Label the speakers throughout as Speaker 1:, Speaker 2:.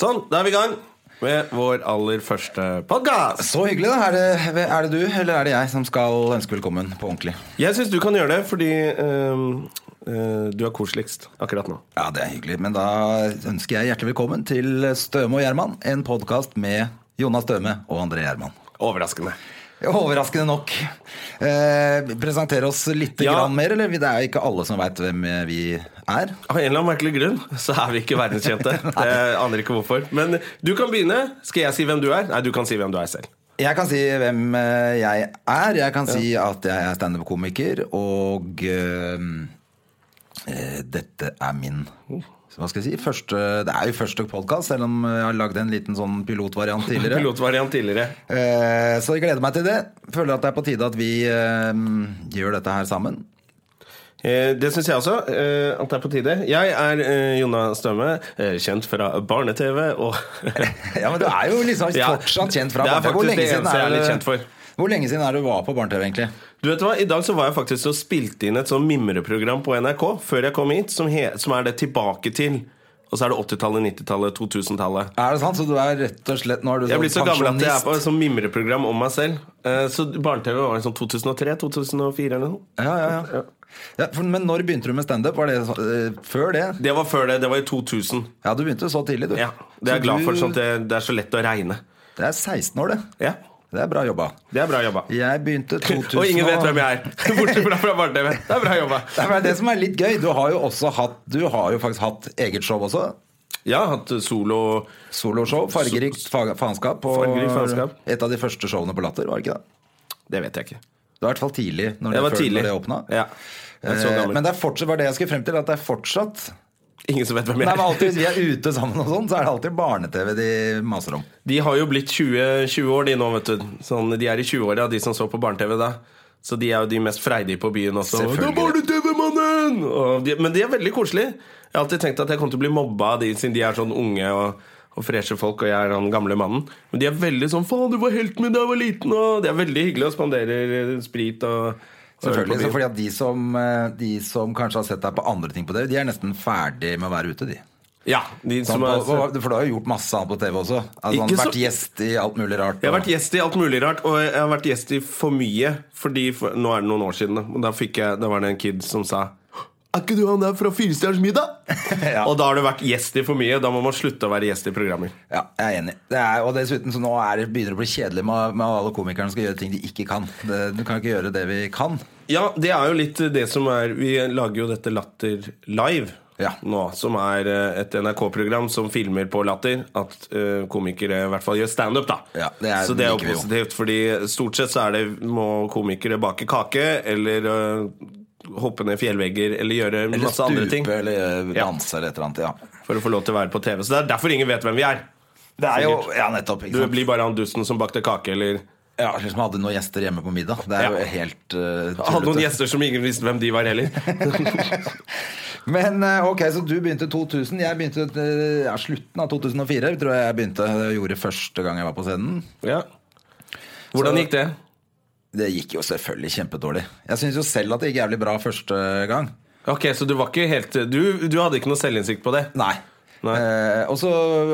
Speaker 1: Sånn, da er vi i gang med vår aller første podkast.
Speaker 2: Så hyggelig, da. Er det, er det du eller er det jeg som skal ønske velkommen på ordentlig?
Speaker 1: Jeg syns du kan gjøre det, fordi øhm, øh, du er koseligst akkurat nå.
Speaker 2: Ja, det er hyggelig. Men da ønsker jeg hjertelig velkommen til Støme og Gjerman. En podkast med Jonas Støme og André Gjerman.
Speaker 1: Overraskende.
Speaker 2: Overraskende nok. Eh, presentere oss litt
Speaker 1: Ja.
Speaker 2: grann mer, eller? Det er jo ikke alle som veit hvem vi er.
Speaker 1: Av en eller annen merkelig grunn så er vi ikke verdenskjente. Jeg aner ikke hvorfor. Men du kan begynne. Skal jeg si hvem du er? Nei, du kan si hvem du er selv.
Speaker 2: Jeg kan si hvem eh, jeg er. Jeg kan si at jeg er standup-komiker, og eh, eh, dette er min
Speaker 1: Oh.
Speaker 2: så hva skal jeg si? Første, det er jo første podkast, selv om jeg har lagd en liten sånn pilotvariant tidligere.
Speaker 1: Pilotvariant tidligere.
Speaker 2: Eh, så jeg gleder meg til det. Føler at det er på tide at vi eh, gjør dette her sammen.
Speaker 1: Eh, Det syns jeg også. eh, At det er på tide. Jeg er eh, Jonna Støme, eh, kjent fra barne-TV og
Speaker 2: Ja, men du er jo liksom
Speaker 1: Ja.
Speaker 2: fortsatt kjent fra
Speaker 1: Det er
Speaker 2: barne-TV. Hvor lenge
Speaker 1: faktisk det
Speaker 2: siden
Speaker 1: eneste jeg er
Speaker 2: det-
Speaker 1: litt kjent for.
Speaker 2: Hvor lenge siden er det du var på barne-TV, egentlig?
Speaker 1: Du vet hva, I dag så var jeg faktisk og spilte inn et sånn mimreprogram på NRK før jeg kom hit, som, he, som er det tilbake til. Og så er det 80-tallet, 90-tallet, 2000-tallet.
Speaker 2: Er det sant? Så du er rett og slett Nå er du sånn
Speaker 1: Jeg er blitt så gammel at jeg er
Speaker 2: Altså, pensjonist.
Speaker 1: på et sånt mimreprogram om meg selv. Eh, Så barne-TV var sånn 2003-2004 eller noe.
Speaker 2: Ja, ja, ja. ja for, men når begynte du med standup? Var det eh, før det?
Speaker 1: Det var før det. Det var i 2000.
Speaker 2: Ja, du begynte så tidlig, du.
Speaker 1: Ja, Det er jeg
Speaker 2: Så
Speaker 1: glad
Speaker 2: du-
Speaker 1: for, sånn at det, det er så lett å regne.
Speaker 2: Det er 16 år, det.
Speaker 1: Ja,
Speaker 2: Det er bra jobba.
Speaker 1: Det er bra jobba.
Speaker 2: Jeg begynte 2000
Speaker 1: Og ingen vet hvem jeg er, bortsett fra fra barne-TV. Det er bra jobba.
Speaker 2: Det er bare det som er litt gøy. Du har jo også hatt Du har jo faktisk hatt eget show også.
Speaker 1: Jeg har hatt solo
Speaker 2: Soloshow. Fargerikt fa faenskap. og
Speaker 1: Fargerikt faenskap.
Speaker 2: Et av de første showene på Latter, var det ikke det?
Speaker 1: Det vet jeg ikke.
Speaker 2: Det var i hvert fall tidlig når
Speaker 1: Jeg
Speaker 2: det,
Speaker 1: var
Speaker 2: før,
Speaker 1: tidlig.
Speaker 2: når det åpna.
Speaker 1: Ja. Jeg er så
Speaker 2: Eh,
Speaker 1: gammel.
Speaker 2: Men det er fortsatt, var det jeg skulle frem til, at det er fortsatt
Speaker 1: Ingen som vet hvem
Speaker 2: Nei,
Speaker 1: jeg
Speaker 2: men
Speaker 1: er.
Speaker 2: alltid Hvis vi er ute sammen, og sånn, så er det alltid barne-TV de maser om.
Speaker 1: De har jo blitt 20, 20 år, de nå, vet du. Sånn, de er i 20-åra, de som så på barne-TV da. Så de er jo de mest freidige på byen også.
Speaker 2: Selvfølgelig.
Speaker 1: «Det er barne-TV-mannen! Og de- Men de er veldig koselige. Jeg har alltid tenkt at jeg kommer til å bli mobba av de, siden de er sånn unge og, og freshe folk, og jeg er han gamle mannen. Men de er veldig sånn 'faen, du var helt med da jeg var liten', og de er veldig hyggelige og spanderer eh, sprit og og øl på
Speaker 2: Selvfølgelig, så
Speaker 1: byen.
Speaker 2: fordi at de som, eh, de som kanskje har sett deg på andre ting på TV, de er nesten ferdig med å være ute, de.
Speaker 1: Ja, de
Speaker 2: Sånn
Speaker 1: som
Speaker 2: på,
Speaker 1: er,
Speaker 2: for du har jo gjort masse annet på TV også. Altså, sånn,
Speaker 1: Ikke så-
Speaker 2: vært gjest i alt mulig rart.
Speaker 1: Jeg har
Speaker 2: og-
Speaker 1: vært gjest i alt mulig rart, og jeg har vært gjest i for mye. Fordi for, Nå er det noen år siden, og da, fikk jeg, da var det en kid som sa Er ikke du han der fra Firestjerners middag?
Speaker 2: Ja.
Speaker 1: Og da har du vært gjest i for mye. Da må man slutte å være gjest i programmer.
Speaker 2: Ja, jeg er enig. Det er, og dessuten så nå er det, begynner det å bli kjedelig med, med alle komikerne som skal gjøre ting de ikke kan. Det, du kan ikke gjøre det vi kan.
Speaker 1: Ja, det er jo litt det som er Vi lager jo dette Latter live
Speaker 2: Ja.
Speaker 1: nå, som er eh, et NRK-program som filmer på latter. At eh, komikere i hvert fall gjør standup, da.
Speaker 2: Ja, det er-
Speaker 1: så det er jo
Speaker 2: liker vi jo.
Speaker 1: positivt, fordi stort sett så er det må komikere bake kake eller eh, hoppe ned fjellvegger eller gjøre
Speaker 2: Eller
Speaker 1: masse andre ting
Speaker 2: stupe eller eh,
Speaker 1: Ja.
Speaker 2: danse eller et eller annet. Ja.
Speaker 1: for å få lov til å være på TV. Så det er derfor ingen vet hvem vi er.
Speaker 2: Det er jo
Speaker 1: Sikkert.
Speaker 2: Ja, nettopp.
Speaker 1: Du
Speaker 2: Ikke sant?
Speaker 1: blir bare han dusten som bakte kake, eller
Speaker 2: Ja, eller som hadde noen gjester hjemme på middag. Det er
Speaker 1: Ja.
Speaker 2: jo helt eh,
Speaker 1: hadde noen
Speaker 2: tullete.
Speaker 1: gjester som ingen visste hvem de var heller.
Speaker 2: Men eh, ok, så du begynte 2000. Jeg begynte eh, ja, slutten av 2004, tror jeg jeg begynte eh, gjorde første gang jeg var på scenen.
Speaker 1: ja. Hvordan gikk det?
Speaker 2: Det gikk jo selvfølgelig kjempedårlig. Jeg syns jo selv at det gikk jævlig bra første gang.
Speaker 1: Ok, Så du var ikke helt Du, du hadde ikke noe selvinnsikt på det?
Speaker 2: Nei.
Speaker 1: Nei.
Speaker 2: Eh, og så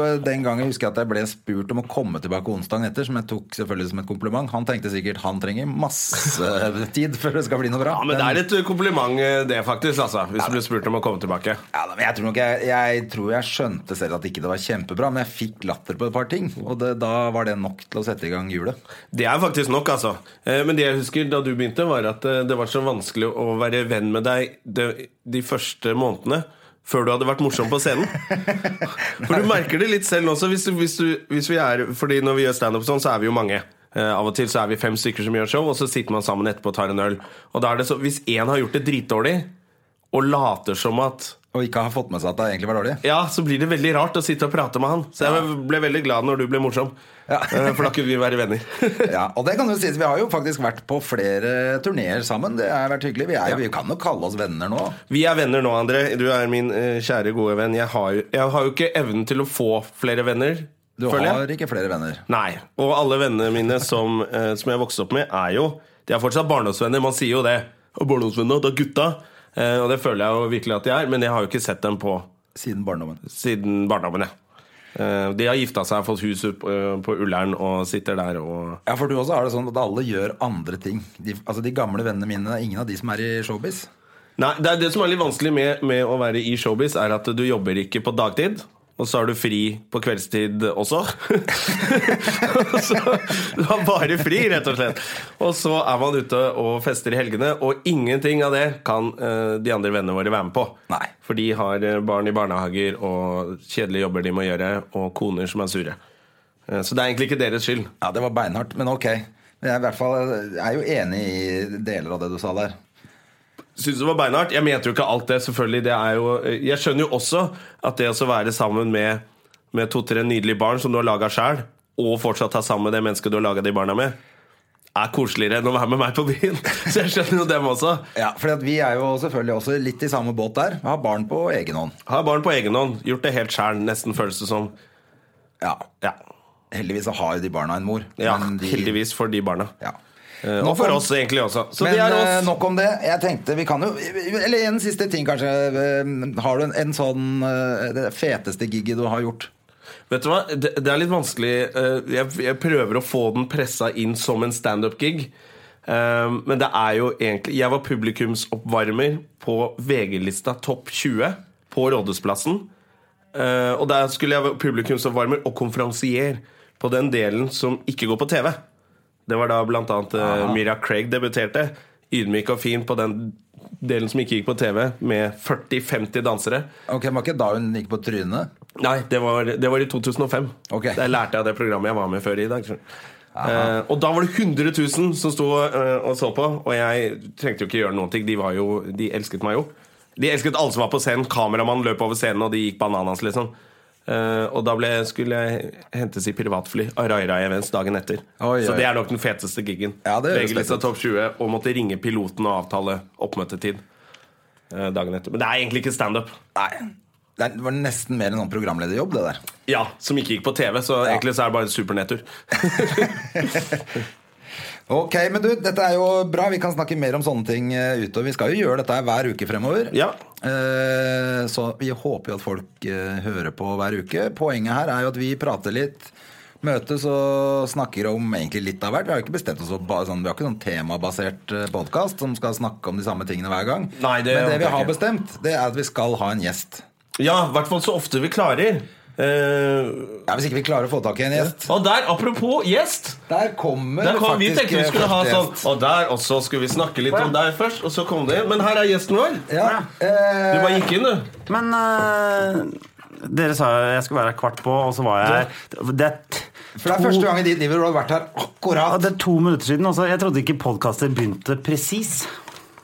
Speaker 2: eh, Den gangen husker jeg at jeg ble spurt om å komme tilbake onsdagen etter, som jeg tok selvfølgelig som et kompliment. Han tenkte sikkert han trenger masse tid før det skal bli noe bra.
Speaker 1: Ja, men det er et kompliment, eh, det, faktisk. altså Hvis du blir spurt om å komme tilbake.
Speaker 2: Ja, da, men jeg, tror nok jeg, jeg tror jeg skjønte selv at ikke det var kjempebra, men jeg fikk latter på et par ting. Og det, da var det nok til å sette i gang hjulet.
Speaker 1: Det er faktisk nok, altså. Eh, Men det jeg husker da du begynte, var at eh, det var så vanskelig å være venn med deg de, de første månedene. Før du hadde vært morsom på scenen. For du merker det litt selv også. Hvis, du- hvis, du, hvis vi er, fordi når vi gjør standup sånn, så er vi jo mange. Eh, av og til så er vi fem stykker som gjør show, og så sitter man sammen etterpå og tar en øl. Og da er det så, Hvis én har gjort det dritdårlig, og later som at
Speaker 2: Og ikke har fått med seg at det egentlig var dårlig.
Speaker 1: Ja, så blir det veldig rart å sitte og prate med han. Så jeg ble veldig glad når du ble morsom.
Speaker 2: Ja.
Speaker 1: Eh, For da kunne vi være venner.
Speaker 2: Ja, og det kan jo sies, Vi har jo faktisk vært på flere turneer sammen. Det har vært hyggelig. Vi, er, vi kan jo kalle oss venner nå.
Speaker 1: Vi er venner nå, André. Du er min eh, kjære, gode venn. Jeg har, jo- jeg har jo ikke evnen til å få flere venner,
Speaker 2: Du
Speaker 1: føler jeg.
Speaker 2: har ikke flere venner.
Speaker 1: Nei. Og alle vennene mine som, eh, som jeg vokste opp med, er jo De er fortsatt barndomsvenner. Man sier jo det. Og barndomsvenner, det er gutta. Eh, og det føler jeg jo virkelig at de er, men jeg har jo ikke sett dem på
Speaker 2: Siden barndommen.
Speaker 1: siden barndommen, jeg. Eh, de har gifta seg, fått hus opp, eh, på Ullern og sitter der og
Speaker 2: Ja, for du også har det sånn at alle gjør andre ting. De, altså de gamle vennene mine, det er ingen av de som er i showbiz.
Speaker 1: Nei, det, er det som er litt vanskelig med, med å være i showbiz, er at du jobber ikke på dagtid. Og så har du fri på kveldstid også. Og så du har bare fri, rett og slett. Og så er man ute og fester i helgene, og ingenting av det kan eh, de andre vennene våre være med på.
Speaker 2: Nei.
Speaker 1: For de har eh, barn i barnehager og kjedelige jobber de må gjøre, og koner som er sure. Eh, så det er egentlig ikke deres skyld.
Speaker 2: Ja, det var beinhardt, men ok. Men Jeg er, i hvert fall, jeg er jo enig i deler av det du sa der.
Speaker 1: synes det var beinhardt. Jeg mente jo ikke alt det, selvfølgelig. Det er jo, eh, jeg skjønner jo også at det å være sammen med, med to-tre nydelige barn som du har laga sjæl, og fortsatt ha sammen med det mennesket du har laga de barna med, er koseligere enn å være med meg på byen. Så jeg skjønner jo dem også.
Speaker 2: Ja, for vi er jo selvfølgelig også litt i samme båt der. Vi har barn på egen hånd.
Speaker 1: Har barn på egen hånd, gjort det helt sjæl, nesten føles det som.
Speaker 2: Ja,
Speaker 1: Ja,
Speaker 2: Heldigvis så har jo de barna en mor.
Speaker 1: ja
Speaker 2: men de-
Speaker 1: heldigvis for de barna.
Speaker 2: Ja.
Speaker 1: Eh,
Speaker 2: Nå
Speaker 1: Og for
Speaker 2: kom-
Speaker 1: oss egentlig også. Så
Speaker 2: Men
Speaker 1: det er
Speaker 2: eh,
Speaker 1: oss.
Speaker 2: nok om det. Jeg tenkte vi kan jo Eller en siste ting, kanskje. Eh, Har du en, en sånn eh, Det feteste gigget du har gjort?
Speaker 1: Vet du hva, det, det er litt vanskelig eh, jeg, jeg prøver å få den pressa inn som en standup-gig. Eh, men det er jo egentlig Jeg var publikumsoppvarmer på VG-lista Topp 20 på Rådhusplassen. Eh, og der skulle jeg være publikumsoppvarmer og konferansier på den delen som ikke går på TV. Det var da blant annet eh, Mira Craig debuterte. Ydmyk og fin på den delen som ikke gikk på TV, med 40-50 dansere.
Speaker 2: Ok, Det var ikke da hun gikk på trynet?
Speaker 1: Nei, det var, det var i 2005.
Speaker 2: Ok.
Speaker 1: Der lærte jeg av det programmet jeg var med før i dag. skjønner du. Eh, og da var det 100 000 som sto eh, og så på, og jeg trengte jo ikke gjøre noen ting. De, var jo, de elsket meg jo. De elsket alle som var på scenen. Kameramannen løp over scenen, og de gikk bananas, liksom. Eh, og da ble, skulle jeg hentes i privatfly av Rai Rai Events dagen etter.
Speaker 2: Oi, oi.
Speaker 1: Så det er nok den feteste gigen.
Speaker 2: Ja, det høres
Speaker 1: VG-lista
Speaker 2: fett ut.
Speaker 1: Topp 20 og måtte ringe piloten og avtale oppmøtetid eh, dagen etter. Men det er egentlig ikke standup.
Speaker 2: Nei. Det er- det var nesten mer en sånn programlederjobb, det der.
Speaker 1: Ja, som ikke gikk på TV, så egentlig så er det bare en supernedtur.
Speaker 2: Ok, men du, dette er jo bra. Vi kan snakke mer om sånne ting eh, utover. Vi skal jo gjøre dette her hver uke fremover.
Speaker 1: Ja.
Speaker 2: Eh, Så vi håper jo at folk eh, hører på hver uke. Poenget her er jo at vi prater litt, møtes og snakker om egentlig litt av hvert. Vi har jo ikke bestemt oss for bare sånn, vi har ikke sånn temabasert podkast som skal snakke om de samme tingene hver gang.
Speaker 1: Nei, det
Speaker 2: men det
Speaker 1: håper jeg
Speaker 2: vi har
Speaker 1: ikke.
Speaker 2: bestemt, det er at vi skal ha en gjest.
Speaker 1: Ja, i hvert fall så ofte vi klarer. Eh,
Speaker 2: Ja, Hvis ikke vi klarer å få tak i en gjest.
Speaker 1: og der, apropos gjest
Speaker 2: Der kommer
Speaker 1: der kom, Vi
Speaker 2: faktisk eh,
Speaker 1: tenkte vi skulle ha
Speaker 2: første
Speaker 1: sånn
Speaker 2: gjest.
Speaker 1: Og der, og så skulle vi snakke litt om deg først, og så kom det Men her er gjesten vår.
Speaker 2: Ja,
Speaker 1: Du
Speaker 2: eh,
Speaker 1: bare gikk inn, du.
Speaker 3: Men eh, dere sa jo jeg skulle være her kvart på, og så var jeg her Det er t-
Speaker 2: for det er første gang i ditt liv hvor du har vært her
Speaker 3: ja,
Speaker 2: akkurat.
Speaker 3: det er to minutter siden. Også. Jeg trodde ikke podkaster begynte presis.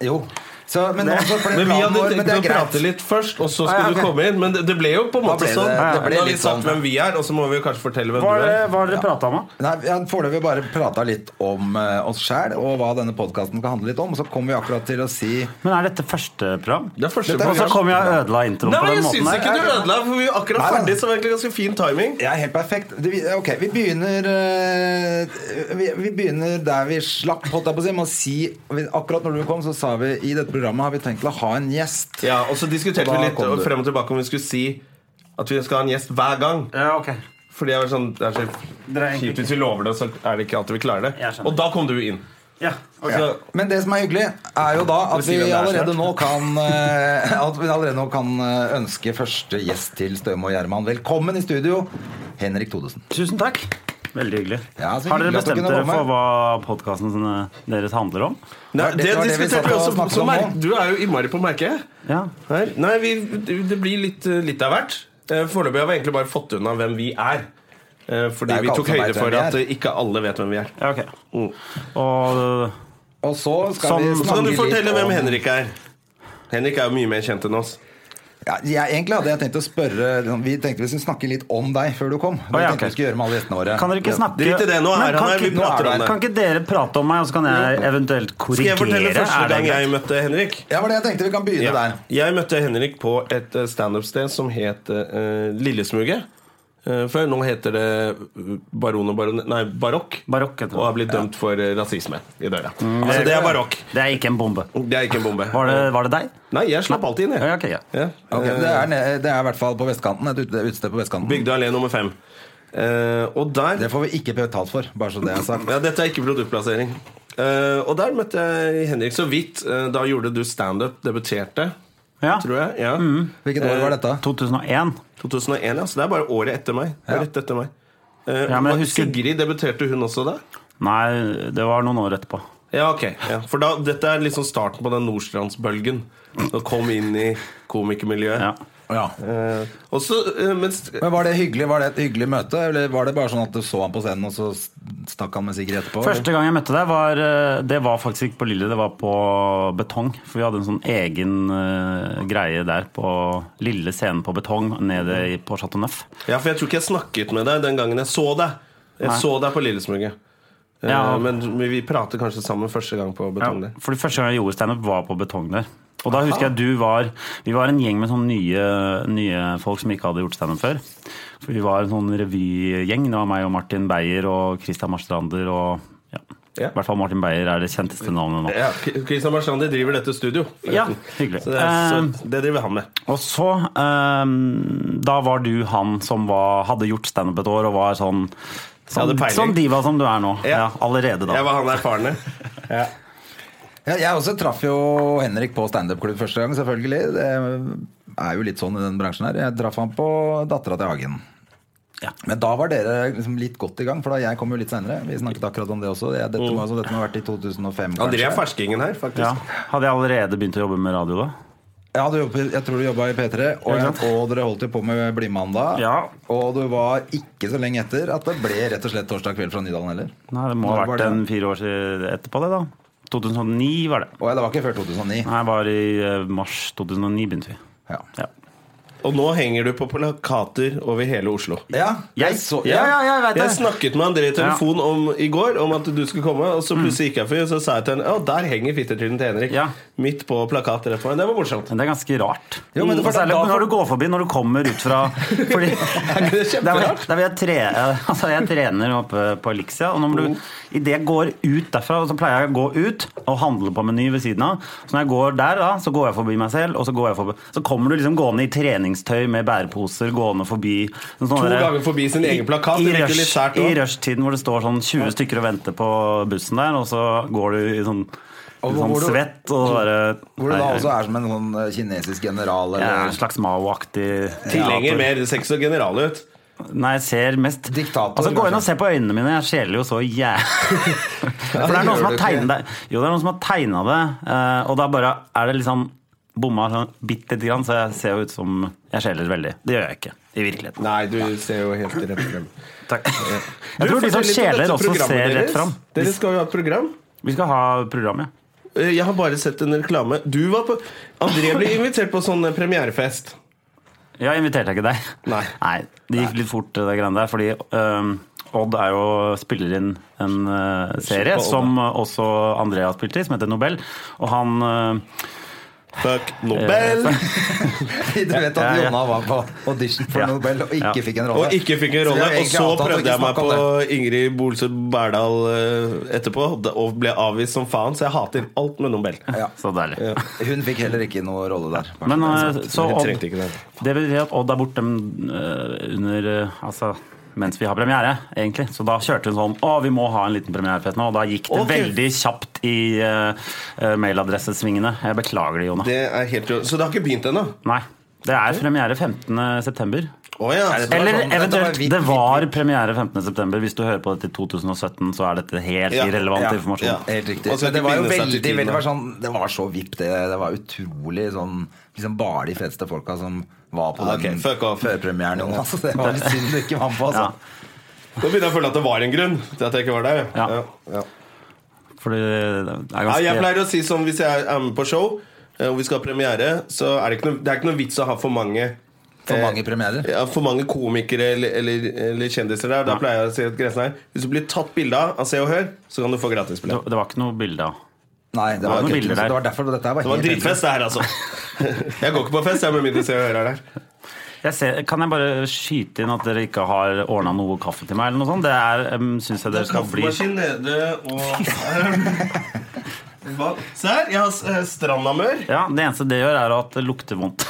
Speaker 2: Jo. Så, men, nå, så ble
Speaker 1: Men vi
Speaker 2: planen
Speaker 1: hadde
Speaker 2: vår, men
Speaker 1: tenkt
Speaker 2: det
Speaker 1: å
Speaker 2: er greit.
Speaker 1: prate litt først, og så
Speaker 3: Ah,
Speaker 1: skulle
Speaker 3: ja,
Speaker 1: du
Speaker 3: ok.
Speaker 1: komme inn. Men det, det ble jo på en
Speaker 2: ble
Speaker 1: måte
Speaker 2: det-
Speaker 1: sånn.
Speaker 2: det ble
Speaker 1: Nå har vi
Speaker 2: litt
Speaker 1: sagt
Speaker 2: sånn.
Speaker 1: hvem vi er, og så må vi jo kanskje fortelle hvem
Speaker 3: Hva
Speaker 1: du
Speaker 3: har
Speaker 1: er.
Speaker 3: dere- hva har dere prata om, da?
Speaker 2: Nei, vi har foreløpig bare prata litt om eh, oss sjæl og hva denne podkasten skal handle litt om. Og så kommer vi akkurat til å si
Speaker 3: Men er dette første program?
Speaker 1: Det er første
Speaker 3: Og så
Speaker 1: program.
Speaker 3: kom jeg og ødela introen
Speaker 1: Nei,
Speaker 3: på
Speaker 1: jeg
Speaker 3: den måten
Speaker 1: syns ikke du
Speaker 3: her.
Speaker 1: ødela, for vi var akkurat
Speaker 2: Nei, nei.
Speaker 1: ferdig, så det var egentlig ganske fin timing.
Speaker 2: Ja, helt perfekt. Du, vi- ok, vi begynner eh, vi, vi begynner der vi slapp, holdt jeg på å si. Med å si vi, akkurat når du kom, så sa vi i dette programmet har vi tenkt å ha en gjest.
Speaker 1: Ja, og så diskuterte
Speaker 2: Og da
Speaker 1: vi litt
Speaker 2: kom
Speaker 1: og
Speaker 2: du.
Speaker 1: frem og tilbake om vi skulle si at vi skal ha en gjest hver gang.
Speaker 3: Ja, ok.
Speaker 1: Fordi jeg var sånn, det er så
Speaker 3: Dere er egentlig
Speaker 1: kjipt hvis vi lover det, så er det ikke alltid vi klarer det.
Speaker 3: Jeg skjønner.
Speaker 1: Og da kom du inn.
Speaker 3: Ja.
Speaker 1: Så,
Speaker 2: Men det som er hyggelig, er jo da at
Speaker 1: Skal vi
Speaker 2: vi
Speaker 1: si hvem det er
Speaker 2: allerede
Speaker 1: snart?
Speaker 2: nå kan eh, At vi allerede nå kan eh, ønske første gjest til Støme og Gjerman velkommen i studio. Henrik Thodesen.
Speaker 3: Tusen takk. Veldig hyggelig.
Speaker 2: Ja, så
Speaker 3: har
Speaker 2: hyggelig at
Speaker 3: dere
Speaker 2: dere
Speaker 3: bestemt
Speaker 2: kunne
Speaker 3: dere
Speaker 2: komme.
Speaker 3: for hva podkasten deres handler om?
Speaker 1: Nei,
Speaker 2: var det-
Speaker 1: det,
Speaker 2: det var det vi satt
Speaker 1: diskuterte vi
Speaker 2: og
Speaker 1: også.
Speaker 2: snakket
Speaker 1: så
Speaker 2: om
Speaker 1: merk-
Speaker 2: nå.
Speaker 1: du er jo innmari på merket.
Speaker 3: Ja.
Speaker 1: Her. Nei, vi, det blir litt, litt av hvert. Eh, Foreløpig har vi egentlig bare fått unna hvem vi er. Eh,
Speaker 2: Det
Speaker 1: Fordi
Speaker 2: er jo
Speaker 1: vi
Speaker 2: ikke
Speaker 1: tok
Speaker 2: alle som vet
Speaker 1: høyde
Speaker 2: hvem
Speaker 1: for
Speaker 2: vi
Speaker 1: at
Speaker 2: er.
Speaker 1: eh, ikke alle vet hvem vi er.
Speaker 3: ja ok.
Speaker 1: Mm.
Speaker 3: Og
Speaker 2: Og så skal
Speaker 3: Som-
Speaker 2: vi
Speaker 3: så
Speaker 2: snakke
Speaker 1: Så kan du
Speaker 2: litt
Speaker 1: fortelle
Speaker 2: om-
Speaker 1: hvem Henrik er. Henrik er jo mye mer kjent enn oss.
Speaker 2: Ja, jeg, egentlig hadde jeg tenkt å spørre liksom, Vi tenkte vi skulle snakke litt om deg før du kom. Det
Speaker 3: Å, ja,
Speaker 2: tenkte
Speaker 3: ok.
Speaker 2: vi skulle gjøre med alle gjestene våre.
Speaker 3: Kan dere ikke snakke
Speaker 1: Drit i det, nå er
Speaker 3: Men
Speaker 1: han
Speaker 3: kan
Speaker 1: her, vi
Speaker 3: ikke-
Speaker 1: prater
Speaker 3: nå er
Speaker 1: om
Speaker 3: han her.
Speaker 1: det. Mm.
Speaker 3: Kan ikke dere prate om meg, og så kan jeg eventuelt
Speaker 1: Skal
Speaker 3: korrigere?
Speaker 1: jeg fortelle første
Speaker 3: Er det
Speaker 1: gang jeg
Speaker 3: greit?
Speaker 1: møtte Henrik?
Speaker 2: Ja, var det jeg tenkte. Vi kan begynne
Speaker 1: Ja.
Speaker 2: der.
Speaker 1: Jeg møtte Henrik på et eh, standup-sted som het eh, Lillesmuget. Eh, før nå heter det eh, Baron og Baron... Nei, Barokk.
Speaker 3: Barokk heter det.
Speaker 1: og har blitt dømt for eh, rasisme i døra.
Speaker 2: Mm.
Speaker 1: altså, det er barokk.
Speaker 3: Det er ikke en bombe.
Speaker 1: Det er ikke en bombe.
Speaker 3: Var det, var det deg?
Speaker 1: Nei, jeg slapp alltid inn, jeg.
Speaker 3: Ja, ok, ja.
Speaker 1: Ja.
Speaker 2: Ok,
Speaker 3: Eh,
Speaker 2: det, er, ned- det er i hvert fall på vestkanten. Et ute- utested på vestkanten.
Speaker 1: Bygdøy allé nummer fem. Eh, og der
Speaker 2: Det får vi ikke betalt for, bare så det er sagt.
Speaker 1: Ja, dette er ikke produktplassering. Eh, og der møtte jeg Henrik så vidt. Eh, da gjorde du standup, debuterte,
Speaker 3: Ja.
Speaker 1: tror jeg. Ja.
Speaker 2: Hvilket år var
Speaker 3: Eh,
Speaker 2: dette?
Speaker 3: 2001.
Speaker 1: 2001, ja. Så det er bare året etter meg. Det er Rett etter meg. Eh,
Speaker 3: Ja, men jeg
Speaker 1: og
Speaker 3: husker-
Speaker 1: Sigrid, debuterte hun også da?
Speaker 3: Nei, det var noen år etterpå.
Speaker 1: Ja, ok. Ja. For da, dette er liksom starten på den Nordstrandsbølgen. Å komme inn i komikermiljøet.
Speaker 3: Ja.
Speaker 2: Ja.
Speaker 1: Eh, og så, eh, mens
Speaker 2: Men Var det hyggelig Var det et hyggelig møte, eller var det bare sånn at du så han på scenen, og så stakk han med Sigrid etterpå? eller?
Speaker 3: Første gang jeg møtte deg, var, eh, det var faktisk ikke på Lille, det var på Betong. For vi hadde en sånn egen eh, greie der på Lille scenen på Betong nede i- på Chateau Neuf.
Speaker 1: Ja, for jeg tror ikke jeg snakket med deg den gangen jeg så deg. Jeg
Speaker 3: Nei.
Speaker 1: så deg på Lillesmuget. Eh,
Speaker 3: Ja.
Speaker 1: Men vi vi prater kanskje sammen første gang på
Speaker 3: Ja,
Speaker 1: betong der.
Speaker 3: for det første gang jeg gjorde standup, var på Betong der. Og da husker jeg du var Vi var en gjeng med sånne nye, nye folk som ikke hadde gjort standup før. For vi var en sånn revygjeng. Det var meg og Martin Beyer og Christian Marstrander og ja.
Speaker 1: Ja.
Speaker 3: I hvert fall Martin Beyer er det kjenteste navnet nå.
Speaker 1: Ja, K- Christian Marstrandi driver dette studio.
Speaker 3: Ja,
Speaker 1: forresten.
Speaker 3: hyggelig. Eh,
Speaker 1: Så det, er, så det driver han med.
Speaker 3: Og så ehm, Da var du han som var, hadde gjort standup et år og var sånn
Speaker 1: hadde
Speaker 3: Sånn,
Speaker 1: peiling.
Speaker 3: sånn diva som du er nå.
Speaker 1: Ja.
Speaker 3: Ja, allerede da.
Speaker 1: Jeg var han erfarne.
Speaker 2: Ja, jeg også traff jo Henrik på standup-klubb første gang, selvfølgelig. Det er jo litt sånn i den bransjen her. Jeg traff han på dattera til Hagen.
Speaker 3: Ja.
Speaker 2: Men da var dere liksom litt godt i gang, for da jeg kom jo litt seinere. Vi snakket akkurat om det også. Jeg, dette,
Speaker 3: Mm.
Speaker 2: må, altså, dette må ha vært i 2005, kanskje.
Speaker 1: André er ferskingen her, faktisk.
Speaker 3: Ja. Hadde jeg allerede begynt å jobbe med radio da?
Speaker 2: Ja, du jobbet, jeg tror du jobba i P3, og,
Speaker 3: Ja, ikke sant?
Speaker 2: og dere holdt jo på med Blimandag.
Speaker 3: Ja.
Speaker 2: Og du var ikke så lenge etter at det ble rett og slett torsdag kveld fra Nydalen heller.
Speaker 3: Nei, det må ha
Speaker 2: Når var
Speaker 3: vært
Speaker 2: det?
Speaker 3: en fire år siden etterpå det, da. 2009 var det.
Speaker 2: Å ja, det var ikke før 2009.
Speaker 3: Nei, bare i eh, mars 2009 begynte vi.
Speaker 2: Ja.
Speaker 3: Ja.
Speaker 1: Og nå henger du på plakater over hele Oslo.
Speaker 2: Ja,
Speaker 3: Jeg- Ja, ja, jeg vet det.
Speaker 1: snakket med André i telefon om, i går om at du skulle komme, og så plutselig gikk jeg forbi, og så sa jeg til henne Å, der henger fittetrynet til Henrik.
Speaker 3: Mm. Ja.
Speaker 1: Midt på plakater. Det var morsomt.
Speaker 3: Men det er ganske rart.
Speaker 2: Jo, men det
Speaker 3: Og
Speaker 2: for-
Speaker 3: særlig
Speaker 2: da-
Speaker 3: når du går forbi, når du kommer ut fra Fordi
Speaker 1: det er
Speaker 3: Der hvor jeg,
Speaker 1: kjemperart.
Speaker 3: der hvor jeg, tre, altså jeg trener oppe på Elixia, og når du, i det jeg går ut derfra, så pleier jeg å gå ut og handle på Meny ved siden av. Så når jeg går der, da, så går jeg forbi meg selv, og så, går jeg forbi, så kommer du liksom gående i treningstøy med bæreposer, gående forbi sånn
Speaker 1: To
Speaker 3: der-
Speaker 1: ganger forbi sin egen plakat,
Speaker 3: I,
Speaker 1: det
Speaker 3: i,
Speaker 1: virker litt
Speaker 3: rush,
Speaker 1: sært
Speaker 3: I
Speaker 1: også.
Speaker 3: rushtiden hvor det står sånn 20 stykker og venter på bussen der, og så går du i sånn,
Speaker 2: Og
Speaker 3: sånn
Speaker 2: hvor du-
Speaker 3: svett og bare
Speaker 2: Hvor du da
Speaker 3: Nei,
Speaker 2: også er som en sånn eh, kinesisk general
Speaker 3: jeg er
Speaker 2: eller
Speaker 3: en slags Mao-aktig
Speaker 1: Tilhenger
Speaker 3: diktator.
Speaker 1: mer sex og general ut.
Speaker 3: Nei, jeg ser mest
Speaker 2: Diktator,
Speaker 3: Altså, Gå inn og
Speaker 2: kanskje.
Speaker 3: se på øynene mine. Jeg skjeler jo så jævlig For
Speaker 2: det
Speaker 3: det er noen som
Speaker 2: gjør
Speaker 3: har
Speaker 2: du ikke.
Speaker 3: tegnet det. Jo, det er noen som har tegna det, eh, og da bare er det liksom bomma sånn bitte lite grann, så jeg ser jo ut som Jeg skjeler veldig. Det gjør jeg ikke i virkeligheten.
Speaker 1: Nei, du ser jo helt rett frem.
Speaker 3: Takk. Jeg tror de som skjeler, også ser rett fram.
Speaker 1: Dere skal jo ha et program.
Speaker 3: Vi skal ha program, ja.
Speaker 1: Eh, Jeg har bare sett en reklame. Du var på André ble invitert på sånn eh, premierefest.
Speaker 3: Ja, inviterte jeg ikke deg?
Speaker 1: Nei.
Speaker 3: Det gikk litt fort, det greiene der. Fordi øhm, Odd er jo, spiller inn en øh, serie
Speaker 1: Odd, da.
Speaker 3: som øh, også Andrea har spilt i, som heter Nobel. Og han øh,
Speaker 1: Fuck
Speaker 3: Eh,
Speaker 1: Nobel!
Speaker 2: Du vet at
Speaker 3: Ja, ja.
Speaker 2: Jonna var på audition for
Speaker 3: Ja.
Speaker 2: Nobel og ikke
Speaker 3: Ja.
Speaker 2: fikk en rolle.
Speaker 1: Og ikke fikk en
Speaker 2: vi
Speaker 1: rolle.
Speaker 2: har
Speaker 1: Og
Speaker 2: egentlig
Speaker 1: så
Speaker 2: avtalt å ikke
Speaker 1: prøvde jeg meg
Speaker 2: snakke om
Speaker 1: på
Speaker 2: det.
Speaker 1: Ingrid Bolse Berdal eh, etterpå, da- og ble avvist som faen, så jeg hater alt med Nobel.
Speaker 2: Ja.
Speaker 3: Så deilig.
Speaker 2: Hun fikk heller ikke noe rolle der. Altså,
Speaker 3: Men øh, så
Speaker 1: Vi
Speaker 3: Odd
Speaker 1: trengte ikke det.
Speaker 3: Det betyr at Odd er borte øh, under øh, Altså mens vi har premiere, egentlig. Så da kjørte hun sånn Å, vi må ha en liten premierefest nå. Og da gikk det
Speaker 1: Ok.
Speaker 3: veldig kjapt i øh, øh, mailadressesvingene. Jeg beklager det, Jona.
Speaker 1: Det er helt jo- Så det har ikke begynt ennå?
Speaker 3: Nei. Det er premiere 15.9.
Speaker 1: Å ja.
Speaker 2: Er det-
Speaker 3: Eller
Speaker 2: sånn, dette var
Speaker 3: eventuelt,
Speaker 2: vitt,
Speaker 3: det
Speaker 2: vitt,
Speaker 3: var premiere 15.9. Hvis du hører på dette i 2017, så er dette helt
Speaker 1: Ja,
Speaker 3: irrelevant
Speaker 2: ja,
Speaker 3: informasjon.
Speaker 1: ja.
Speaker 2: Helt riktig.
Speaker 1: Og så
Speaker 2: Men det var jo
Speaker 1: binde seg
Speaker 2: veldig,
Speaker 1: til tiden,
Speaker 2: veldig det var
Speaker 1: da.
Speaker 2: sånn, Det var så vipp, det. Det var utrolig sånn liksom Bare de feteste folka som var på
Speaker 1: Ah,
Speaker 2: den
Speaker 1: ok, fuck off.
Speaker 2: førpremieren. Jonas. Altså, det var litt synd du ikke var med på.
Speaker 3: Ja.
Speaker 2: Altså.
Speaker 1: Nå begynner jeg å føle at det var en grunn til at jeg ikke var der.
Speaker 3: Ja.
Speaker 1: Ja. Ja.
Speaker 3: Fordi det er
Speaker 1: Ja, jeg
Speaker 3: ganske
Speaker 1: pleier å si sånn hvis jeg er med på show eh, og vi skal ha premiere, så er det, ikke noe, det er ikke noe vits å ha for mange
Speaker 2: For
Speaker 1: eh,
Speaker 2: mange premierer.
Speaker 1: ja, for mange komikere eller, eller, eller kjendiser der. Da pleier jeg å si at grensen er Hvis du blir tatt bilde av av Se og Hør, så kan du få
Speaker 3: Det,
Speaker 1: gratisbillett.
Speaker 3: det var ikke noe bilde av.
Speaker 2: Nei, det var,
Speaker 3: noen
Speaker 2: ikke-
Speaker 3: bilder der.
Speaker 2: det var derfor dette her var
Speaker 1: Det var en
Speaker 2: helt
Speaker 1: dritfest, det her, altså. Jeg går ikke på fest, jeg, med mindre Se og Hør er der.
Speaker 3: Jeg ser, kan jeg bare skyte inn at dere ikke har ordna noe kaffe til meg? eller noe sånt? Det er, um, synes jeg dere skal bli...
Speaker 1: nede og Se her, jeg har eh, strandamør.
Speaker 3: Ja, Det eneste det gjør, er at det lukter vondt.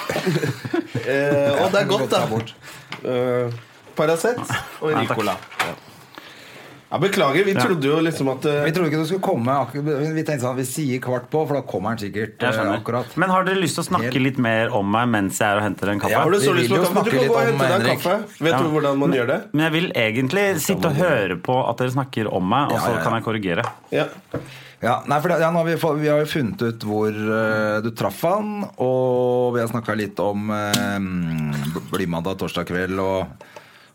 Speaker 1: Eh, og det er godt,
Speaker 2: ta
Speaker 1: da.
Speaker 2: bort.
Speaker 1: Eh, Paracet og
Speaker 3: Ja, takk.
Speaker 1: Ricola. Ja, beklager, vi trodde jo liksom at eh,
Speaker 2: Vi trodde ikke du skulle komme akkur- Vi tenkte sånn, vi sier kvart på, for da kommer han sikkert
Speaker 3: Jeg
Speaker 2: eh,
Speaker 3: skjønner.
Speaker 2: akkurat.
Speaker 3: Men har dere lyst til å snakke
Speaker 2: Helt-
Speaker 3: litt mer om meg mens jeg er og henter en kaffe?
Speaker 2: Ja,
Speaker 1: Har du
Speaker 2: Vi
Speaker 1: så
Speaker 2: vil
Speaker 1: lyst på
Speaker 2: jo
Speaker 1: kaffe? Du
Speaker 2: snakke
Speaker 1: kan
Speaker 2: litt
Speaker 1: gå og
Speaker 2: om
Speaker 1: hente deg
Speaker 2: Henrik.
Speaker 1: kaffe. Vet
Speaker 3: Ja.
Speaker 1: du hvordan man
Speaker 3: Men-
Speaker 1: gjør det?
Speaker 3: Men jeg vil egentlig sitte og høre på at dere snakker om meg, og
Speaker 2: Ja,
Speaker 3: så
Speaker 2: ja, ja.
Speaker 3: kan jeg korrigere.
Speaker 1: Ja.
Speaker 2: Ja, nei, for det, ja, nå har vi, få- vi har jo funnet ut hvor eh, du traff han, og vi har snakka litt om uh, Blymandag torsdag kveld og,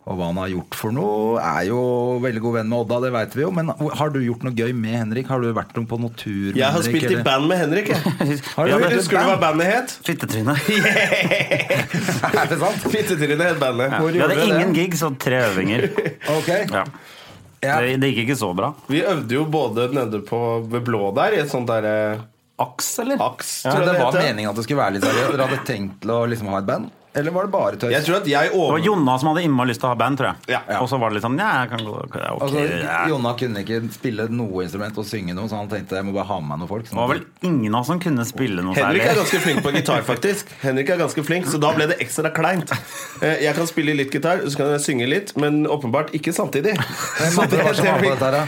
Speaker 2: og hva han har gjort for noe. Er jo veldig god venn med Odda, det veit vi jo, men har du gjort noe gøy med Henrik? Har du vært noe på noe tur med
Speaker 1: Jeg har
Speaker 2: Henrik,
Speaker 1: spilt i
Speaker 2: eller?
Speaker 1: band med Henrik. Jeg.
Speaker 2: Har du
Speaker 3: Ja,
Speaker 2: spilt
Speaker 3: det-
Speaker 2: i
Speaker 1: Husker du
Speaker 2: band?
Speaker 1: hva bandet het?
Speaker 3: Fittetryne.
Speaker 2: Er det sant?
Speaker 1: Fittetrynet het bandet.
Speaker 3: Ja.
Speaker 2: Hvor
Speaker 3: Vi hadde
Speaker 2: gjorde dere
Speaker 3: ingen
Speaker 2: det?
Speaker 3: gigs og tre øvinger.
Speaker 2: Ok.
Speaker 3: Ja.
Speaker 2: Ja.
Speaker 3: Det, det gikk ikke så bra.
Speaker 1: Vi øvde jo både nede på ved Blå der, i et sånt derre
Speaker 3: Aks, eller?
Speaker 1: aks.
Speaker 2: Så
Speaker 1: tror jeg
Speaker 2: det var
Speaker 1: heter.
Speaker 2: meningen at det skulle være litt seriøst? Dere hadde tenkt til å liksom ha et band? Eller var det bare tøys?
Speaker 1: Jeg tror at jeg
Speaker 3: Det
Speaker 1: over...
Speaker 3: var Jonna som hadde innmari lyst til å ha band, tror jeg.
Speaker 1: Ja, ja.
Speaker 3: Og så var det litt sånn Ja, jeg kan gå ja, ok,
Speaker 2: Altså,
Speaker 3: ja.
Speaker 2: Jonna kunne ikke spille noe instrument og synge noe, så han tenkte jeg må bare ha med meg noen folk.
Speaker 3: Det var vel ingen av oss som kunne spille noe
Speaker 1: Henrik er
Speaker 3: særlig.
Speaker 1: ganske flink på gitar, faktisk. Henrik er ganske flink, Så da ble det ekstra kleint. Eh, Jeg kan spille litt gitar, så kan jeg synge litt, men åpenbart ikke samtidig.
Speaker 2: Hvem
Speaker 1: Så
Speaker 2: andre var sånn det som var på dette her, da?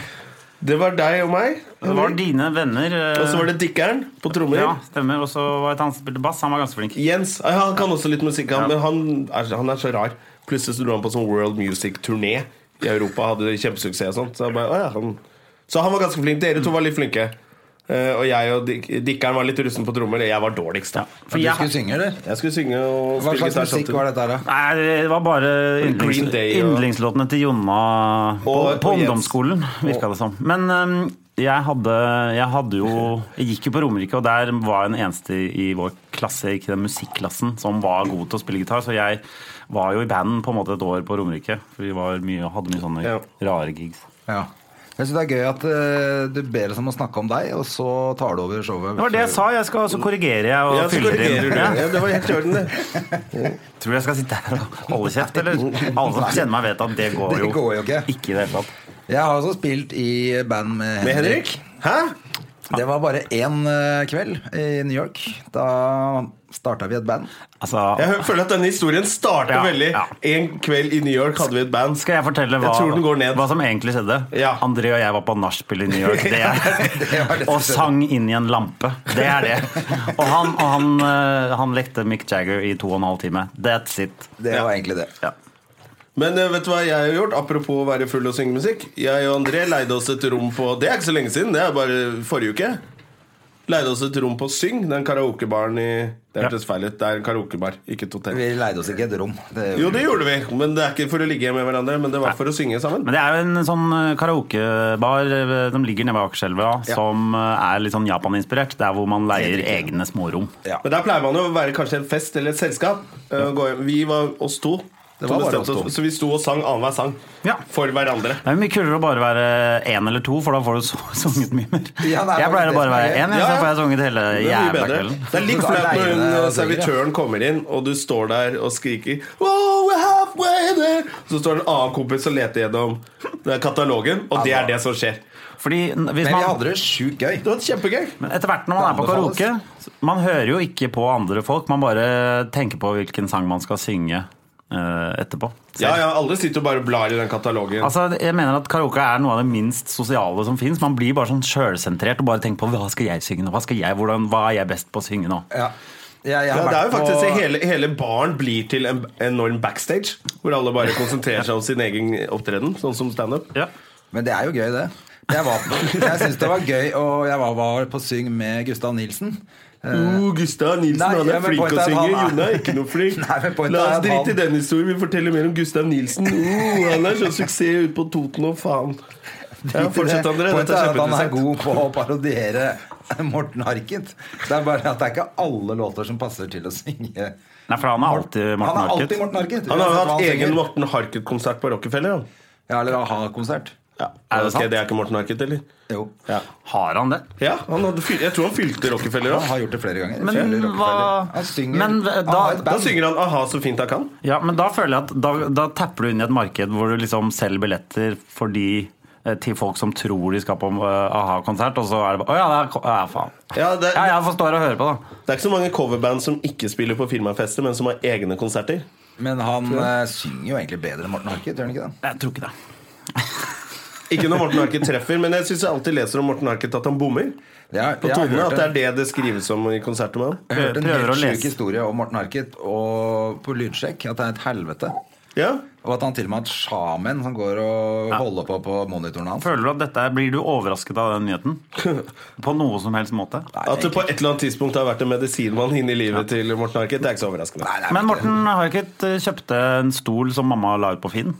Speaker 1: det var deg og meg.
Speaker 3: Det var dine venner. eh,
Speaker 1: Og så var det Dikkeren på trommer.
Speaker 3: Ja, stemmer. Og så var det et annet som spilte bass. Han var ganske flink.
Speaker 1: Jens. ah, ja, Han kan også litt musikk, han, men han er, han er så rar. Plutselig så dro han på sånn World Music-turné i Europa. Hadde kjempesuksess og sånt. Så, jeg bare, ah, ja, han. så han var ganske flink. Dere to var litt flinke. Eh, og jeg og Dik Dikkeren var litt russen på trommer. Jeg var dårligst, da.
Speaker 3: For
Speaker 2: Du
Speaker 3: jeg,
Speaker 2: skulle synge, eller?
Speaker 1: Jeg skulle synge og
Speaker 2: Hva
Speaker 1: spille
Speaker 2: slags
Speaker 1: gitar.
Speaker 2: musikk
Speaker 1: samtidig.
Speaker 2: var dette her, da?
Speaker 3: Nei, det var bare yndlings,
Speaker 1: Green Day og-
Speaker 3: yndlingslåtene til Jonna på,
Speaker 1: Og-
Speaker 3: på
Speaker 1: og Jens.
Speaker 3: ungdomsskolen, virka det som. Men øhm, jeg hadde, jeg hadde jo Jeg gikk jo på Romerike, og der var jeg den eneste i vår klasse, ikke den musikklassen, som var god til å spille gitar. Så jeg var jo i band på en måte et år på Romerike. For vi var mye, hadde mye sånne
Speaker 1: Ja.
Speaker 3: rare gigs.
Speaker 2: Ja. Jeg synes det er gøy at eh, du ber oss om å snakke om deg, og så tar du over showet.
Speaker 3: Det var det jeg sa. Jeg skal, så korrigerer jeg og
Speaker 1: Ja, så
Speaker 3: fyller
Speaker 1: korrigerer
Speaker 3: inn.
Speaker 1: du.
Speaker 3: Ja.
Speaker 1: Ja, det var helt i orden, det.
Speaker 3: Tror du jeg skal sitte her og holde kjeft, eller? Alle som kjenner meg, vet at det går jo
Speaker 2: Det går jo ikke.
Speaker 3: ikke i det hele tatt.
Speaker 2: Jeg har også spilt i band med
Speaker 1: Med
Speaker 2: Henrik.
Speaker 1: Henrik? Hæ?
Speaker 2: Det var bare én eh, kveld i New York. Da starta vi et band.
Speaker 3: Altså,
Speaker 1: Jeg hø- føler at denne historien starter
Speaker 3: Ja,
Speaker 1: veldig.
Speaker 3: ja.
Speaker 1: En kveld i New York hadde vi et band.
Speaker 3: Skal jeg fortelle hva,
Speaker 1: Jeg tror den går ned.
Speaker 3: hva som egentlig skjedde?
Speaker 1: Ja.
Speaker 3: André og jeg var på nachspiel i New York. Det er,
Speaker 2: var det som skjedde.
Speaker 3: og sang inn i en lampe. Det er det. Og han, og han, eh, han lekte Mick Jagger i to og en halv time. That's it.
Speaker 2: Det
Speaker 1: Ja.
Speaker 2: var egentlig det.
Speaker 3: Ja.
Speaker 1: Men eh, vet du hva jeg har gjort? Apropos å være full og synge musikk. Jeg og André leide oss et rom på Det er ikke så lenge siden, det er bare forrige uke. Leide oss et rom på Syng, den karaokebaren i Det
Speaker 3: Ja.
Speaker 1: hørtes feil ut. Det er en karaokebar, ikke et hotell.
Speaker 2: Vi leide oss ikke et rom. Det,
Speaker 1: Jo, det gjorde vi, men det er ikke for å ligge med hverandre. Men det var for å synge sammen.
Speaker 3: Men det er jo en sånn eh, karaokebar eh, som ligger nede ved Akerselva, som eh, er litt sånn Japan-inspirert. Der hvor man leier egne smårom.
Speaker 2: Ja.
Speaker 1: Men der pleier man jo å være kanskje en fest eller et selskap. Eh, og gå hjem. Vi var oss to.
Speaker 2: Det
Speaker 1: som
Speaker 2: var bare
Speaker 1: bestemte
Speaker 2: oss to.
Speaker 1: oss- Så vi sto og sang annenhver sang
Speaker 3: Ja.
Speaker 1: for hverandre.
Speaker 3: Det er jo mye kulere å bare være én eller to, for da får du så- sunget mye mer.
Speaker 2: Ja, det er
Speaker 3: jeg pleier
Speaker 2: faktisk
Speaker 3: å bare være
Speaker 2: det som er
Speaker 1: gøy.
Speaker 3: én, så
Speaker 1: Ja, ja.
Speaker 3: får jeg sunget hele
Speaker 1: Det er mye
Speaker 3: jævla
Speaker 1: bedre.
Speaker 3: kvelden.
Speaker 1: Det er litt
Speaker 2: Så
Speaker 1: flaut når hun,
Speaker 2: alene synger,
Speaker 1: eh,
Speaker 2: ja.
Speaker 1: servitøren kommer inn, og du står der og skriker «Wow, we're halfway there!» Så står det en annen kompis og leter gjennom den katalogen, og det er det som skjer.
Speaker 3: Fordi n- hvis
Speaker 2: Men vi
Speaker 3: man
Speaker 2: hadde det sjukt gøy.
Speaker 1: Det var kjempegøy.
Speaker 3: Men etter hvert når man er på
Speaker 2: Det
Speaker 3: karaoke
Speaker 2: anbefales.
Speaker 3: Man hører jo ikke på andre folk Man bare tenker på hvilken sang man skal synge eh, etterpå
Speaker 1: Ja, ja, alle sitter og bare blar i den katalogen.
Speaker 3: Altså, jeg mener at karaoke er noe av det minst sosiale som finnes Man blir bare sånn selvsentrert og bare tenker på Hva skal jeg synge nå? Hva, skal jeg, hvordan, hva er jeg best på å synge nå?
Speaker 2: Ja. Jeg, jeg
Speaker 1: Ja,
Speaker 2: har
Speaker 1: det er
Speaker 2: vært
Speaker 1: jo
Speaker 2: på-
Speaker 1: faktisk hele, hele baren blir til en enorm backstage, hvor alle bare konsentrerer seg om sin egen opptreden, sånn som standup.
Speaker 3: Ja
Speaker 2: Men det er jo gøy, det. Jeg, var- jeg syns det var gøy, og jeg var, var på syng med Gustav Nilsen.
Speaker 1: Uh, Gustav Nilsen,
Speaker 2: Eh, Nei,
Speaker 1: han
Speaker 2: ja,
Speaker 1: er
Speaker 2: men
Speaker 1: flink å
Speaker 2: pointet er at
Speaker 1: synge.
Speaker 2: han er-
Speaker 1: Jonna er ikke noe flink.
Speaker 2: Nei, men pointet
Speaker 1: La oss
Speaker 2: er at
Speaker 1: drite i
Speaker 2: han-
Speaker 1: den historien. Vi forteller mer om Gustav Nilsen. Uh, han er sånn suksess ute på Toten og faen. Ja, fortsett, André.
Speaker 2: Poenget
Speaker 1: Dette
Speaker 2: er at han
Speaker 1: er
Speaker 2: er
Speaker 1: kjempeinteressant.
Speaker 2: god på å parodiere Morten Harket. Det er bare at det er ikke alle låter som passer til å synge.
Speaker 3: Nei, for han er alltid Morten
Speaker 2: Han er
Speaker 3: Harket.
Speaker 2: alltid Morten Harket.
Speaker 1: Han har jo
Speaker 2: uansett hva
Speaker 1: hatt egen
Speaker 2: synger.
Speaker 1: Morten Harket-konsert på Rockefeller. han.
Speaker 2: Ja, eller a-ha-konsert.
Speaker 3: Er
Speaker 1: Ok,
Speaker 3: det sant?
Speaker 1: det er ikke Morten Harket, eller?
Speaker 2: Jo.
Speaker 3: Har han det?
Speaker 1: Ja, han hadde fylt, Jeg tror han fylte Rockefeller
Speaker 2: Han
Speaker 1: òg.
Speaker 2: har gjort det flere ganger.
Speaker 3: Men
Speaker 2: Kjell Rockefeller.
Speaker 3: hva-
Speaker 2: Han synger
Speaker 3: Men da-
Speaker 2: han har et
Speaker 1: Da
Speaker 2: band.
Speaker 1: synger han 'aha, så fint jeg kan'.
Speaker 3: Ja, men da føler jeg at da, da tapper du inn i et marked hvor du liksom selger billetter for de, eh, til folk som tror de skal på eh, a-ha-konsert, og så er det bare Å ja, det er, ko- ja, faen.
Speaker 1: Ja, det,
Speaker 3: Ja, jeg forstår og hører på, da.
Speaker 1: det er ikke så mange coverband som ikke spiller på firmafester, men som har egne konserter.
Speaker 2: Men han eh, synger jo egentlig bedre enn Morten Harket, gjør han ikke det?
Speaker 3: Jeg tror ikke det.
Speaker 1: Ikke når Morten Harket treffer, men jeg syns jeg alltid leser om Morten Harket at han bommer.
Speaker 2: Ja,
Speaker 1: På
Speaker 2: jeg har
Speaker 1: tonene,
Speaker 2: hørt
Speaker 1: at det
Speaker 2: en-
Speaker 1: er det det skrives om i konserter med ham.
Speaker 2: Jeg hørte en
Speaker 3: Prøver å
Speaker 2: helt
Speaker 3: lese.
Speaker 2: sjuk historie om Morten Harket og på lydsjekk. At det er et helvete.
Speaker 1: Ja.
Speaker 2: Og at han til og med har et sjamen som går og holder på på monitoren hans.
Speaker 3: Føler du at dette er- Blir du overrasket av den nyheten? På noe som helst måte?
Speaker 1: At det på et eller annet tidspunkt har vært en medisinmann inn i livet til Morten Harket, det er ikke så overraskende.
Speaker 2: Nei, det er
Speaker 3: Men
Speaker 2: ikke det.
Speaker 3: Morten Harket eh, kjøpte en stol som mamma la ut på Finn.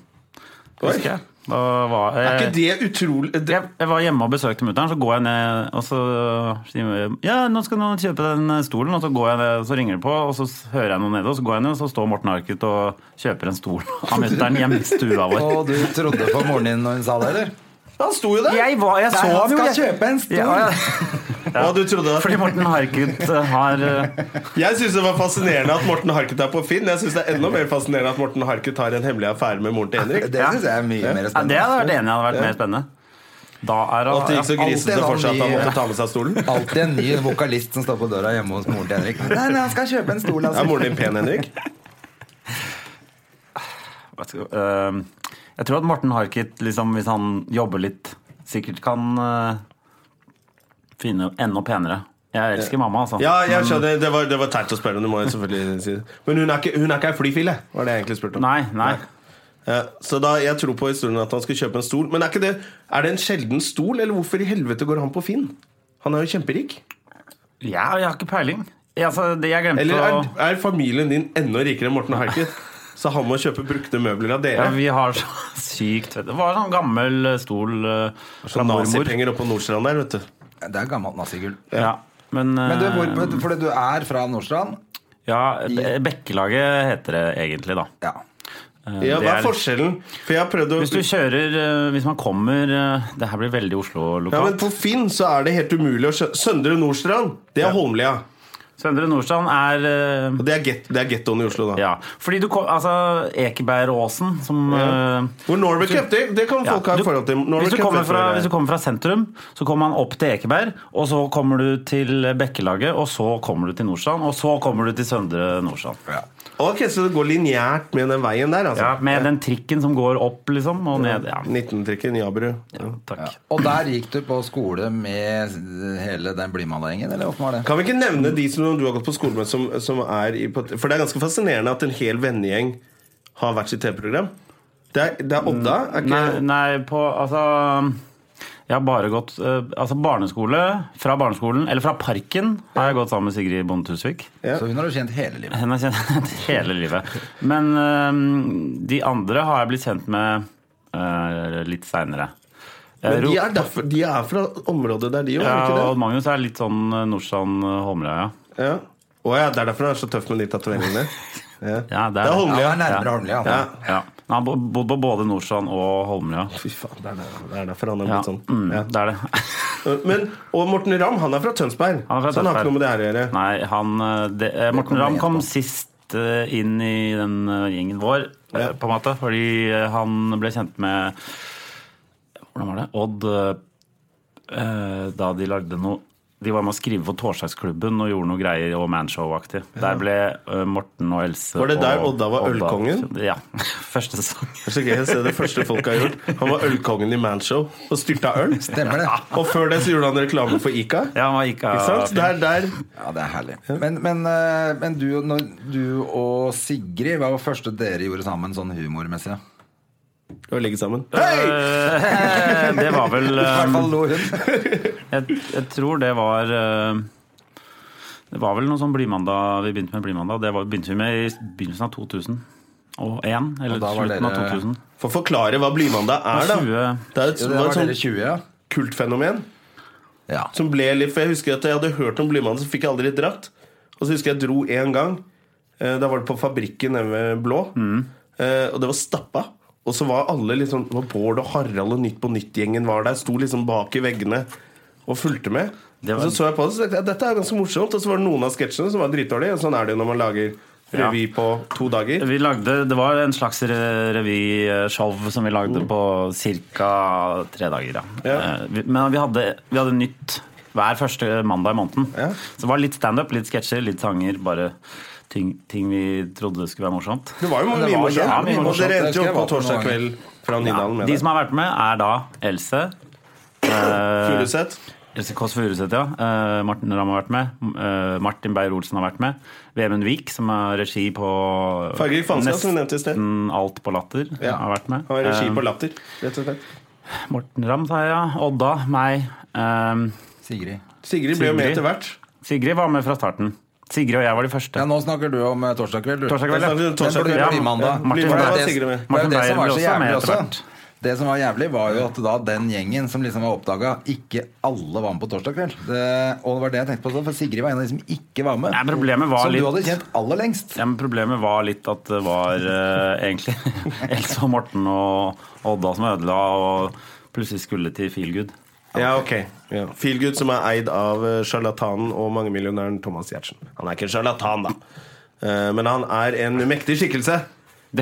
Speaker 1: Oi.
Speaker 3: Husker jeg. Da var,
Speaker 1: Er
Speaker 3: jeg,
Speaker 1: ikke det utrolig det,
Speaker 3: jeg, jeg var hjemme og besøkte mutter'n, så går jeg ned og så sier hun, Ja, nå skal noen kjøpe den eh, stolen, og så, går jeg ned, så ringer det på, og så s- hører jeg noe nede, og så går jeg ned, og så står Morten Harket og kjøper en stol av mutter'n hjemme i stua vår.
Speaker 2: Og du trodde på moren din når hun sa det, eller?
Speaker 1: Han sto jo der!
Speaker 3: Jeg, var, jeg
Speaker 2: Nei,
Speaker 3: så
Speaker 2: han
Speaker 3: ham jo!
Speaker 2: skal
Speaker 3: jeg-
Speaker 2: kjøpe en stol.
Speaker 3: Ja, ja.
Speaker 1: Ja, du trodde det.
Speaker 3: Fordi Morten Harket eh, har eh,
Speaker 1: Jeg syns det var fascinerende at Morten Harket er på Finn. Jeg synes det er enda mer fascinerende at Morten Harket har en hemmelig affære med moren til Henrik.
Speaker 2: Det syns jeg er mye mer
Speaker 3: ja, Det
Speaker 2: spennende.
Speaker 3: hadde vært enig hadde vært mer spennende. Da er
Speaker 1: Og at det gikk så
Speaker 3: han,
Speaker 1: grisete
Speaker 2: alltid
Speaker 1: for seg at han
Speaker 2: han i-
Speaker 1: måtte ta med seg stolen.
Speaker 2: Alltid en ny vokalist som står på døra hjemme hos moren til Henrik. Nei, men han skal kjøpe en stol,
Speaker 1: Er
Speaker 2: altså.
Speaker 1: moren din pen, Henrik?
Speaker 3: Hva skal- eh, Jeg tror at Morten Harket, liksom, hvis han jobber litt, sikkert kan eh, finne enda penere. Jeg elsker mamma, altså.
Speaker 1: Ja, jeg skjønner. Det var, det var teit å spørre om, det må jeg selvfølgelig si. Men hun er ikke, hun er ikke ei flyfille, var det jeg egentlig spurte om.
Speaker 3: Nei, nei.
Speaker 1: Ja, så da, jeg tror på historien at han skal kjøpe en stol. Men er, ikke det, er det en sjelden stol, eller hvorfor i helvete går han på Finn? Han er jo kjemperik.
Speaker 3: Ja, jeg har ikke peiling. Jeg, altså, det jeg glemte
Speaker 1: Eller
Speaker 3: å
Speaker 1: er, er familien din enda rikere enn Morten Harket? Så han må kjøpe brukte møbler av
Speaker 3: ja,
Speaker 1: dere?
Speaker 3: Vi har så sykt Det var en sånn gammel stol eh, fra
Speaker 1: Sånn
Speaker 3: mormor.
Speaker 1: nazipenger oppe på Nordstrand der, vet du.
Speaker 2: Det er gammelt nazigull.
Speaker 3: Ja. Men, eh,
Speaker 2: Men du, hvor, fordi du er fra Nordstrand?
Speaker 3: ja, Be- Bekkelaget heter det egentlig, da.
Speaker 2: Ja.
Speaker 3: Eh,
Speaker 1: Ja, Hva
Speaker 3: det er-
Speaker 1: er forskjellen? For jeg har prøvd å
Speaker 3: Hvis du kjører eh, Hvis man kommer eh, Det her blir veldig
Speaker 1: ja, men
Speaker 3: Oslo-lokalt.
Speaker 1: På Finn så er det helt umulig å skjønne Søndre Nordstrand, det er Holmlia.
Speaker 3: Søndre Nordstrand er eh,
Speaker 1: Og Det er get- det er gettoen i Oslo, da.
Speaker 3: Ja, fordi du kom, altså Ekebergåsen som
Speaker 1: Ja.
Speaker 3: eh,
Speaker 1: Hvor Norway Cup, det, det kan
Speaker 3: ja,
Speaker 1: folk ha
Speaker 3: du-
Speaker 1: et forhold til. Norway
Speaker 3: hvis, du
Speaker 1: Cup
Speaker 3: kommer
Speaker 1: vet
Speaker 3: fra,
Speaker 1: hvor det
Speaker 3: hvis
Speaker 1: er.
Speaker 3: du kommer fra sentrum, så kommer man opp til Ekeberg, og så kommer du til Bekkelaget, og så kommer du til Nordstrand, og så kommer du til Søndre Nordstrand.
Speaker 2: ja.
Speaker 1: Ok, Så det går lineært med den veien der, altså?
Speaker 3: Ja, med den trikken som går opp, liksom, og ned. Ja,
Speaker 1: 19-trikken Jabru.
Speaker 3: ja takk.
Speaker 2: Og der gikk du på skole med hele den Blimanda-gjengen, eller hvordan var det?
Speaker 1: Kan vi ikke nevne de som du har gått på skole med, som, som er i på- For det er ganske fascinerende at en hel vennegjeng har hvert sitt TV-program. Det er, det er Odda. Er ikke,
Speaker 3: Mm. Nei, nei, på Altså jeg har bare gått eh, altså barneskole, fra barneskolen, eller fra Parken, har jeg gått sammen med Sigrid Bonde Tusvik.
Speaker 1: Ja.
Speaker 2: Så hun har du kjent hele livet.
Speaker 3: Henne har jeg kjent hele livet. Men øhm, de andre har jeg blitt kjent med øh, litt seinere.
Speaker 1: Men de er, derfor, de er fra området der, de òg, er
Speaker 3: ja,
Speaker 1: de
Speaker 3: og
Speaker 1: ikke det?
Speaker 3: Magnus er litt sånn øh, Nordstrand øh, Holmlia, ja.
Speaker 1: Ja. Å ja, det er derfor han er så tøff med de tatoveringene. Ja.
Speaker 3: Ja,
Speaker 1: det er
Speaker 3: det er det.
Speaker 2: Ja,
Speaker 1: Holmlia.
Speaker 2: han er nærmere Holmlia.
Speaker 1: Ja.
Speaker 2: han.
Speaker 3: ja. Men Han bo- bodde på både Nordstrand og Holmlia.
Speaker 1: Fy faen, det er der- det er derfor han er
Speaker 3: Ja,
Speaker 1: blitt sånn.
Speaker 3: mm,
Speaker 1: Ja.
Speaker 3: Det er det.
Speaker 1: Men, og Morten Ramm, han er fra Tønsberg.
Speaker 3: Han er fra
Speaker 1: så han har ikke
Speaker 3: Tønsberg.
Speaker 1: noe med det her å gjøre.
Speaker 3: Nei, han øh, det, eh, Morten
Speaker 2: kommer
Speaker 3: Ramm
Speaker 2: jeg
Speaker 3: kom
Speaker 2: på.
Speaker 3: sist øh, inn i den øh, gjengen vår, øh,
Speaker 1: Ja.
Speaker 3: på en måte, fordi øh, han ble kjent med Hvordan var det? Odd øh, øh, Da de lagde noe De var med å skrive for Torsdagsklubben og gjorde noe greier og manshow-aktig. Der ble øh, Morten og Else
Speaker 1: Var det der
Speaker 3: og
Speaker 1: Odda var ølkongen?
Speaker 3: Ja. Første sesong.
Speaker 1: Det er så gøy å se det første folk har gjort. Han var ølkongen i Manshow og styrta øl.
Speaker 2: Stemmer det.
Speaker 1: Og før det så gjorde han reklame for Ica.
Speaker 3: Ja, man gikk av
Speaker 1: Ikke sant? Der, der.
Speaker 2: Ja, det er herlig. Men, men, eh, men du, når du og Sigrid, hva var det første dere gjorde sammen sånn humormessig? da?
Speaker 1: Og legge sammen. Hei!
Speaker 3: Eh, Det var vel
Speaker 2: I hvert
Speaker 3: øh,
Speaker 2: fall lo hun.
Speaker 3: jeg, jeg tror det var eh, Det var vel noe sånn Blymandag vi begynte med Blymandag. Det var, begynte vi med i begynnelsen av 2000. Og én, eller
Speaker 2: Og da var
Speaker 3: slutten av
Speaker 2: dere-
Speaker 3: 2000.
Speaker 1: For å forklare hva Blymandag er, da.
Speaker 3: 20.
Speaker 1: Det er
Speaker 2: Jo,
Speaker 1: et, det
Speaker 2: det
Speaker 1: var
Speaker 2: var dere
Speaker 1: et sånt
Speaker 2: 20, ja.
Speaker 1: kultfenomen.
Speaker 2: Ja.
Speaker 1: Som ble litt, for Jeg husker at jeg hadde hørt om Blymannen, så fikk jeg aldri dratt. Og så husker jeg jeg dro én gang. Eh, Da var det på Fabrikken nede ved Blå.
Speaker 3: Mm.
Speaker 1: Eh, Og det var stappa. Og så var alle liksom det var Bård og Harald og Nytt på Nytt-gjengen var der. Sto liksom bak i veggene og fulgte med.
Speaker 3: Det var-
Speaker 1: Og så så jeg på det og tenkte jeg, dette er ganske morsomt. Og så var det noen av sketsjene som var dritdårlige. og Sånn er det jo når man lager revy på to dager.
Speaker 3: Vi lagde, det var en slags re- revyshow som vi lagde på ca. tre dager. Ja.
Speaker 1: Ja.
Speaker 3: Eh, vi- Men vi hadde, vi hadde nytt hver første mandag i måneden.
Speaker 1: Ja.
Speaker 3: Så det var litt standup, litt sketsjer, litt sanger. Bare ting, ting vi trodde skulle være morsomt.
Speaker 1: Det var jo mye
Speaker 3: var
Speaker 1: morsomt.
Speaker 3: jævlig mye
Speaker 1: Og dere
Speaker 2: morsomt.
Speaker 1: endte jo
Speaker 2: Jeg var
Speaker 1: opp på
Speaker 2: på
Speaker 1: torsdag
Speaker 2: noen
Speaker 1: kveld fra
Speaker 3: Ja,
Speaker 1: Nydalen med
Speaker 3: de
Speaker 1: det.
Speaker 3: som har vært med, er da Else. eh,
Speaker 1: Furuseth.
Speaker 3: Else Kåss Furuseth, ja. Eh, Martin Ramm har vært med. Eh, Martin Beyer-Olsen har vært med. Vemund Vik, som har regi på
Speaker 1: Fargerik Fanskap, som vi nevnte i sted.
Speaker 3: Nesten alt på Latter,
Speaker 1: Ja.
Speaker 3: har vært med.
Speaker 1: Han har regi
Speaker 3: Mm. Eh,
Speaker 1: på Latter, rett og slett.
Speaker 3: Morten Ramm, sa jeg, ja. Odda, meg. Eh,
Speaker 2: Sigrid.
Speaker 1: Sigrid ble jo med
Speaker 3: Sigrid.
Speaker 1: etter hvert.
Speaker 3: Sigrid var med fra starten. Sigrid og jeg var de første.
Speaker 2: Ja, nå snakker du om eh, torsdag kveld, du.
Speaker 3: Torsdag kveld,
Speaker 1: ja.
Speaker 2: Den burde
Speaker 1: Torsdag kveld,
Speaker 2: vært
Speaker 1: ja.
Speaker 2: i mandag.
Speaker 3: Martin
Speaker 2: For det
Speaker 1: Beyer
Speaker 2: var
Speaker 1: var
Speaker 2: det-
Speaker 1: sikkert med.
Speaker 2: det var jo
Speaker 3: Martin
Speaker 2: det som
Speaker 3: Beyer
Speaker 2: var
Speaker 3: ble
Speaker 2: så
Speaker 3: også med
Speaker 2: jævlig
Speaker 3: etter
Speaker 2: også. Det som var jævlig, var jo at da den gjengen som liksom var oppdaga, ikke alle var med på torsdag kveld. Det, og det var det jeg tenkte på, for Sigrid var en av de som ikke var med.
Speaker 3: Nei, problemet var
Speaker 2: som
Speaker 3: litt-
Speaker 2: du hadde kjent aller lengst.
Speaker 3: Ja, men problemet var litt at det var eh, egentlig Else og Morten og Odda som ødela, og plutselig skulle til Feelgood.
Speaker 1: Ja, ok ja. Feelgood som er eid av eh, sjarlatanen og mangemillionæren Thomas Giertsen. Han er ikke en sjarlatan, da. Eh, Men han er en mektig skikkelse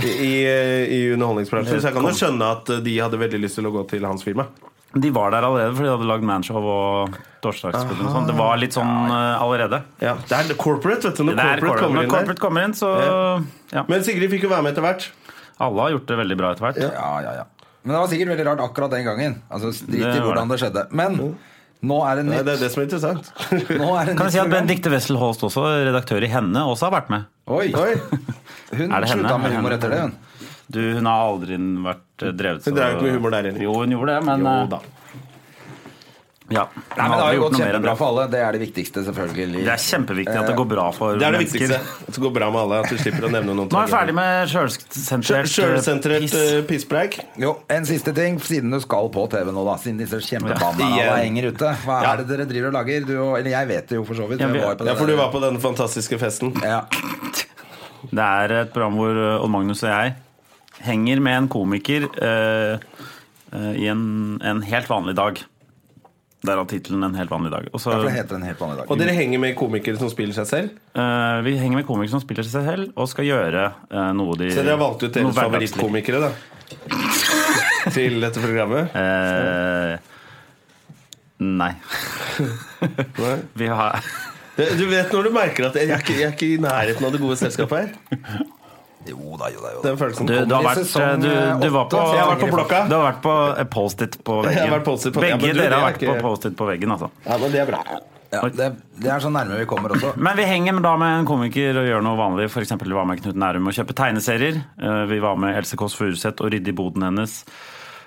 Speaker 1: i, eh, i underholdningsbransjen. Så jeg kan jo skjønne at eh, de hadde veldig lyst til å gå til hans firma.
Speaker 3: De var der allerede, for de hadde lagd manshow og torsdagsklubben og sånn. Det var litt sånn eh, allerede.
Speaker 1: Ja, Det er corporate, vet du. Når
Speaker 3: Det
Speaker 1: corporate,
Speaker 3: er corporate,
Speaker 1: kommer
Speaker 3: når
Speaker 1: inn
Speaker 3: corporate
Speaker 1: der.
Speaker 3: kommer inn, så ja.
Speaker 1: Men Sigrid fikk jo være med etter hvert.
Speaker 3: Alle har gjort det veldig bra etter hvert.
Speaker 2: Ja, ja, ja. Men det var sikkert veldig rart akkurat den gangen. Altså, Drit
Speaker 3: Det
Speaker 2: i
Speaker 3: var
Speaker 2: hvordan det skjedde. Men nå er det
Speaker 1: Nei,
Speaker 2: nytt.
Speaker 1: Det er det som er interessant.
Speaker 2: Nå er det nytt
Speaker 3: Kan jeg si at
Speaker 2: program.
Speaker 3: Benedicte Wessel Holst, også, redaktør i Henne, også har vært med.
Speaker 1: Mm,
Speaker 2: Oi.
Speaker 1: Oi.
Speaker 2: Hun
Speaker 3: Er det henne?
Speaker 2: slutta
Speaker 3: Er
Speaker 2: med
Speaker 3: det
Speaker 2: humor
Speaker 3: henne?
Speaker 2: etter det, hun.
Speaker 3: Du, hun har aldri vært eh, drevet
Speaker 1: Hun drev ikke med humor der heller.
Speaker 3: Jo, hun gjorde det, men
Speaker 1: Jo
Speaker 3: eh,
Speaker 1: da.
Speaker 3: Ja. hun
Speaker 2: Nei, men Det
Speaker 3: aldri
Speaker 2: har jo
Speaker 3: gjort
Speaker 2: gått
Speaker 3: noe mer enn
Speaker 2: kjempebra
Speaker 3: det.
Speaker 2: for alle. Det er det viktigste, selvfølgelig.
Speaker 3: Det er kjempeviktig at det går bra for
Speaker 1: Eh, Det er det
Speaker 3: mennesker.
Speaker 1: viktigste. At det går bra med alle. At du slipper å nevne noen.
Speaker 3: Nå er vi ferdig med sjølsentrert
Speaker 1: Sjølsentrert
Speaker 3: piss.
Speaker 1: eh, pisspreik.
Speaker 2: Jo, En siste ting, siden du skal på TV nå, da. Siden disse kjempebanna
Speaker 1: Ja, igjen.
Speaker 2: henger ute. Hva
Speaker 1: Ja.
Speaker 2: er det dere driver og lager? Du, og- eller jeg vet det jo for så vidt.
Speaker 3: Ja,
Speaker 2: Jeg
Speaker 3: vi-
Speaker 2: var jo på
Speaker 1: Ja,
Speaker 2: det
Speaker 1: for du
Speaker 2: der.
Speaker 1: var på denne fantastiske festen.
Speaker 2: ja.
Speaker 3: Det er et program hvor eh, Odd Magnus og jeg henger med en komiker eh, eh, i en, en helt vanlig dag. Derav tittelen 'En helt vanlig dag'. Og så,
Speaker 2: For det heter en helt vanlig dag.
Speaker 1: Og dere henger med komikere som spiller seg selv?
Speaker 3: eh, vi henger med komikere som spiller seg selv, og skal gjøre eh, noe de
Speaker 1: Så dere har valgt ut
Speaker 3: noe
Speaker 1: deres
Speaker 3: hverdagslig.
Speaker 1: favorittkomikere da til dette programmet?
Speaker 3: Eh, nei.
Speaker 1: Nei.
Speaker 3: Vi har
Speaker 1: Det- Du vet når du merker at jeg er ikke, jeg er ikke i nærheten av det gode selskapet her?
Speaker 2: Jo da, jo da. Jo. da.
Speaker 1: Den følelsen.
Speaker 3: Du, du har
Speaker 2: i
Speaker 3: vært,
Speaker 2: sesong,
Speaker 3: du, du
Speaker 2: eh,
Speaker 3: var på,
Speaker 2: åtte.
Speaker 1: Jeg har vært på blokka.
Speaker 3: Du har vært på eh, Post-It på veggen.
Speaker 1: Jeg har vært Post-it på-
Speaker 3: Begge
Speaker 1: ja, men du, det
Speaker 3: dere har
Speaker 1: er
Speaker 3: vært
Speaker 1: ikke-
Speaker 3: på Post-It på veggen, altså.
Speaker 1: Ja, men det er bra.
Speaker 2: Ja, det, det er så nærme vi kommer også.
Speaker 3: Men vi henger da med en komiker og gjør noe vanlig. For eksempel, vi var med Knut Nærum og kjøpe tegneserier. Eh, Vi var med Else Kåss Furuseth og rydde i boden hennes.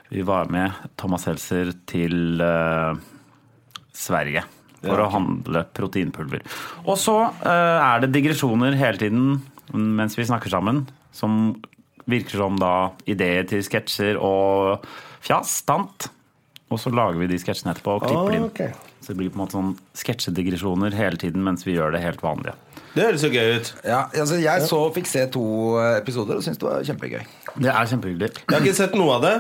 Speaker 3: Vi var med Thomas Helser til eh, Sverige for å handle proteinpulver. Og så eh, er det digresjoner hele tiden mens vi snakker sammen, som virker som da ideer til sketsjer og fjas, stant. Og så lager vi de sketsjene etterpå og klipper de inn.
Speaker 1: Ok.
Speaker 3: Så det blir på en måte sånn sketsjedigresjoner hele tiden mens vi gjør det helt vanlige.
Speaker 1: Det høres jo gøy ut.
Speaker 2: Ja, altså, jeg så, fikk se to eh, episoder og syntes det var kjempegøy.
Speaker 3: Det er kjempehyggelig.
Speaker 1: Jeg har ikke sett noe av det.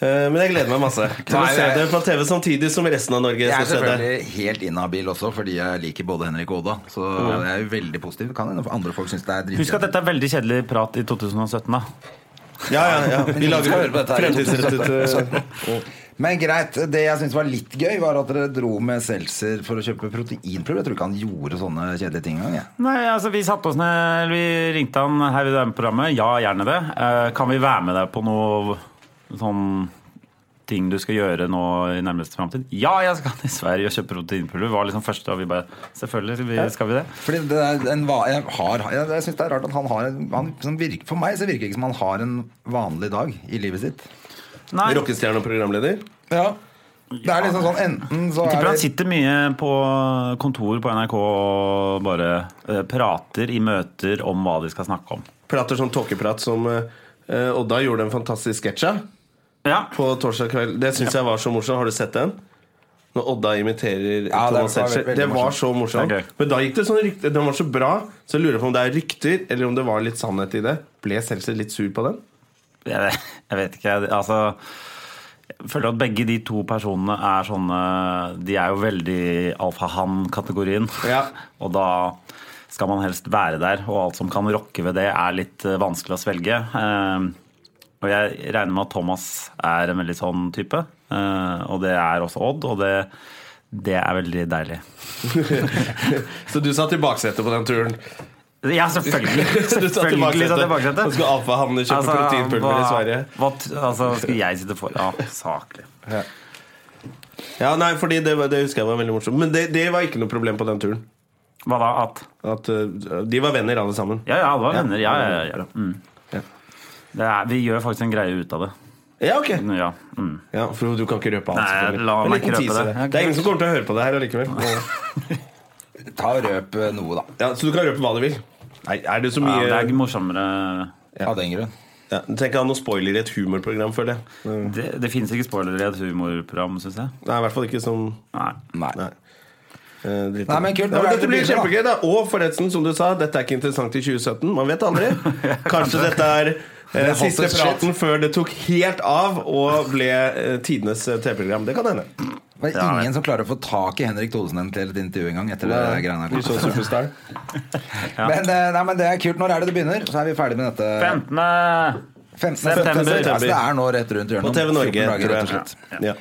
Speaker 1: eh, Men jeg gleder meg masse til å
Speaker 2: Nei,
Speaker 1: se
Speaker 2: jeg-
Speaker 1: det på TV samtidig som resten av Norge
Speaker 2: Jeg er
Speaker 1: skal se det.
Speaker 2: selvfølgelig helt inhabil også, fordi jeg liker både Henrik og Oda. Så jeg er jo veldig positiv. Kan hende andre folk syns det er
Speaker 3: Husk
Speaker 2: dritkjedelig.
Speaker 3: at dette er veldig kjedelig prat i 2017, da.
Speaker 1: Ja, ja, ja. Vi
Speaker 2: skal høre på
Speaker 1: lager
Speaker 2: dette her i
Speaker 1: fremtidsrettet
Speaker 2: 2017. Men greit, det jeg syns var litt gøy, var at dere dro med Seltzer for å kjøpe proteinpulver. Jeg tror ikke han gjorde sånne kjedelige ting engang. jeg.
Speaker 3: Nei, altså Vi satte oss ned, eller vi ringte han her vil du være med på programmet. Ja, gjerne det. Eh, kan vi være med deg på noe sånn ting du skal gjøre nå i nærmeste framtid? Ja, jeg skal til Sverige og kjøpe proteinpulver. Det var liksom første, og vi bare Selvfølgelig skal vi, skal vi det.
Speaker 2: Fordi det er en va jeg har, jeg, jeg synes det er rart at han har en, han, som virker, For meg så virker det ikke som han har en vanlig dag i livet sitt.
Speaker 3: Nei. Jeg
Speaker 1: Rockestjerne og programleder.
Speaker 2: Ja Det er liksom sånn enten så
Speaker 3: tipper
Speaker 2: er
Speaker 3: han
Speaker 2: det
Speaker 3: sitter mye på kontor på NRK og bare eh, prater i møter om hva de skal snakke om.
Speaker 1: Prater sånn tåkeprat som eh, eh, Odda gjorde en fantastisk sketsj av
Speaker 3: Ja,
Speaker 1: på torsdag kveld. Det syns jeg var så morsomt. Har du sett den? når Odda imiterer
Speaker 2: Ja, det
Speaker 1: Thomas
Speaker 2: var
Speaker 1: Seltzer.
Speaker 2: veldig
Speaker 1: Det var
Speaker 2: morsomt.
Speaker 1: så morsomt.
Speaker 3: Det er gøy.
Speaker 1: Men da gikk det sånn rykte Den var så bra, så jeg lurer på om det er rykter, eller om det var litt sannhet i det. Ble Seltzer litt sur på den?
Speaker 3: Jeg vet, jeg vet ikke. Altså, jeg føler at begge de to personene er sånne De er jo veldig alfahann-kategorien.
Speaker 1: Ja.
Speaker 3: Og da skal man helst være der, og alt som kan rokke ved det, er litt eh, vanskelig å svelge. Eh, og jeg regner med at Thomas er en veldig sånn type. Eh, og det er også Odd, og det, det er veldig deilig.
Speaker 1: Så du satt i baksetet på den turen?
Speaker 3: Ja, selvfølgelig!
Speaker 1: Du satt i
Speaker 3: Selvfølgelig satt
Speaker 1: baksetet.
Speaker 3: jeg i baksetet.
Speaker 1: Og skulle alfahanne kjøpe proteinpulver i
Speaker 3: Altså, hva-
Speaker 1: Sverige?
Speaker 3: Hva, t- altså, skal jeg sitte for Ja, saklig.
Speaker 1: Ja, nei, fordi det, var- det husker jeg var veldig morsomt. Men det, det var ikke noe problem på den turen.
Speaker 3: Hva da? At
Speaker 1: At eh, De var venner, alle sammen.
Speaker 3: Ja, ja, alle var
Speaker 1: Ja.
Speaker 3: venner. Ja, ja, ja, ja. Mm.
Speaker 1: Ja.
Speaker 3: Det er, vi gjør faktisk en greie ut av det.
Speaker 1: Ja, ok
Speaker 3: Ja, mm.
Speaker 1: ja, For du kan ikke røpe alt.
Speaker 3: Nei,
Speaker 1: selvfølgelig.
Speaker 3: la
Speaker 1: En
Speaker 3: meg
Speaker 1: liten
Speaker 3: ikke røpe
Speaker 1: teaser,
Speaker 3: det.
Speaker 1: Det er ingen som kommer til å høre på det her allikevel.
Speaker 2: Ta og røp eh, noe, da.
Speaker 1: Ja, så du kan røpe hva du vil. Nei, er det så
Speaker 3: ja
Speaker 1: mye
Speaker 3: Det er morsommere
Speaker 2: Av den grunn.
Speaker 1: Ja, Tenk å ha noen spoiler i et humorprogram, føler jeg.
Speaker 3: Det, det fins ikke spoilere i et humorprogram, syns jeg.
Speaker 1: Nei, i hvert fall ikke som
Speaker 3: Nei.
Speaker 2: Nei.
Speaker 1: Nei. Eh, dritt.
Speaker 2: Nei, men kult,
Speaker 1: Ja,
Speaker 2: nå er
Speaker 1: dette
Speaker 2: det
Speaker 1: blir
Speaker 2: bilder, da.
Speaker 1: kjempegøy, da. Og forresten, som du sa, dette er ikke interessant i 2017. Man vet aldri. Kanskje dette er eh,
Speaker 2: Det er hot
Speaker 1: siste
Speaker 2: as shit.
Speaker 1: praten før det tok helt av og ble eh, tidenes eh, TV-program. Det kan hende.
Speaker 2: Det er ingen som klarer å få tak i Henrik Thodesen til et intervju engang. Etter det greiene her.
Speaker 1: Vi så Superstar.
Speaker 2: Men, eh, nei, men det er kult. Når er det det begynner? Så er vi ferdig med dette.
Speaker 3: 15.
Speaker 2: 15.
Speaker 3: September.
Speaker 2: Altså, det er nå rett rundt hjørnet.
Speaker 1: På TV Norge,
Speaker 2: 14 dager,
Speaker 1: tror
Speaker 2: rett og
Speaker 1: jeg.
Speaker 2: slett.
Speaker 1: Ja.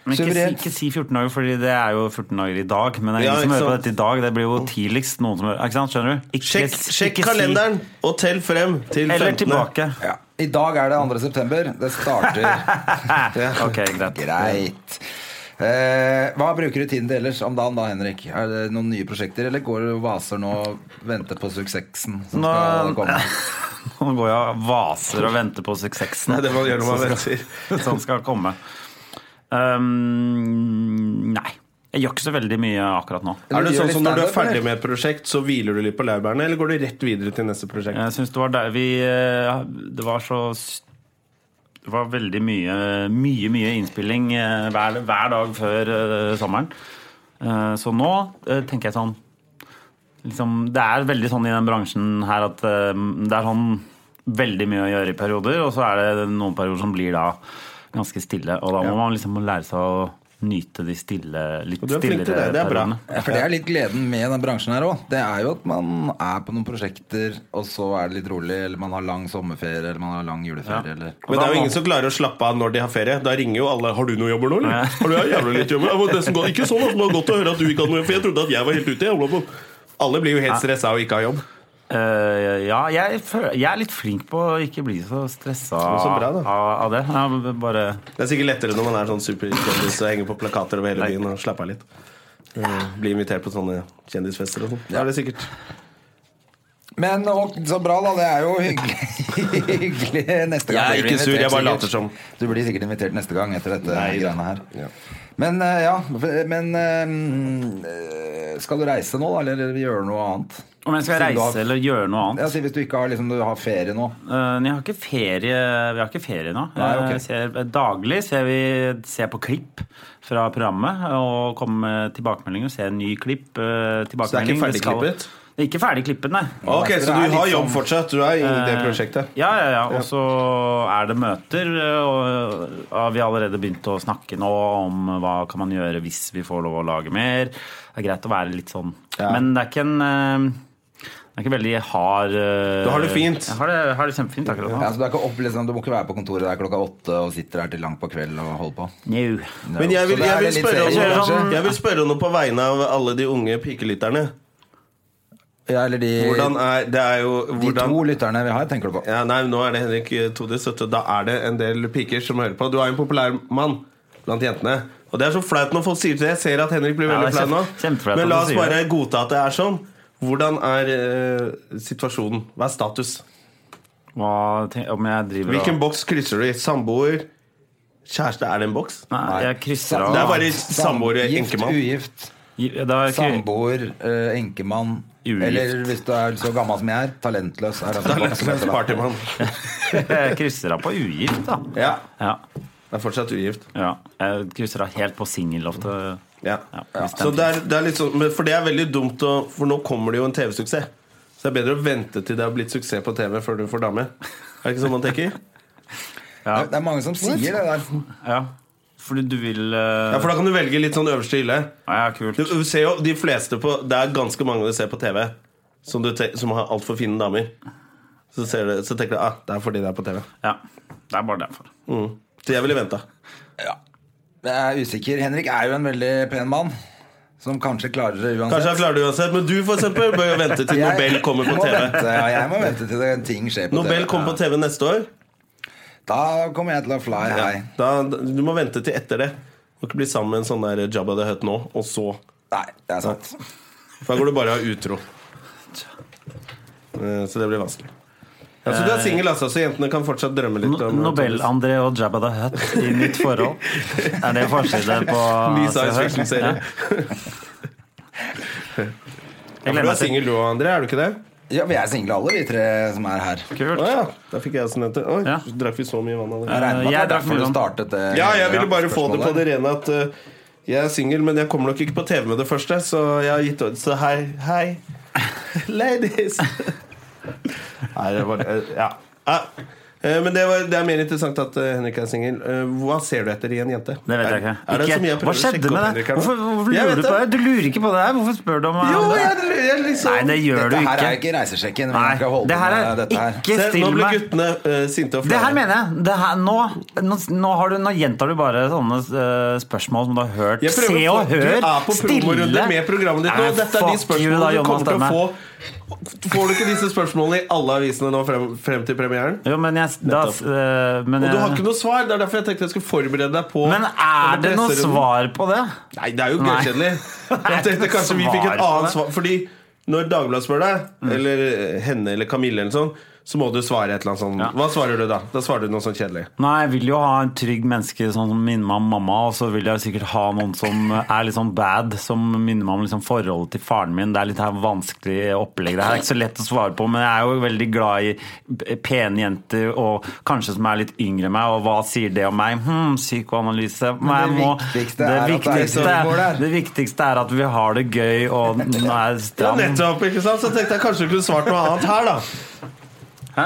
Speaker 3: Men ikke, si-
Speaker 2: Suverent.
Speaker 3: ikke si 14 dager, Fordi det er jo 14 dager i dag. Men det er
Speaker 1: Ja,
Speaker 3: ingen som
Speaker 1: ikke
Speaker 3: hører på
Speaker 1: sant.
Speaker 3: dette i dag. Det blir jo tidligst noen som hører Ikke sant? Skjønner du? Ikke,
Speaker 1: Sjekk,
Speaker 3: s-
Speaker 1: sjekk
Speaker 3: ikke si-
Speaker 1: kalenderen og tell frem til
Speaker 3: Eller
Speaker 1: 15.
Speaker 3: tilbake.
Speaker 2: Ja. I dag er det 2. september. Det starter
Speaker 3: Ok, greit.
Speaker 2: greit. Eh, hva bruker du tiden til ellers om dagen da, Henrik? Er det noen nye prosjekter, eller går du og vaser nå og venter på suksessen som skal
Speaker 3: Nå-
Speaker 2: komme?
Speaker 3: Nå går jeg og vaser og venter på suksessen.
Speaker 1: Nei, det må man gjøre når man
Speaker 3: Som skal-
Speaker 1: venter.
Speaker 3: Som skal komme. Um, nei. Jeg gjør ikke så veldig mye akkurat nå.
Speaker 1: Er det
Speaker 2: Gjør
Speaker 1: sånn
Speaker 2: litt
Speaker 1: som når du er
Speaker 2: standup,
Speaker 1: ferdig
Speaker 2: eller?
Speaker 1: med et prosjekt, så hviler du litt på laurbærene, eller går du rett videre til neste prosjekt?
Speaker 3: Jeg syns det var der vi eh, Det var så s- Det var veldig mye, mye, mye innspilling eh, hver, hver dag før eh, sommeren. Eh, så nå eh, tenker jeg sånn liksom, Det er veldig sånn i den bransjen her at eh, det er sånn veldig mye å gjøre i perioder, og så er det noen perioder som blir da ganske stille. Og da må man liksom lære seg å nyte de stille, litt
Speaker 1: Og du er flink
Speaker 3: stillere
Speaker 1: til det, det er bra.
Speaker 3: periodene.
Speaker 2: Ja, For det er litt gleden med den bransjen her òg. Det er jo at man er på noen prosjekter, og så er det litt rolig, eller man har lang sommerferie, eller man har lang juleferie,
Speaker 3: Ja.
Speaker 2: eller
Speaker 1: Men det er jo ingen som klarer å slappe av når de har ferie. Da ringer jo alle 'Har du noe jobber nå?'
Speaker 3: Ja.
Speaker 1: eller? 'Har du ja, jævlig litt jobb?' Ja, men nesten godt- Ikke sånn at det var godt å høre at du ikke hadde noe jobb, for jeg trodde at jeg var helt ute. Jeg holder på. Alle blir jo helt stressa og ikke har jobb.
Speaker 3: Eh, ja, jeg, føler, jeg er litt flink på å ikke bli så stressa
Speaker 1: Så bra,
Speaker 3: av,
Speaker 1: da.
Speaker 3: av det. Ja, bare,
Speaker 1: Det er sikkert lettere når man er sånn superkjendis og henger på plakater over hele byen og slapper av litt. Eh, Blir invitert på sånne kjendisfester og sånn. Da er det sikkert
Speaker 2: Men og, så bra, da. Det er jo hyggelig, hyggelig neste gang.
Speaker 1: Jeg
Speaker 2: Du
Speaker 1: er
Speaker 2: blir
Speaker 1: ikke sur,
Speaker 2: invitert
Speaker 1: jeg bare
Speaker 2: sikkert.
Speaker 1: later som.
Speaker 2: Du blir sikkert invitert neste gang etter dette
Speaker 1: Nei, da.
Speaker 2: greiene her.
Speaker 1: Ja.
Speaker 2: Men eh, ja, f- men eh, skal du reise nå, da, eller gjøre noe annet?
Speaker 3: om jeg skal
Speaker 2: Siden du har-
Speaker 3: reise eller gjøre noe annet?
Speaker 2: Ja, si Hvis du ikke har, liksom, du har ferie nå.
Speaker 3: Eh, men jeg har ikke ferie, vi har ikke ferie nå.
Speaker 2: Nei, ok.
Speaker 3: Jeg ser, daglig ser vi ser på klipp fra programmet og kommer med tilbakemeldinger. Ser en ny klipp. eh, tilbakemelding.
Speaker 1: Så det er ikke
Speaker 3: skal-
Speaker 1: ferdigklippet?
Speaker 3: Det er ikke ferdig klippet, nei.
Speaker 1: Ok,
Speaker 2: det er
Speaker 1: så du
Speaker 2: litt
Speaker 1: har
Speaker 2: sånn-
Speaker 1: jobb
Speaker 2: Eh,
Speaker 1: fortsatt? Du er i det prosjektet?
Speaker 3: Eh, Ja, ja, ja. Og så er det møter, og og vi har allerede begynt å snakke nå om hva kan man gjøre hvis vi får lov å lage mer. Det er greit å være litt sånn.
Speaker 1: Ja.
Speaker 3: Men det er ikke en eh, det er ikke veldig hard eh,
Speaker 1: Du har det fint.
Speaker 3: Jeg har det, jeg har det kjempefint akkurat nå.
Speaker 2: Ja, så du, er ikke opp, liksom, du må ikke være på kontoret der klokka åtte og sitter der til langt på kveld og holder på.
Speaker 3: Njau.
Speaker 1: Men jeg
Speaker 2: Så det er
Speaker 1: vil, jeg, vil
Speaker 2: vel litt
Speaker 1: spørre om
Speaker 2: seriøst,
Speaker 1: noe,
Speaker 3: kanskje? Eh,
Speaker 1: jeg vil spørre om noe på vegne av alle de unge pikelytterne.
Speaker 2: Ja, eller de,
Speaker 1: Hvordan er Det er jo
Speaker 2: de
Speaker 1: hvordan,
Speaker 2: to lytterne vi har, tenker du på.
Speaker 1: ja, Nei, nå er det Henrik eh, Todis, vet du. Da er det en del piker som hører på. Du er jo en populær mann blant jentene. Og det er så flaut når folk sier det. Jeg ser at Henrik blir
Speaker 3: Ja,
Speaker 1: veldig
Speaker 3: det er
Speaker 1: flau nå.
Speaker 3: kjempe- kjempeflaut
Speaker 1: Men la
Speaker 3: at
Speaker 1: oss
Speaker 3: du sier
Speaker 1: bare godta at det er sånn. Hvordan er eh, situasjonen? Hva er status?
Speaker 3: Hva tenk, om jeg driver
Speaker 1: Hvilken
Speaker 3: og
Speaker 1: boks krysser du i? Samboer? Kjæreste? Er det en boks?
Speaker 3: Nei, jeg krysser av.
Speaker 1: Det er bare samboer og
Speaker 2: Gift,
Speaker 1: enkemann.
Speaker 2: ugift,
Speaker 3: Ja, da er jeg kry-
Speaker 2: samboer, eh, enkemann.
Speaker 3: Ugift.
Speaker 2: Eller hvis du er så gammel som jeg er, talentløs. Er altså
Speaker 1: Talentløs
Speaker 2: som heter da.
Speaker 1: Partymann.
Speaker 3: jeg krysser av på ugift, da.
Speaker 1: Ja,
Speaker 3: Ja.
Speaker 1: det er fortsatt ugift.
Speaker 3: ja. Jeg krysser av helt på singel ofte.
Speaker 1: Ja.
Speaker 3: Ja, hvis den
Speaker 1: Så det er, det er litt sånn, men for det er veldig dumt, å, for nå kommer det jo en TV-suksess. Så det er bedre å vente til det har blitt suksess på TV før du får dame. Er det ikke sånn man tenker?
Speaker 3: Ja.
Speaker 2: Det er mange som sier det der.
Speaker 3: Ja. Fordi du vil
Speaker 1: Ja,
Speaker 3: eh,
Speaker 1: For da kan du velge litt sånn øverste hylle.
Speaker 3: Ja, ja, kult.
Speaker 1: Du, du ser jo de fleste på Det er ganske mange du ser på TV som, du te, som har altfor fine damer. Så, ser du, så tenker du ah, det er fordi det er på TV.
Speaker 3: Ja. Det er bare derfor.
Speaker 1: Mm. Så jeg ville venta.
Speaker 2: Ja. Jeg er usikker. Henrik er jo en veldig pen mann. Som kanskje klarer det uansett.
Speaker 1: Kanskje han klarer det uansett, men du for eksempel, bør jo vente til
Speaker 2: Jeg
Speaker 1: Nobel kommer på
Speaker 2: må
Speaker 1: TV.
Speaker 2: Vente, ja, jeg må vente til det, ting skjer på
Speaker 1: Nobel
Speaker 2: TV.
Speaker 1: kommer på TV neste år.
Speaker 2: Da kommer jeg til å fly
Speaker 1: Ja.
Speaker 2: high.
Speaker 1: Da, du må vente til etter det. Du må ikke bli sammen med en sånn der Jabba the Hutt nå, og så
Speaker 2: Nei, det er sant.
Speaker 1: For Da går du bare av utro. Eh, Så det blir vanskelig. Ja, så du er singel, altså, så jentene kan fortsatt drømme litt
Speaker 3: Eh, No
Speaker 1: om
Speaker 3: Nobel-André og Jabba the Hutt i nytt forhold. Er det forside på
Speaker 1: Ny
Speaker 3: Se og
Speaker 1: science
Speaker 3: Hør?
Speaker 1: fiction-serie.
Speaker 3: Ja.
Speaker 1: Ja,
Speaker 3: Jeg
Speaker 1: for du
Speaker 3: gleder meg
Speaker 1: er
Speaker 3: til
Speaker 1: singel du òg, André? Er du ikke det?
Speaker 2: Ja, Vi er single alle, vi tre som er her.
Speaker 1: Å
Speaker 3: kult.
Speaker 1: ja. Da fikk jeg også nevnt det. Oi,
Speaker 3: Ja.
Speaker 1: så drakk vi så mye vann av det.
Speaker 2: Jeg regner med at
Speaker 3: Eh, jeg
Speaker 2: det er
Speaker 3: drakk mye
Speaker 2: derfor du
Speaker 3: vann.
Speaker 2: startet det.
Speaker 1: Ja, jeg ville bare få det på
Speaker 2: spørsmålet.
Speaker 1: det rene at eh, jeg er singel, men jeg kommer nok ikke på TV med det første, så jeg har gitt Så hei, hei. Ladies. Nei, det var eh, Ja. Ah, eh, Men det, var, det er mer interessant at eh, Henrik er singel. Eh, Hva ser du etter i en jente?
Speaker 3: Det vet jeg ikke.
Speaker 1: Er, er det
Speaker 3: Ikke-
Speaker 1: så mye jeg
Speaker 3: Hva
Speaker 1: prøver å
Speaker 3: skjedde
Speaker 1: sjekke opp
Speaker 3: med det?
Speaker 1: Henrik her nå?
Speaker 3: Hvorfor, hvorfor
Speaker 1: Jeg
Speaker 3: lurer
Speaker 1: vet
Speaker 3: du på det? Du lurer ikke på det her. Hvorfor spør du om
Speaker 1: Jo,
Speaker 3: det?
Speaker 1: jeg, jeg liksom
Speaker 3: Nei, det gjør du
Speaker 2: Dette her er
Speaker 3: ikke.
Speaker 2: ikke reisesjekken. Vi
Speaker 3: Nei,
Speaker 2: kan ikke holde
Speaker 3: det her
Speaker 2: på
Speaker 3: er
Speaker 2: med dette her.
Speaker 3: ikke
Speaker 1: Se, nå
Speaker 3: still
Speaker 1: ble
Speaker 3: meg.
Speaker 1: guttene eh, sinte og
Speaker 3: Det her
Speaker 1: flaue.
Speaker 3: mener jeg. Det her, nå, nå, nå, har du, nå gjentar du bare sånne eh, spørsmål som du har hørt.
Speaker 1: Jeg prøver
Speaker 3: Se
Speaker 1: å få-
Speaker 3: og hør!
Speaker 1: Du er på promorunde med programmet ditt nå.
Speaker 3: Nei,
Speaker 1: Dette er de
Speaker 3: fuck you da,
Speaker 1: spørsmålene du
Speaker 3: Jonas
Speaker 1: kommer til å
Speaker 3: Stemme.
Speaker 1: få. Får du ikke disse spørsmålene i alle avisene nå frem, frem til premieren?
Speaker 3: Jo, men jeg, da, eh, men,
Speaker 1: Og du har
Speaker 3: jeg-
Speaker 1: ikke noe svar. Det er derfor jeg tenkte jeg skulle forberede deg på
Speaker 3: men er det noe svar på det?
Speaker 1: Nei, det er jo
Speaker 3: Nei.
Speaker 1: gøykjedelig.
Speaker 3: Det
Speaker 1: Jeg
Speaker 3: er ikke
Speaker 1: tenkte
Speaker 3: noe
Speaker 1: kanskje vi fikk et
Speaker 3: svar på
Speaker 1: annet
Speaker 3: det. Mm.
Speaker 1: svar. Fordi når Dagbladet spør deg, eller eh, henne eller Kamille eller sånn, så må du svare et eller annet sånn.
Speaker 3: Ja.
Speaker 1: Hva svarer du da? Da svarer du noe sånn kjedelig.
Speaker 3: Nei, jeg vil jo ha en trygg menneske sånn som minner meg om mamma, og så vil jeg sikkert ha noen som er litt sånn bad, som minner meg om liksom forholdet til faren min. Det er litt her vanskelig opplegg. Det her er ikke så lett å svare på, men jeg er jo veldig glad i p- pene jenter, og kanskje som er litt yngre enn meg, og hva sier det om meg? Hm, psykoanalyse. Men jeg må,
Speaker 2: viktigste
Speaker 3: det,
Speaker 2: er at det er
Speaker 3: viktigste,
Speaker 2: sånn det går der.
Speaker 3: det viktigste er at vi har det gøy, og nå er det
Speaker 1: Ja,
Speaker 3: stram.
Speaker 1: nettopp, ikke sant? Så tenkte jeg kanskje du kunne svart noe annet her, da.
Speaker 3: Hæ?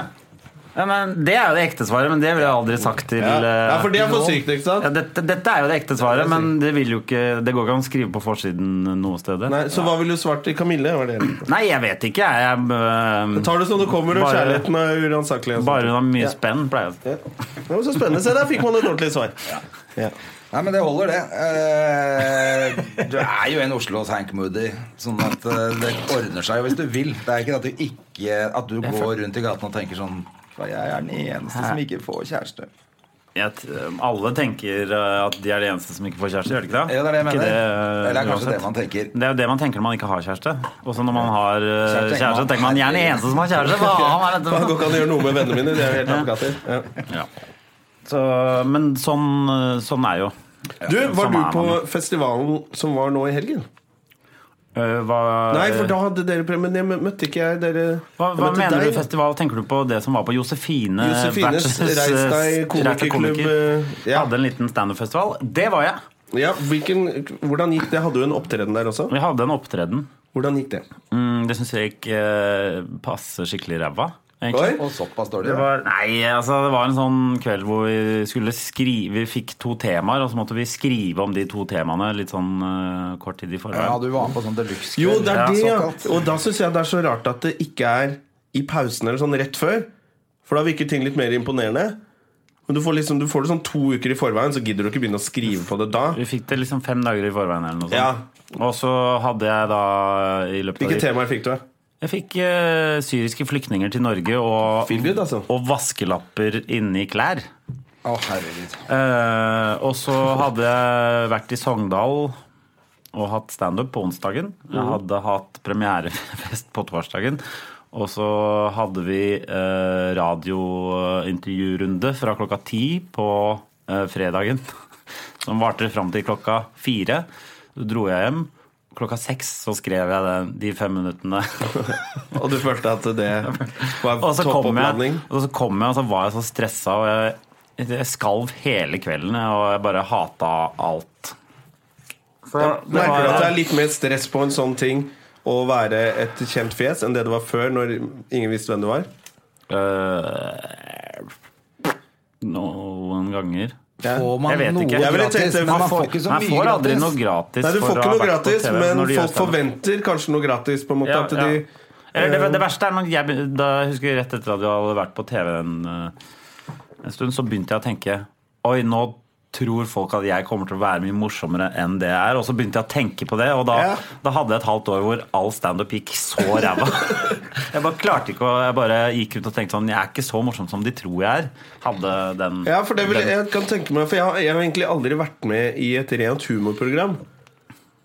Speaker 3: Ja, men det er jo det ekte svaret, men det ville jeg aldri sagt til
Speaker 1: Ja, ja
Speaker 3: eh,
Speaker 1: for det er for
Speaker 3: noen.
Speaker 1: sykt, ikke sant?
Speaker 3: Ja, dette, dette er jo det ekte
Speaker 1: Ja, det
Speaker 3: svaret,
Speaker 1: er
Speaker 3: men det, vil jo ikke, det går ikke an å skrive på forsiden noe sted.
Speaker 1: Nei, så hva ville du svart til Kamille? Var det det?
Speaker 3: Nei, jeg vet ikke. Jeg, jeg, eh,
Speaker 1: Tar det som det kommer, og
Speaker 3: Bare-
Speaker 1: kjærligheten er uransakelig. og sånt.
Speaker 3: bare hun har mye
Speaker 1: Ja.
Speaker 3: spenn, pleier jeg å si.
Speaker 1: Ja. Det var så spennende. Se, der fikk man et ordentlig svar. Ja.
Speaker 2: Nei, men det holder, det. Eh, du er jo en Oslos Hank Moody, sånn at eh, det ordner seg jo hvis du vil. Det er ikke det at du ikke At du går rundt i gaten og tenker sånn «Ja, Jeg er den eneste som ikke får kjæreste.
Speaker 3: Jeg t- Alle tenker eh, at de er de eneste som ikke får kjæreste, gjør de ikke det?
Speaker 2: Ja, det er det jeg
Speaker 3: Ikke
Speaker 2: mener.
Speaker 3: eh,
Speaker 2: Eller det er kanskje
Speaker 3: uansett.
Speaker 2: det man tenker.
Speaker 3: Det er jo det man tenker når man ikke har kjæreste. Og så når man har eh,
Speaker 2: Kjæreste tenker
Speaker 3: kjæreste,
Speaker 2: man,
Speaker 3: tenker man jeg er den
Speaker 2: herregud.
Speaker 3: eneste som har kjæreste! Faen, er
Speaker 1: Faen,
Speaker 3: dette for
Speaker 1: Går ikke an å gjøre noe med vennene mine. De er jo helt apekatter. Ja.
Speaker 3: Ja. Så, men sånn, sånn er jo.
Speaker 1: Du, var
Speaker 3: Sånn
Speaker 1: du
Speaker 3: er
Speaker 1: på
Speaker 3: man.
Speaker 1: festivalen som var nå i helgen?
Speaker 3: Eh, Hva,
Speaker 1: Nei, for da hadde dere premie, men jeg møtte ikke jeg dere
Speaker 3: hva,
Speaker 1: jeg
Speaker 3: hva
Speaker 1: møtte
Speaker 3: mener
Speaker 1: deg.
Speaker 3: du festival? Tenker du på det som var på Josefine?
Speaker 1: Josefines
Speaker 3: versus, eh,
Speaker 1: Reis deg
Speaker 3: Reis deg
Speaker 1: komikerklubb. eh, Ja.
Speaker 3: Hadde en liten standup-festival. Det var jeg!
Speaker 1: Ja, hvilken, hvordan gikk det? Hadde du en opptreden der også?
Speaker 3: Vi hadde en opptreden.
Speaker 1: Hvordan gikk det?
Speaker 3: Mm, det syns jeg gikk eh, passe skikkelig ræva. egentlig.
Speaker 1: Oi.
Speaker 2: Og såpass dårlig.
Speaker 3: Det
Speaker 2: ja.
Speaker 3: var, nei, altså det var en sånn kveld hvor vi skulle skrive Vi fikk to temaer, og så måtte vi skrive om de to temaene litt sånn eh, kort tid i forveien.
Speaker 2: Ja, du var med på sånn deluxe
Speaker 1: Jo, det er
Speaker 3: Ja,
Speaker 1: det, ja.
Speaker 2: såkalt.
Speaker 1: Og da syns jeg det er så rart at det ikke er i pausen eller sånn rett før. For da virker ting litt mer imponerende. Men du får, liksom, du får det sånn to uker i forveien, så gidder du ikke begynne å skrive på det da.
Speaker 3: Vi fikk det liksom fem dager i forveien eller noe sånt.
Speaker 1: Ja.
Speaker 3: Og så hadde jeg da i løpet
Speaker 1: Hvilke
Speaker 3: av de
Speaker 1: temaer fikk du? da?
Speaker 3: Jeg fikk eh, syriske flyktninger til Norge og,
Speaker 1: Feel good, altså.
Speaker 3: og vaskelapper inni klær.
Speaker 2: Å, herregud.
Speaker 3: Eh, og så hadde jeg vært i Sogndal og hatt standup på onsdagen. Jeg hadde hatt premierefest på torsdagen. Og så hadde vi eh, radiointervjurunde fra klokka ti på eh, fredagen. Som varte fram til klokka fire. Så dro jeg hjem. Klokka seks så skrev jeg den, de fem minuttene.
Speaker 1: Og du følte at det var
Speaker 3: Og så kom jeg,
Speaker 1: toppoppladning?
Speaker 3: og så kom jeg, og så var jeg så stressa. Og jeg, jeg skalv hele kvelden, og jeg bare hata alt. Så
Speaker 1: Merker
Speaker 3: det
Speaker 1: du at det
Speaker 3: var,
Speaker 1: er litt mer stress på en sånn ting å være et kjent fjes enn det det var før, når ingen visste hvem du var?
Speaker 3: Øh, noen ganger.
Speaker 2: Får man
Speaker 3: Jeg vet
Speaker 2: noe
Speaker 3: ikke. Jeg ville
Speaker 2: gratis?
Speaker 1: tenkt det,
Speaker 2: Men
Speaker 1: for
Speaker 2: man får ikke så
Speaker 3: Man
Speaker 2: mye
Speaker 3: får aldri
Speaker 2: gratis.
Speaker 3: noe gratis.
Speaker 1: Nei, Du
Speaker 3: for
Speaker 1: får
Speaker 3: å
Speaker 1: ikke
Speaker 3: ha
Speaker 1: noe
Speaker 3: vært på
Speaker 1: gratis,
Speaker 3: TV
Speaker 1: men
Speaker 3: når du gjør
Speaker 1: folk
Speaker 3: standup.
Speaker 1: forventer kanskje noe gratis. på en måte
Speaker 3: Ja,
Speaker 1: at
Speaker 3: ja.
Speaker 1: de...
Speaker 3: Eller
Speaker 1: Eh,
Speaker 3: det, det verste er når jeg, be- da jeg husker rett etter at vi hadde vært på TV en, eh, en stund, så begynte jeg å tenke Oi, nå tror folk at jeg kommer til å være mye morsommere enn det jeg er. Og så begynte jeg å tenke på det, og da,
Speaker 1: Ja.
Speaker 3: da hadde jeg et halvt år hvor all standup gikk så ræva. jeg bare klarte ikke å Jeg bare gikk rundt og tenkte sånn Jeg er ikke så morsom som de tror jeg er. Hadde den
Speaker 1: Ja, for det vil,
Speaker 3: den-
Speaker 1: jeg kan tenke meg For jeg har, jeg har egentlig aldri vært med i et rent humorprogram.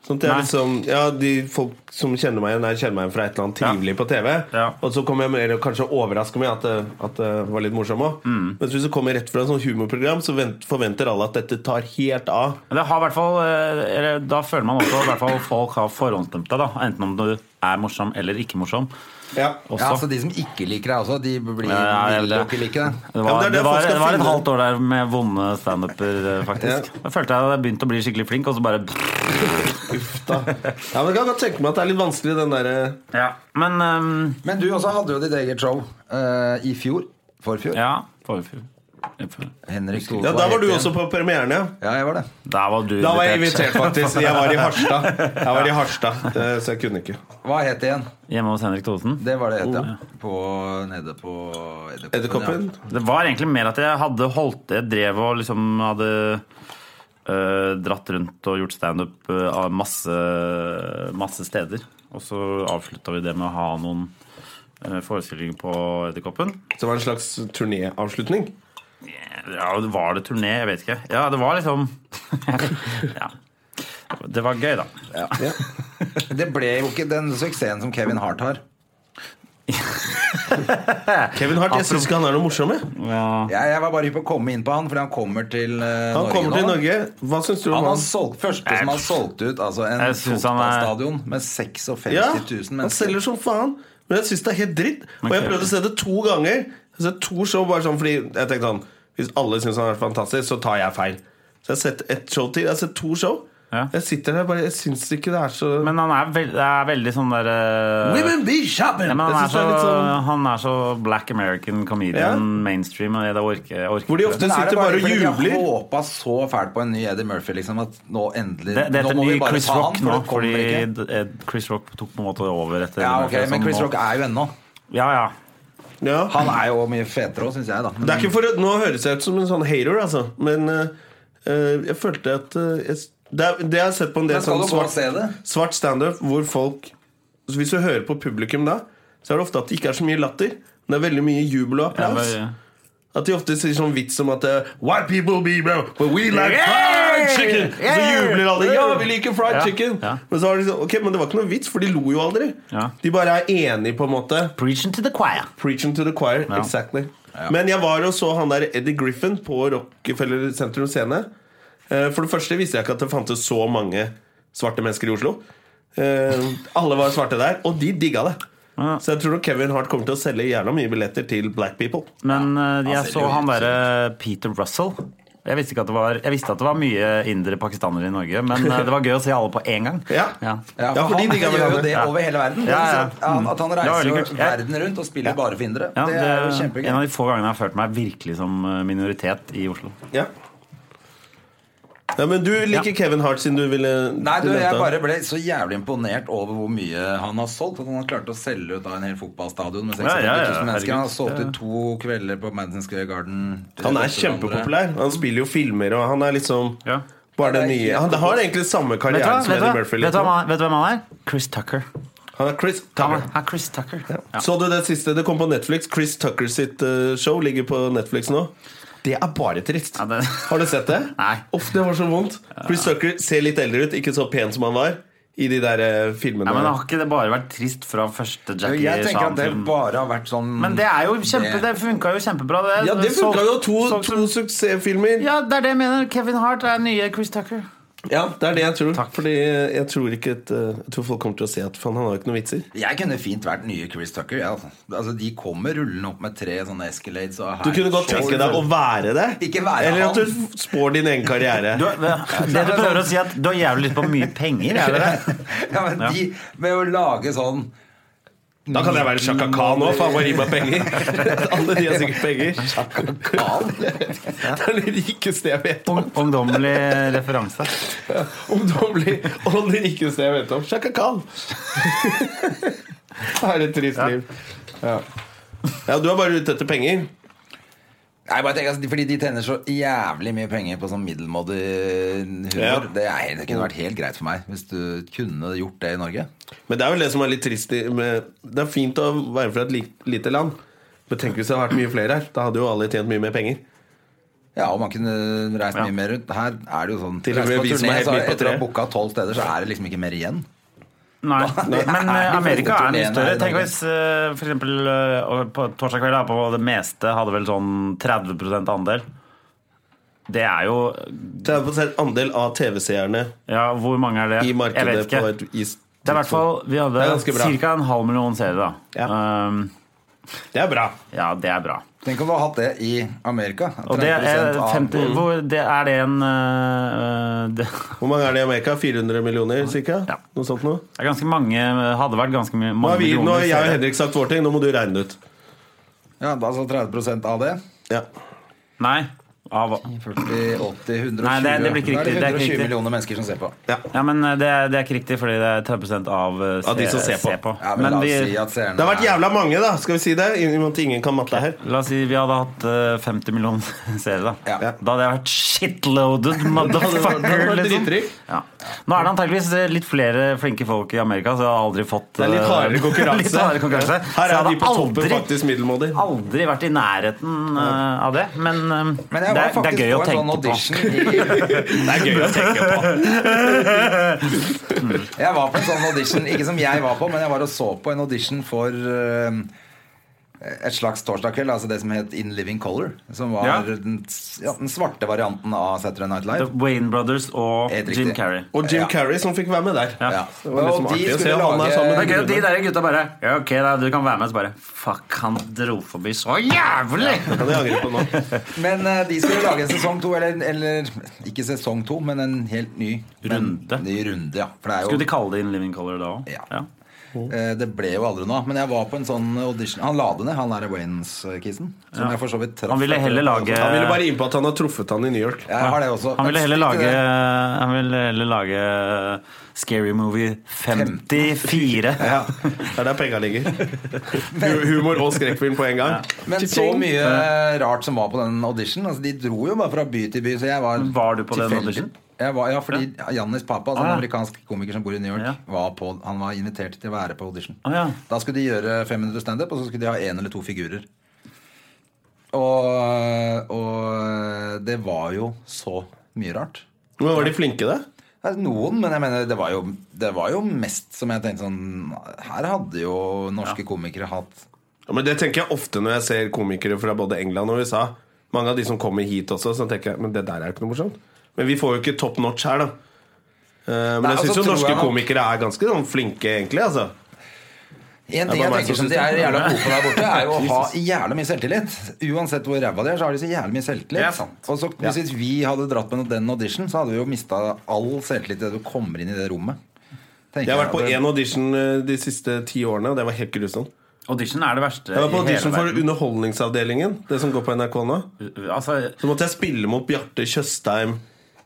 Speaker 1: Sånn at jeg
Speaker 3: Nei.
Speaker 1: liksom, ja, de Folk som kjenner meg igjen, der kjenner meg igjen fra et eller annet
Speaker 3: Ja.
Speaker 1: trivelig på TV.
Speaker 3: Ja.
Speaker 1: Og så kommer jeg mer og kanskje overrasker meg at det, at det var litt morsom òg. Men hvis du kommer rett fra et sånt humorprogram, så vent, forventer alle at dette tar helt av.
Speaker 3: Men det har i hvert fall, eh, eller da føler man også i hvert fall folk har forhåndsdømt deg, da. Enten om du er morsom eller ikke morsom.
Speaker 1: Ja.
Speaker 3: Også.
Speaker 2: Ja, så de som ikke liker deg også, de blir,
Speaker 3: Ja, jeg
Speaker 2: vil jo ikke
Speaker 3: vet det.
Speaker 2: like deg.
Speaker 1: Ja,
Speaker 3: Det
Speaker 1: men det
Speaker 3: var,
Speaker 1: er det
Speaker 3: det var,
Speaker 1: folk skal
Speaker 3: det var et
Speaker 1: finne.
Speaker 3: halvt år der med vonde standuper, eh, faktisk. Da følte jeg at jeg begynte å bli skikkelig flink, og så bare
Speaker 1: Uff da. Ja, men Jeg kan godt tenke meg at det er litt vanskelig, den eh, derre
Speaker 3: Men ehm,
Speaker 2: Men du også hadde jo ditt eget show eh, i fjor. Forfjor.
Speaker 3: ja. forfjor.
Speaker 2: Henrik Thoresen
Speaker 1: Ja, da var du
Speaker 2: helt
Speaker 1: også
Speaker 2: igjen.
Speaker 1: på premieren, ja.
Speaker 2: Ja, jeg var det.
Speaker 3: Der var du
Speaker 1: Da var jeg invitert, faktisk. Jeg var i Harstad, Jeg var i Harstad, eh, så jeg kunne ikke.
Speaker 2: Hva het det igjen?
Speaker 3: Hjemme hos Henrik Thosen.
Speaker 2: Det var det
Speaker 3: Oh,
Speaker 2: het, ja. På, nede på Edderkoppen.
Speaker 1: Edderkoppen?
Speaker 2: Ja.
Speaker 3: Det var egentlig mer at jeg hadde holdt Jeg drev og liksom hadde øh, dratt rundt og gjort standup øh, av masse, masse steder. Og så avslutta vi det med å ha noen øh, forestillinger på Edderkoppen.
Speaker 1: Så det var en slags turnéavslutning?
Speaker 3: Ja, var det turné? Jeg vet ikke. Ja, det var liksom ja. Det var gøy, da.
Speaker 2: Det ble jo ikke den suksessen som Kevin Hart har.
Speaker 1: Kevin Hart, jeg syns ikke han er noe morsom. Jeg.
Speaker 2: Jeg, jeg var bare hypp på å komme inn på han, fordi han kommer til eh,
Speaker 1: Han
Speaker 2: Norge
Speaker 1: kommer til
Speaker 2: nå.
Speaker 1: Norge. Hva syns du om
Speaker 2: Han har
Speaker 1: han?
Speaker 2: solgt, første som har solgt ut altså en
Speaker 3: Jeg synes han er-
Speaker 2: fotballstadion med 56
Speaker 1: Ja,
Speaker 2: 000
Speaker 1: han
Speaker 2: mennesker.
Speaker 1: selger som faen. Men jeg syns det er helt dritt. Og jeg
Speaker 3: Ok.
Speaker 1: prøvde å se det to ganger. Jeg har sett to show bare sånn fordi jeg tenkte sånn Hvis alle syns han er fantastisk, så tar jeg feil. Så jeg har sett ett show til. Jeg har sett to show.
Speaker 3: Ja.
Speaker 1: Jeg sitter der bare Jeg syns ikke det er så
Speaker 3: Men han er, veld, er veldig sånn der øh,
Speaker 1: Women be shopping!
Speaker 3: ja, men han,
Speaker 1: jeg
Speaker 3: er
Speaker 1: synes
Speaker 3: så,
Speaker 1: det er litt sånn
Speaker 3: han er så black American comedian,
Speaker 1: Ja.
Speaker 3: mainstream. Og jeg, det orker, jeg orker
Speaker 1: Hvor de
Speaker 3: ikke.
Speaker 1: ofte
Speaker 2: Men er det
Speaker 1: sitter bare og
Speaker 2: fordi De
Speaker 1: jubler.
Speaker 2: har håpa så fælt på en ny Eddie Murphy liksom, at nå endelig
Speaker 3: Det, det
Speaker 2: Nå
Speaker 3: heter
Speaker 2: må
Speaker 3: ny
Speaker 2: vi bare
Speaker 3: Chris
Speaker 2: ta han,
Speaker 3: Rock
Speaker 2: for
Speaker 3: nå,
Speaker 2: det kommer
Speaker 3: fordi
Speaker 2: ikke.
Speaker 3: d- eh, Chris Rock tok på en måte over etter
Speaker 2: Ja,
Speaker 3: Eddie
Speaker 2: ok,
Speaker 3: Murphy,
Speaker 2: Men
Speaker 3: sånn
Speaker 2: Chris
Speaker 3: nå-
Speaker 2: Rock er jo ennå.
Speaker 3: Ja, ja.
Speaker 1: Ja.
Speaker 2: Han er jo mye fetere òg, syns jeg, da. Men
Speaker 1: Det er ikke for å, Nå høres jeg ut som en sånn hater, altså. Men eh, eh, jeg følte at eh, jeg, s- det, er- det jeg har sett på en del
Speaker 2: Men skal
Speaker 1: sånn
Speaker 2: du gå og
Speaker 1: svart,
Speaker 2: se det?
Speaker 1: svart standup hvor folk så Hvis du hører på publikum da, så er det ofte at det ikke er så mye latter. Men det er veldig mye jubel og
Speaker 3: Jeg
Speaker 1: applaus.
Speaker 3: bare-
Speaker 1: At de ofte sier sånn vits som at eh, White people be bro, but we like fried chicken! Og så jubler alle. Ja, vi liker fried
Speaker 3: Ja,
Speaker 1: chicken!
Speaker 3: ja.
Speaker 1: Men så har de sånn, ok, men det var ikke noe vits, for de lo jo aldri.
Speaker 3: Ja.
Speaker 1: De bare er enige, på en måte.
Speaker 3: Preaching to the choir.
Speaker 1: Preaching to the choir,
Speaker 3: Ja.
Speaker 1: exactly Men jeg var og så han der Eddie Griffin på Rockefeller Sentrum Scene. Eh, For det første visste jeg ikke at det fantes så mange svarte mennesker i Oslo. Eh, Alle var svarte der, og de digga det.
Speaker 3: Ja.
Speaker 1: Så jeg tror nok Kevin Hart kommer til å selge jævla mye billetter til black people.
Speaker 3: Men eh,
Speaker 2: han
Speaker 3: jeg
Speaker 2: ser
Speaker 3: så
Speaker 2: jo
Speaker 3: han
Speaker 2: helt
Speaker 3: derre Peter Russell. Jeg visste, ikke at det var, jeg visste at det var mye indre pakistanere i Norge, men eh, det var gøy å se alle på én gang.
Speaker 1: Ja.
Speaker 2: Ja,
Speaker 1: Ja,
Speaker 2: for
Speaker 1: for de
Speaker 2: han
Speaker 1: digger
Speaker 2: gjør jo
Speaker 1: hverandre.
Speaker 2: det
Speaker 3: Ja.
Speaker 2: over hele verden.
Speaker 3: Ja, ja.
Speaker 2: At han- At han
Speaker 3: Mm. Det var
Speaker 2: reiser jo
Speaker 3: veldig kult. Jeg-
Speaker 2: verden rundt og spiller bare for indere.
Speaker 3: Ja,
Speaker 2: det, er jo kjempegøy.
Speaker 3: en av de få gangene jeg har følt meg virkelig som eh, minoritet i Oslo.
Speaker 1: Ja. Ja, men du liker
Speaker 3: Ja.
Speaker 1: Kevin Hart siden du ville
Speaker 2: Nei, du,
Speaker 1: du nevnte
Speaker 2: jeg
Speaker 1: han.
Speaker 2: bare ble så jævlig imponert over hvor mye han har solgt. At han har klart å selge ut av en hel fotballstadion med 46 000
Speaker 3: Ja, ja, ja,
Speaker 2: mennesker. Han har
Speaker 3: herregud.
Speaker 2: solgt
Speaker 3: Ja.
Speaker 2: ut to kvelder på Madison Square Garden.
Speaker 1: Han er kjempepopulær. Han spiller jo filmer, og han er liksom
Speaker 3: Ja.
Speaker 1: bare den
Speaker 2: Det er
Speaker 1: nye
Speaker 2: helt
Speaker 1: Han har egentlig samme
Speaker 3: Vet du, hva?
Speaker 1: karriere som
Speaker 3: vet, du,
Speaker 1: Eddie
Speaker 3: hva?
Speaker 1: Murphy.
Speaker 3: vet, du
Speaker 1: liksom.
Speaker 3: hva, vet du hvem han er? Chris Tucker.
Speaker 1: Han er Chris
Speaker 3: Han
Speaker 1: Tucker.
Speaker 3: er, han er Chris Tucker. Ja.
Speaker 1: Så du det siste? Det kom på Netflix. Chris Tucker sitt eh, show ligger på Netflix nå. Det er bare trist.
Speaker 3: Ja, det-
Speaker 1: Har du sett det?
Speaker 3: Nei.
Speaker 1: Uff, det var så vondt. Chris Tucker ser litt eldre ut, ikke så pen som han var i de der eh, filmene.
Speaker 3: Nei, men har ikke det bare vært trist fra første Jackie
Speaker 2: Jeg tenker at det
Speaker 3: Chan-film?
Speaker 2: bare har vært sånn
Speaker 3: sånn Men det er jo kjempe,
Speaker 2: Det-
Speaker 3: det funka jo kjempebra, det.
Speaker 1: ja, det
Speaker 3: Så-
Speaker 1: funka jo. To,
Speaker 3: så-
Speaker 1: to suksessfilmer.
Speaker 3: Ja, det er det jeg mener. Kevin Hart er nye Chris Tucker.
Speaker 1: Ja, det er det jeg tror. Fordi jeg tror, ikke at, eh, jeg tror folk kommer til å se at faen, han har jo ikke noen vitser.
Speaker 2: Jeg kunne fint vært nye Chris Tucker. Ja. altså. Altså, de kommer rullende opp med tre sånne Escalades. Og her-
Speaker 1: Du kunne godt tenke deg å være det.
Speaker 2: Ikke være
Speaker 1: Eller
Speaker 2: han.
Speaker 1: at du spår din egen karriere.
Speaker 3: Du, det sånn- du prøver å si, at du har jævlig lyst på mye penger. Er det det?
Speaker 2: ja, men de, Med å lage sånn
Speaker 1: Da kan jeg være Shaka Khan òg, faen meg gi meg penger. Alle de har sikkert penger. Det er det rikeste jeg vet om.
Speaker 3: Ung- Ungdommelig referanse.
Speaker 1: Ungdommelig og det rikeste jeg vet om. Shaka Khan. Det er et trist liv. Ja. ja, du er bare ute etter penger.
Speaker 2: Nei, bare tenk, altså, Fordi de tjener så jævlig mye penger på sånn middelmådig humor.
Speaker 1: Ja.
Speaker 2: Det, er, helt- det kunne vært helt greit for meg hvis du kunne gjort det i Norge.
Speaker 1: Men det er vel det som er litt trist i- med, Det er fint å være fra et li- lite land. Men tenk hvis det hadde vært mye flere her. Da hadde jo alle tjent mye mer penger.
Speaker 2: Ja, og man kunne reist mye mer rundt. Her er det jo sånn
Speaker 1: Til og med
Speaker 2: reist på
Speaker 1: vi som er
Speaker 2: turné,
Speaker 1: helt
Speaker 2: så
Speaker 1: midt på
Speaker 2: Etter å ha
Speaker 1: treet.
Speaker 2: booka tolv steder, så er det liksom ikke mer igjen.
Speaker 3: Nei, men eh, Amerika er mye større. Tenk hvis eh, for eksempel eh, og på torsdag kveld da, på det meste hadde vel sånn 30 andel. Det er jo
Speaker 1: 30 andel av TV-seerne
Speaker 3: Ja, hvor mange er det?
Speaker 1: i
Speaker 3: Jeg
Speaker 1: markedet
Speaker 3: vet ikke.
Speaker 1: på et is...
Speaker 3: Det er i hvert fall Vi
Speaker 1: Det er
Speaker 3: hadde
Speaker 1: ganske bra.
Speaker 3: ca. en halv million seere, da.
Speaker 1: Ja.
Speaker 3: Um,
Speaker 1: Det er bra.
Speaker 3: ja, det er bra.
Speaker 2: Tenk om du hadde hatt det i Amerika.
Speaker 3: Og det er
Speaker 2: 30% av-
Speaker 3: 50 hvor, det, Er det en eh, det,
Speaker 1: Hvor mange er det i Amerika? 400 millioner, cirka?
Speaker 3: Ja.
Speaker 1: Noe sånt noe?
Speaker 3: det er ganske mange Hadde vært ganske mye-
Speaker 1: Nå
Speaker 3: mange
Speaker 1: har, vi, nå har jeg
Speaker 3: millioner
Speaker 1: og
Speaker 3: seere.
Speaker 1: Henrik sagt vår ting, nå må du regne det ut.
Speaker 2: Ja, da så 30 av det.
Speaker 1: Ja.
Speaker 3: Nei. Av,
Speaker 2: 40, 80, 120
Speaker 3: Nei, det- det blir ikke
Speaker 2: Da
Speaker 3: riktig, det er ikke
Speaker 2: 120
Speaker 3: riktig.
Speaker 2: millioner mennesker som ser på.
Speaker 3: ja, men eh, det, er- det er ikke riktig, fordi det er 30 av, eh,
Speaker 1: Av de som ser på.
Speaker 2: Ja, men, la oss
Speaker 3: vi,
Speaker 2: si at seerne
Speaker 1: Det har vært
Speaker 2: er-
Speaker 1: jævla mange, da, skal vi si det? I og med at ingen kan matte her.
Speaker 3: La oss si vi hadde hatt eh, 50 millioner seere. Da
Speaker 2: Ja.
Speaker 3: Da hadde jeg vært shitloaded
Speaker 1: Da hadde
Speaker 3: motherfucker.
Speaker 1: du vært
Speaker 3: liksom.
Speaker 1: dritrik.
Speaker 3: ja. Nå er det antakeligvis eh, litt flere flinke folk i Amerika, så jeg har aldri fått
Speaker 1: Det er litt
Speaker 3: eh,
Speaker 1: hardere konkurranse.
Speaker 3: litt hardere konkurranse. Så
Speaker 1: Her er
Speaker 3: jeg
Speaker 1: de
Speaker 3: hadde
Speaker 1: på toppen,
Speaker 3: aldri-
Speaker 1: faktisk, middelmådig.
Speaker 3: aldri vært i nærheten eh, av det. Men, eh,
Speaker 2: Men
Speaker 3: det,
Speaker 2: jeg var
Speaker 3: er, det
Speaker 2: faktisk
Speaker 3: er gøy å
Speaker 2: på en sånn
Speaker 3: tenke på.
Speaker 2: audition i,
Speaker 1: Det er gøy å tenke på.
Speaker 2: Jeg var på en sånn audition, ikke som jeg var på, men jeg var og så på en audition for eh, et slags torsdag kveld, altså det som het In Living Color. Som var
Speaker 3: Ja.
Speaker 2: Den, ja, den svarte varianten av Saturday Night Live.
Speaker 3: Wayne Brothers og
Speaker 2: Helt
Speaker 3: Jim
Speaker 2: riktig.
Speaker 3: Carrey.
Speaker 1: Og
Speaker 2: Ja.
Speaker 1: Jim Carrey, som fikk være med der.
Speaker 3: Ja.
Speaker 1: Det var liksom
Speaker 2: Og de
Speaker 1: artig å se
Speaker 2: skulle
Speaker 1: han er
Speaker 2: lage-
Speaker 1: sammen
Speaker 3: Det
Speaker 1: med
Speaker 3: er gøy at de
Speaker 1: Rune.
Speaker 3: der gutta bare Ja, ok, da, du kan være med. Så bare Fuck, han dro forbi så jævlig!
Speaker 1: Det kan jeg angre på nå.
Speaker 2: Men eh, de skulle lage en sesong to, eller, eller ikke sesong to, men en helt ny
Speaker 3: Runde.
Speaker 2: Men, ny runde, ja. For det er jo
Speaker 3: Skulle de kalle det In Living Color da òg?
Speaker 2: Ja. Eh, Det ble jo aldri noe av. Men jeg var på en sånn audition Han la det ned, han der Waynes-kisen. Som jeg for så vidt traff
Speaker 3: Han ville heller lage
Speaker 1: Han ville bare inn på at han har truffet han i New York.
Speaker 2: Jeg har det eh, også.
Speaker 3: Han ville
Speaker 2: Men
Speaker 3: heller
Speaker 2: still
Speaker 3: lage
Speaker 2: til det.
Speaker 3: Han ville heller lage eh, Scary Movie 54.
Speaker 1: Ja. Det er der penga ligger. Hu- Humor og skrekkfilm på en gang.
Speaker 2: Men så mye rart som var på den audition. Altså, de dro jo bare fra by til by. Så jeg var,
Speaker 3: Var du på den
Speaker 2: tilfeldig-
Speaker 3: audition?
Speaker 2: Jeg var, ja, fordi Jannis Papa, altså
Speaker 3: Ah, ja.
Speaker 2: en amerikansk komiker som bor i New York,
Speaker 3: Ja.
Speaker 2: var på, han var invitert til å være på audition.
Speaker 3: Å, ja.
Speaker 2: Da skulle de gjøre 500 standup, og så skulle de ha én eller to figurer. Og, og det var jo så mye rart.
Speaker 1: Men var de flinke, da?
Speaker 2: Det er Noen, men jeg mener det var, jo, det var jo mest som jeg tenkte sånn Her hadde jo norske komikere hatt
Speaker 1: Ja, men Det tenker jeg ofte når jeg ser komikere fra både England og USA. Mange av de som kommer hit også, så tenker jeg men det der er jo ikke noe morsomt. Men vi får jo ikke top notch her, da. Eh, Men
Speaker 2: Nei, altså,
Speaker 1: jeg syns jo
Speaker 2: tror
Speaker 1: norske
Speaker 2: jeg nok-
Speaker 1: komikere er ganske sånn flinke, egentlig. altså
Speaker 2: En
Speaker 1: Det er
Speaker 2: ting
Speaker 1: bare
Speaker 2: jeg
Speaker 1: meg som
Speaker 2: tenker som
Speaker 1: synes
Speaker 2: de er
Speaker 1: det.
Speaker 2: jævla gode på der borte, er jo å ha jævla mye selvtillit. Uansett hvor ræva de er, så har de så jævlig mye selvtillit.
Speaker 3: Det er sant.
Speaker 2: Og så Hvis vi hadde dratt med den audition, så hadde vi jo mista all selvtillit idet du kommer inn i det rommet. Tenker
Speaker 1: Jeg har vært på
Speaker 2: at-
Speaker 1: én audition eh, de siste ti årene, og det var helt grusomt.
Speaker 3: Audition er det verste
Speaker 1: Jeg var på
Speaker 3: i hele
Speaker 1: audition for
Speaker 3: verden.
Speaker 1: Underholdningsavdelingen, det som går på NRK nå.
Speaker 3: Altså,
Speaker 1: Så måtte jeg spille mot Bjarte Tjøstheim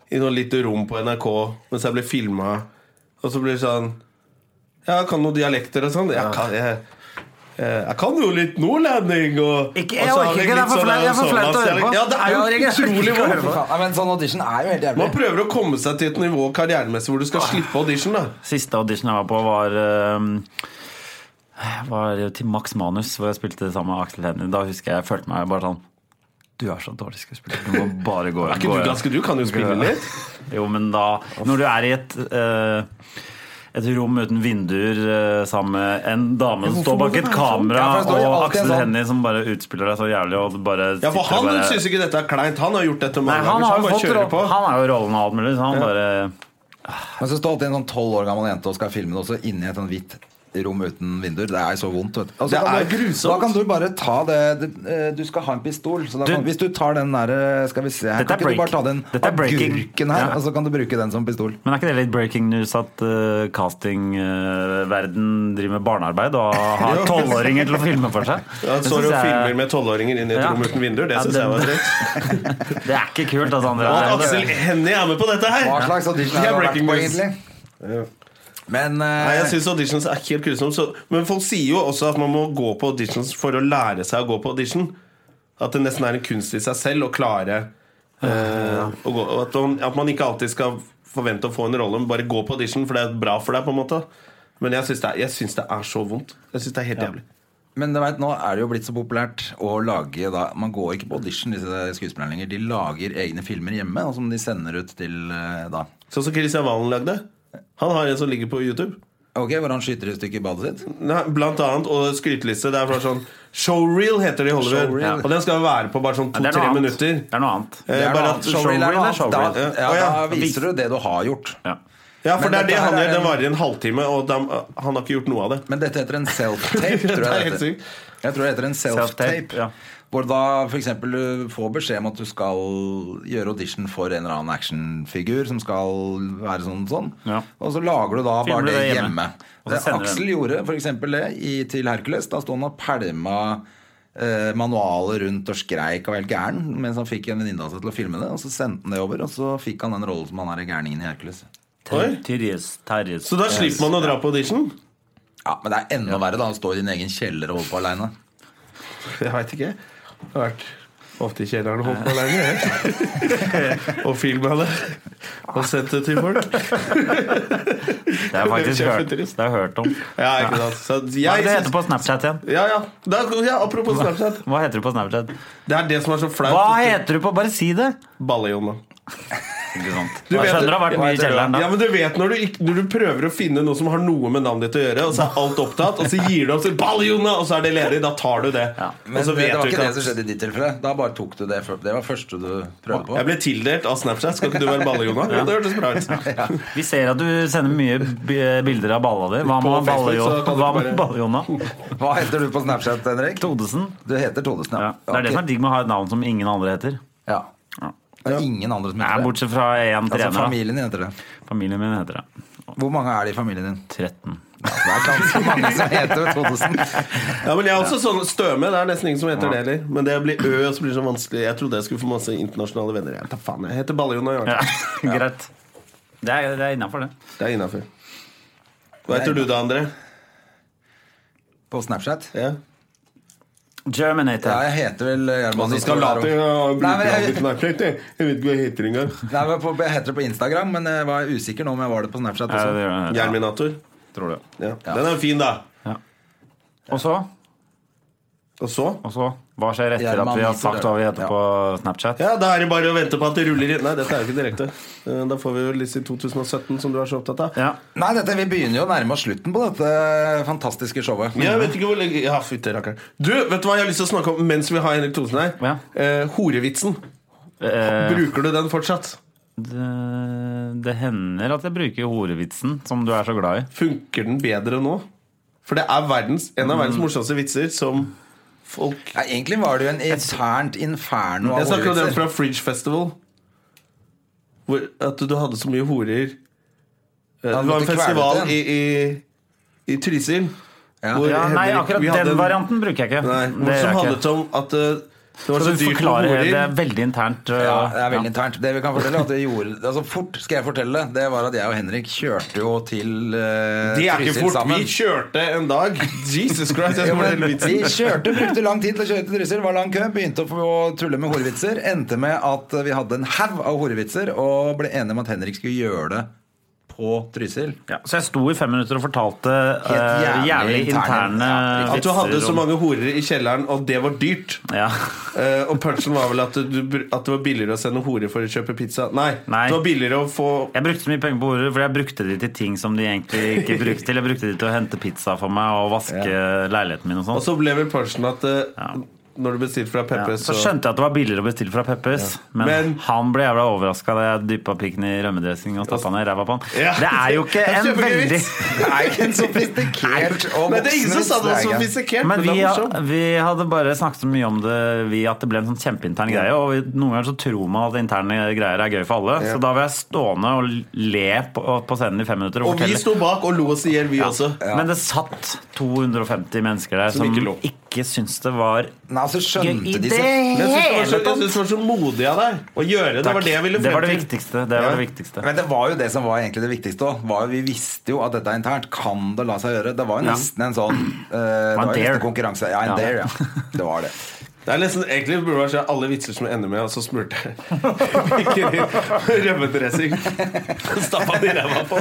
Speaker 1: i noe lite rom på NRK mens jeg ble filma. Og så blir det sånn Ja, jeg kan noen dialekter og sånn. Jeg kan, jeg, jeg, jeg kan jo litt nordlending og og
Speaker 3: Ikke- jeg
Speaker 1: så har
Speaker 3: orker
Speaker 1: jeg
Speaker 3: ikke, det er
Speaker 1: litt
Speaker 3: for
Speaker 1: sånn-
Speaker 3: flaut- jeg er for flaut å høre på.
Speaker 1: Ja, det er jo
Speaker 3: Jeg orker ikke, jeg orker
Speaker 1: utrolig
Speaker 3: ikke å høre
Speaker 1: vondt.
Speaker 3: på.
Speaker 2: Nei, men sånn audition er jo helt jævlig.
Speaker 1: Man prøver å komme seg til et nivå karrieremessig hvor du skal slippe audition. da
Speaker 3: siste audition jeg var på, var ehm, var jo til Max Manus, hvor jeg spilte sammen med Aksel Hennie. Da husker jeg jeg følte meg bare sånn Du er så dårlig skuespiller. Du må bare gå
Speaker 1: Er ikke du ganske du? Kan jo spille litt.
Speaker 3: Jo, men da Når du er i et eh, et rom uten vinduer eh, sammen med en dame som
Speaker 2: hvorfor
Speaker 3: står
Speaker 2: må
Speaker 3: bak
Speaker 2: det
Speaker 3: et
Speaker 2: være sånn?
Speaker 3: kamera,
Speaker 2: Ja, for det står jo alltid
Speaker 3: og
Speaker 2: en
Speaker 3: Aksel
Speaker 2: sånn-
Speaker 3: Hennie som bare utspiller deg så jævlig og bare
Speaker 1: Ja, for
Speaker 3: sitter og
Speaker 1: han
Speaker 3: bare-
Speaker 1: syns ikke dette er kleint. Han har gjort dette
Speaker 3: Nei,
Speaker 1: mange ganger.
Speaker 3: han
Speaker 1: Så
Speaker 3: har
Speaker 1: han
Speaker 3: jo
Speaker 1: bare
Speaker 3: fått
Speaker 1: kjører på.
Speaker 3: ro- Han er jo rollen og alt mulig, så han bare
Speaker 2: Men så står alltid en sånn tolv år gammel jente og skal filme det også inni et sånn hvitt rom uten vinduer. Det er så vondt, vet du. Og så
Speaker 1: Det
Speaker 2: kan
Speaker 1: er
Speaker 2: du-
Speaker 1: grusomt.
Speaker 2: Da kan du bare ta det, det eh, Du skal ha en pistol, så da
Speaker 3: Du-
Speaker 2: kan, hvis du tar den derre Skal vi se her, kan
Speaker 3: Dette er
Speaker 2: ikke du bare ta den
Speaker 3: breaking. Dette er breaking.
Speaker 2: agurken her,
Speaker 3: Ja.
Speaker 2: og så kan du bruke den som pistol?
Speaker 3: Men er ikke det litt breaking news at uh, castingverden driver med barnearbeid og har
Speaker 1: Jo.
Speaker 3: tolvåringer til å filme for seg?
Speaker 1: Ja, Han
Speaker 3: Det
Speaker 1: står
Speaker 3: synes
Speaker 1: og
Speaker 3: jeg-
Speaker 1: filmer med tolvåringer inn i et
Speaker 3: Ja.
Speaker 1: rom uten vinduer. Det
Speaker 3: Ja,
Speaker 1: syns
Speaker 3: det-
Speaker 1: jeg var drøyt.
Speaker 3: Det er ikke kult, altså, André.
Speaker 1: Og Aksel Hennie er med på dette her!
Speaker 2: Hva slags audition
Speaker 1: Det
Speaker 2: har
Speaker 1: er
Speaker 2: det vært
Speaker 1: breaking
Speaker 2: på,
Speaker 1: news.
Speaker 2: egentlig? Men eh,
Speaker 1: Nei, jeg synes auditions er helt grusomt. så- Men folk sier jo også at man må gå på auditions for å lære seg å gå på audition. At det nesten er en kunst i seg selv å klare eh, å gå, og at, man, at man ikke alltid skal forvente å få en rolle, men bare gå på audition, for det er bra for deg. på en måte Men jeg syns det, er- jeg synes det er så vondt. Jeg synes det er helt jævlig.
Speaker 2: Men du vet, nå er det jo blitt så populært å lage da, Man går ikke på audition, disse skuespillerne lenger. De lager egne filmer hjemme og som de sender ut til eh, da.
Speaker 1: Sånn som Christian Valen lagde. Han har en som ligger på YouTube.
Speaker 2: Ok, Hvor han skyter i stykker badet sitt?
Speaker 1: Nei, Blant annet, og skryteliste. Det er fra sånn Showreel heter det i Hollywood.
Speaker 2: Showreel.
Speaker 1: Og den skal være på bare sånn
Speaker 3: Det er
Speaker 1: to-tre
Speaker 3: noe annet.
Speaker 1: minutter.
Speaker 3: Det er noe annet.
Speaker 1: Eh,
Speaker 2: Det er
Speaker 1: bare
Speaker 2: noe
Speaker 1: at
Speaker 2: annet. Showreel er noe annet.
Speaker 3: showreel.
Speaker 2: Da, ja,
Speaker 1: Ja, ja.
Speaker 2: da viser du det du har gjort.
Speaker 3: Ja.
Speaker 1: Ja, for
Speaker 2: Men
Speaker 1: det er det
Speaker 2: dette
Speaker 1: han
Speaker 2: her
Speaker 1: gjør.
Speaker 2: er
Speaker 1: Den
Speaker 2: en-
Speaker 1: varer en halvtime, og dem- han har ikke gjort noe av det.
Speaker 2: Men dette heter en self-tape, tror jeg.
Speaker 1: Det er
Speaker 2: det
Speaker 1: helt
Speaker 2: heter.
Speaker 1: sykt.
Speaker 2: Jeg tror det heter en
Speaker 3: Self-tape, ja.
Speaker 2: self-tape. Hvor da f.eks. du får beskjed om at du skal gjøre audition for en eller annen actionfigur som skal være sånn og sånn.
Speaker 3: Ja.
Speaker 2: Og så lager du da
Speaker 3: Filmer
Speaker 2: bare
Speaker 3: du
Speaker 2: det
Speaker 3: det hjemme.
Speaker 2: hjemme.
Speaker 3: Og så
Speaker 2: Det
Speaker 3: sender du
Speaker 2: Aksel gjorde f.eks. det i, til Hercules. Da sto han og pælma eh, manualet rundt og skreik og var helt gæren mens han fikk en venninne av seg til å filme det. Og så sendte han det over, og så fikk han den rollen som han er i gærningen i Hercules.
Speaker 1: Oi.
Speaker 3: Tyrjes, Terjes.
Speaker 1: Så da slipper man å dra på audition?
Speaker 2: Ja, Men det er enda verre da å stå i din egen kjeller og holde på aleine.
Speaker 1: Jeg veit ikke. Jeg har vært ofte i kjelleren og holdt på alene. jeg. og filma det. Og sendt det til folk.
Speaker 3: Det har jeg faktisk
Speaker 1: Det er
Speaker 3: hørt,
Speaker 1: kjempetrist.
Speaker 3: det har jeg hørt om.
Speaker 1: Ja, ikke sant. Så
Speaker 3: Hva er
Speaker 1: jeg
Speaker 3: det det
Speaker 1: synes,
Speaker 3: heter på Snapchat igjen?
Speaker 1: ja, ja. Da, ja, apropos Snapchat.
Speaker 3: Hva heter du på Snapchat?
Speaker 1: Det er det som er så flaut.
Speaker 3: Hva heter du på Bare si det!
Speaker 1: Balle-Jonna.
Speaker 3: Ikke sant.
Speaker 1: Du
Speaker 3: Jeg
Speaker 1: vet-
Speaker 3: skjønner det har vært mye i kjelleren
Speaker 1: Ja,
Speaker 3: da.
Speaker 1: men du vet når du, ikk- når du prøver å finne noe som har noe med navnet ditt å gjøre, og så er alt opptatt, og så gir du opp til Baljona, og så er det ledig. Da tar du det.
Speaker 3: Ja.
Speaker 1: Og
Speaker 2: Men
Speaker 1: så
Speaker 2: det,
Speaker 1: vet
Speaker 2: det var
Speaker 1: du
Speaker 2: ikke
Speaker 1: ikke
Speaker 2: det som
Speaker 1: at-
Speaker 2: skjedde i ditt tilfelle. Da bare tok du det før. Det var første du prøvde på.
Speaker 1: Jeg ble tildelt av Snapchat. Skal ikke du være Baljona? Ja. Det hørtes bra ut.
Speaker 3: Vi ser at du sender mye b- bilder av balla di. Hva
Speaker 1: På
Speaker 3: med
Speaker 1: Facebook, så kan du bare-
Speaker 3: Balle-Jonna?
Speaker 2: Hva heter du på Snapchat, Henrik?
Speaker 3: Todesen?
Speaker 2: Du heter Todesen,
Speaker 3: Ja. Det er det som er digg med å ha et navn som ingen andre heter.
Speaker 2: ja. Det er ingen andre som
Speaker 3: Nei,
Speaker 2: heter det.
Speaker 3: bortsett fra én
Speaker 2: Altså
Speaker 3: trener. da.
Speaker 2: Familien din heter det.
Speaker 3: Familien min heter det.
Speaker 2: Hvor mange er det i familien din?
Speaker 3: 13.
Speaker 2: Det er ganske mange som heter Todesen.
Speaker 1: Ja, men jeg er også sånn Støme. Det er nesten ingen som heter det heller. Men det blir Ø, og så blir det så vanskelig. Jeg trodde jeg skulle få masse internasjonale venner. Jeg tar faen, jeg heter Baljona.
Speaker 3: Ja,
Speaker 1: Ja.
Speaker 3: greit. Det er, det er innafor, det.
Speaker 1: Det er innafor. Hva heter du da, André?
Speaker 2: På Snapchat?
Speaker 1: Ja.
Speaker 2: Ja,
Speaker 3: Germinator.
Speaker 2: jeg heter vel eh, Gjerman
Speaker 1: Altså, skal late, jeg,
Speaker 2: Nei, men jeg,
Speaker 1: jeg vet ikke hva jeg heter engang.
Speaker 2: nei, men på- jeg heter det på Instagram, men jeg var usikker nå om jeg var det på Snapchat altså.
Speaker 3: Ja, det
Speaker 2: også.
Speaker 3: gjør det.
Speaker 1: Jerminator.
Speaker 3: Tror du.
Speaker 1: Ja. Den er fin, da.
Speaker 3: Og så,
Speaker 1: Og så
Speaker 3: og så Hva skjer etter at vi har sagt hva vi heter på Snapchat?
Speaker 1: Ja, Da er det bare å vente på at det ruller inn. Nei, dette er jo ikke direkte. Eh, Da får vi jo Lizzie 2017, som du er så opptatt av.
Speaker 3: Ja.
Speaker 2: Nei, dette, vi begynner jo å nærme oss slutten på dette eh, fantastiske showet.
Speaker 1: Jeg vet ikke hvor lenge Ja, fytti rakkeren. Du, vet du hva jeg har lyst til å snakke om mens vi har Henrik Thonsen her?
Speaker 3: Ja.
Speaker 1: Eh, horevitsen.
Speaker 3: Eh,
Speaker 1: Bruker du den fortsatt?
Speaker 3: det, det hender at jeg bruker horevitsen, som du er så glad i.
Speaker 1: Funker den bedre nå? For det er verdens, en av verdens morsomste vitser som folk
Speaker 2: Nei, egentlig var Mm. det jo en internt inferno
Speaker 1: Jeg
Speaker 2: av
Speaker 1: snakker om den
Speaker 2: horevitser.
Speaker 1: fra Fridge Festival. Hvor at du hadde så mye horer. Eh, Det
Speaker 2: du
Speaker 1: var en
Speaker 2: måtte kvele
Speaker 1: festival
Speaker 2: ut
Speaker 1: i, i, i Trysil.
Speaker 2: Ja.
Speaker 1: hvor
Speaker 3: Ja, nei,
Speaker 1: Henrik-
Speaker 3: akkurat
Speaker 1: vi hadde
Speaker 3: den
Speaker 1: en-
Speaker 3: varianten bruker jeg ikke.
Speaker 1: Nei,
Speaker 3: det
Speaker 1: som
Speaker 3: gjør jeg
Speaker 1: handlet
Speaker 3: ikke.
Speaker 1: om at eh, det var så
Speaker 3: Så du
Speaker 1: dyrt med
Speaker 3: forklarer
Speaker 1: horer.
Speaker 3: det er veldig internt. øh,
Speaker 2: Ja, det er veldig internt. Det vi kan fortelle er at jeg gjorde, altså Fort skal jeg fortelle det. Det var at jeg og Henrik kjørte jo til eh,
Speaker 1: Det er ikke
Speaker 2: Trysil
Speaker 1: fort.
Speaker 2: sammen.
Speaker 1: Vi kjørte en dag. Jesus Christ. Jeg
Speaker 2: Jo,
Speaker 1: skal
Speaker 2: men
Speaker 1: fortelle
Speaker 2: vi
Speaker 1: vitsen.
Speaker 2: kjørte, brukte lang tid til å kjøre til Trysil. Var lang kø, begynte å få tulle med horevitser. Endte med at vi hadde en haug av horevitser og ble enige om at Henrik skulle gjøre det på Trysil.
Speaker 3: Ja, så jeg sto i fem minutter og fortalte eh,
Speaker 2: Helt jævlig
Speaker 3: jævlig
Speaker 2: interne-
Speaker 3: interne
Speaker 2: ja,
Speaker 1: At du hadde så
Speaker 3: om-
Speaker 1: mange horer i kjelleren, og det var dyrt.
Speaker 3: ja.
Speaker 1: Eh, og punchen var vel at, du, br- at det var billigere å sende horer for å kjøpe pizza. Nei,
Speaker 3: Nei.
Speaker 1: det var billigere å få
Speaker 3: Jeg brukte så mye penger på ordet, for jeg brukte de til ting som de egentlig ikke brukte til. Jeg brukte de til å hente pizza for meg og vaske leiligheten min og
Speaker 1: Og
Speaker 3: sånn.
Speaker 1: så ble vel punchen at eh,
Speaker 3: Ja.
Speaker 1: når du bestilte fra
Speaker 3: Ja,
Speaker 1: Peppes,
Speaker 3: så
Speaker 1: så
Speaker 3: skjønte jeg at det var billigere å bestille fra Peppers, men,
Speaker 1: Men-
Speaker 3: han ble jævla overraska da jeg dyppa pikken i rømmedressing og stappa ned ræva på han.
Speaker 1: Altså- Ja.
Speaker 3: Det er jo ikke
Speaker 1: Det er
Speaker 3: en
Speaker 1: kjempegøy
Speaker 3: veldig
Speaker 1: vits.
Speaker 2: Det er ikke en sofistikert og
Speaker 1: Nei, det er ingen som sa det var
Speaker 2: voksen-
Speaker 1: sofistikert,
Speaker 3: Men
Speaker 1: men,
Speaker 3: vi,
Speaker 1: det var morsomt.
Speaker 3: vi hadde bare snakket så mye om det vi, at det ble en sånn kjempeintern greie. Og vi- noen ganger så tror man at interne greier er gøy for alle. Så da var jeg stående og le på, på scenen i fem minutter. Og,
Speaker 1: Og vi
Speaker 3: fortelle.
Speaker 1: sto bak og lo oss i hjel, vi også.
Speaker 3: Men det satt 250 mennesker der som,
Speaker 1: Som ikke lo.
Speaker 3: ikke, syntes det var
Speaker 2: Nei, altså skjønte
Speaker 3: gøy i
Speaker 2: de
Speaker 3: det
Speaker 2: seg-
Speaker 1: Men jeg syns
Speaker 3: hele
Speaker 1: det var så- jeg
Speaker 3: tatt.
Speaker 1: syns det var så modig av deg å gjøre det. Det var det jeg ville
Speaker 3: Det var det
Speaker 1: frem til.
Speaker 3: viktigste. Det var
Speaker 1: Ja.
Speaker 3: det viktigste.
Speaker 2: Men det var jo det som var egentlig det viktigste også, var jo Vi visste jo at dette er internt. Kan det la seg gjøre? Det var jo nesten en sånn eh, Det var jo nesten
Speaker 3: dare.
Speaker 2: en konkurranse. Ja, en
Speaker 3: Ja.
Speaker 2: dare, ja. Det var det.
Speaker 1: Det er nesten, egentlig burde det være sånn alle vitser som ender med Og så smurte jeg pikker i rømmedressing. Stappa de ræva på.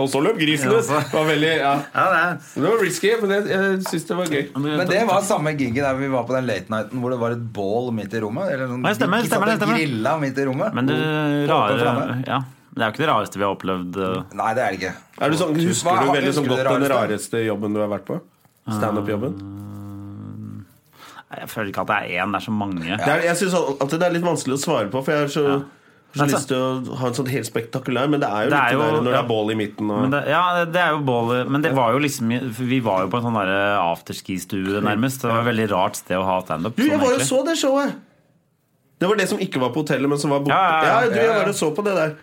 Speaker 1: Og så løp grisen ut. Det var veldig ja.
Speaker 3: Ja, det er.
Speaker 1: Det var risky, men jeg, jeg syns det var gøy.
Speaker 2: Men det var samme gigget der vi var på den late nighten hvor det var et bål midt i rommet. Eller sånn
Speaker 3: Ja, stemmer,
Speaker 2: digg,
Speaker 3: stemmer,
Speaker 2: satt og
Speaker 3: stemmer.
Speaker 2: Grilla midt i rommet.
Speaker 3: Men det
Speaker 2: Åpen
Speaker 3: rare
Speaker 2: flamme.
Speaker 3: ja, Det er jo ikke det rareste vi har opplevd. eh.
Speaker 2: Nei, det er det ikke.
Speaker 1: Er du sånn,
Speaker 2: Hva-
Speaker 1: husker du veldig
Speaker 2: husker
Speaker 1: sånn
Speaker 2: du det
Speaker 1: godt den
Speaker 2: rareste?
Speaker 1: rareste jobben du har vært på? Standup-jobben?
Speaker 3: Nei, Jeg føler ikke at det er én, det er så mange.
Speaker 1: Det er- Jeg syns alltid det er litt vanskelig å svare på, for jeg har så, så
Speaker 3: Men så-
Speaker 1: lyst til å ha en sånn helt spektakulær, men det er jo
Speaker 3: Det
Speaker 1: litt
Speaker 3: er
Speaker 1: det
Speaker 3: jo-
Speaker 1: der når det
Speaker 3: ja.
Speaker 1: er bål i midten og
Speaker 3: Men det, ja, det- det er jo bålet Men det var jo liksom for Vi var jo på en sånn der afterski-stue, nærmest. Det var et veldig rart sted å ha standup.
Speaker 1: Du, jeg
Speaker 3: sånn
Speaker 1: var jo
Speaker 3: egentlig.
Speaker 1: så det showet! Det var det som ikke var på hotellet, men som var borte.
Speaker 3: Ja, ja, ja.
Speaker 1: du, jeg var og så på det der.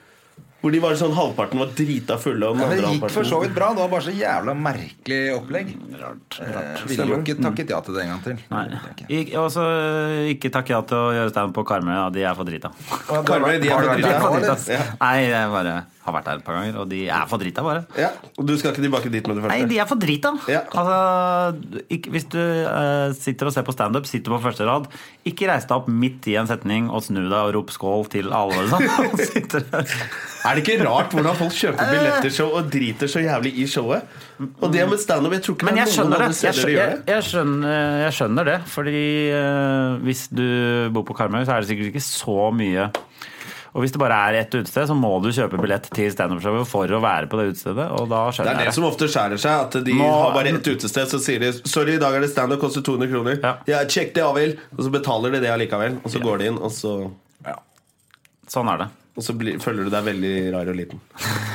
Speaker 1: Hvor de var sånn halvparten var drita fulle, og
Speaker 2: Ja, men
Speaker 1: den andre
Speaker 2: det gikk for så
Speaker 1: halvparten
Speaker 2: vidt bra. Det var bare så jævla merkelig opplegg.
Speaker 3: Rart,
Speaker 2: Eh,
Speaker 3: rart. Mm.
Speaker 2: Ville jo ikke takket ja til det en gang til.
Speaker 3: Nei. Ik- Og så ikke takke ja til å gjøre standup på Karmøy. Ja, de er for drita.
Speaker 1: Karmøy, de er for drita.
Speaker 3: For drita, ass. Nei, jeg bare har vært der et par ganger, og de er for drita, bare.
Speaker 1: Ja, Og du skal ikke tilbake dit med det første?
Speaker 3: Nei, de er for drita.
Speaker 1: Ja.
Speaker 3: Altså, ikke, hvis du eh, sitter og ser på standup, sitter på første rad, ikke reis deg opp midt i en setning og snu deg og rop skål til alle som sitter der.
Speaker 1: Er det ikke rart hvordan folk kjøper billettershow og driter så jævlig i showet? Og det med standup Jeg tror ikke
Speaker 3: Men
Speaker 1: det
Speaker 3: jeg
Speaker 1: er noen
Speaker 3: skjønner det.
Speaker 1: andre steder
Speaker 3: Jeg
Speaker 1: de
Speaker 3: skjønner,
Speaker 1: gjør
Speaker 3: jeg,
Speaker 1: det.
Speaker 3: jeg skjønner, jeg skjønner det. Fordi eh, hvis du bor på Karmøy, så er det sikkert ikke så mye. Og hvis det bare er ett utested, så må du kjøpe billett til standup-showet for å være på det utestedet. Og da
Speaker 1: Det
Speaker 3: skjønner
Speaker 1: er det
Speaker 3: jeg det.
Speaker 1: som ofte skjærer seg. At de
Speaker 3: Nå-
Speaker 1: har bare ett utested, så sier de 'Sorry, i dag er det standup, koster 200 kroner'.
Speaker 3: Ja.
Speaker 1: Ja, sjekk det, Avil. Og så betaler de det allikevel. Og så går de inn, og så,
Speaker 3: Sånn er det.
Speaker 1: og så blir, føler du deg veldig rar og liten.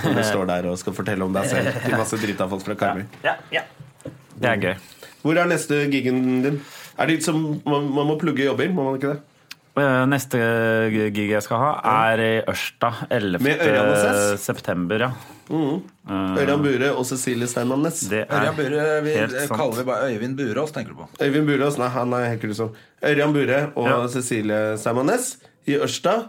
Speaker 1: Når du står der og skal fortelle om deg selv til masse drita folk fra Karmøy.
Speaker 3: Det er gøy.
Speaker 1: Hvor er neste gigen din? Er det som, man, man må plugge jobber, må man ikke det?
Speaker 3: Eh, Neste gig jeg skal ha, er i Ørsta
Speaker 1: Med Ørjan og Sess?
Speaker 3: 11. september. Ja.
Speaker 1: Mhm. Ørjan Bure og Cecilie Steinmann Næss.
Speaker 3: Eh, Det er
Speaker 2: Ørjan Bure vi,
Speaker 3: helt sant.
Speaker 2: kaller vi bare Øyvind Burås, tenker du på.
Speaker 1: Øyvind Burås, nei, han er helt grusom. Ørjan Bure og
Speaker 3: Ja.
Speaker 1: Cecilie Steinmann Næss i Ørsta.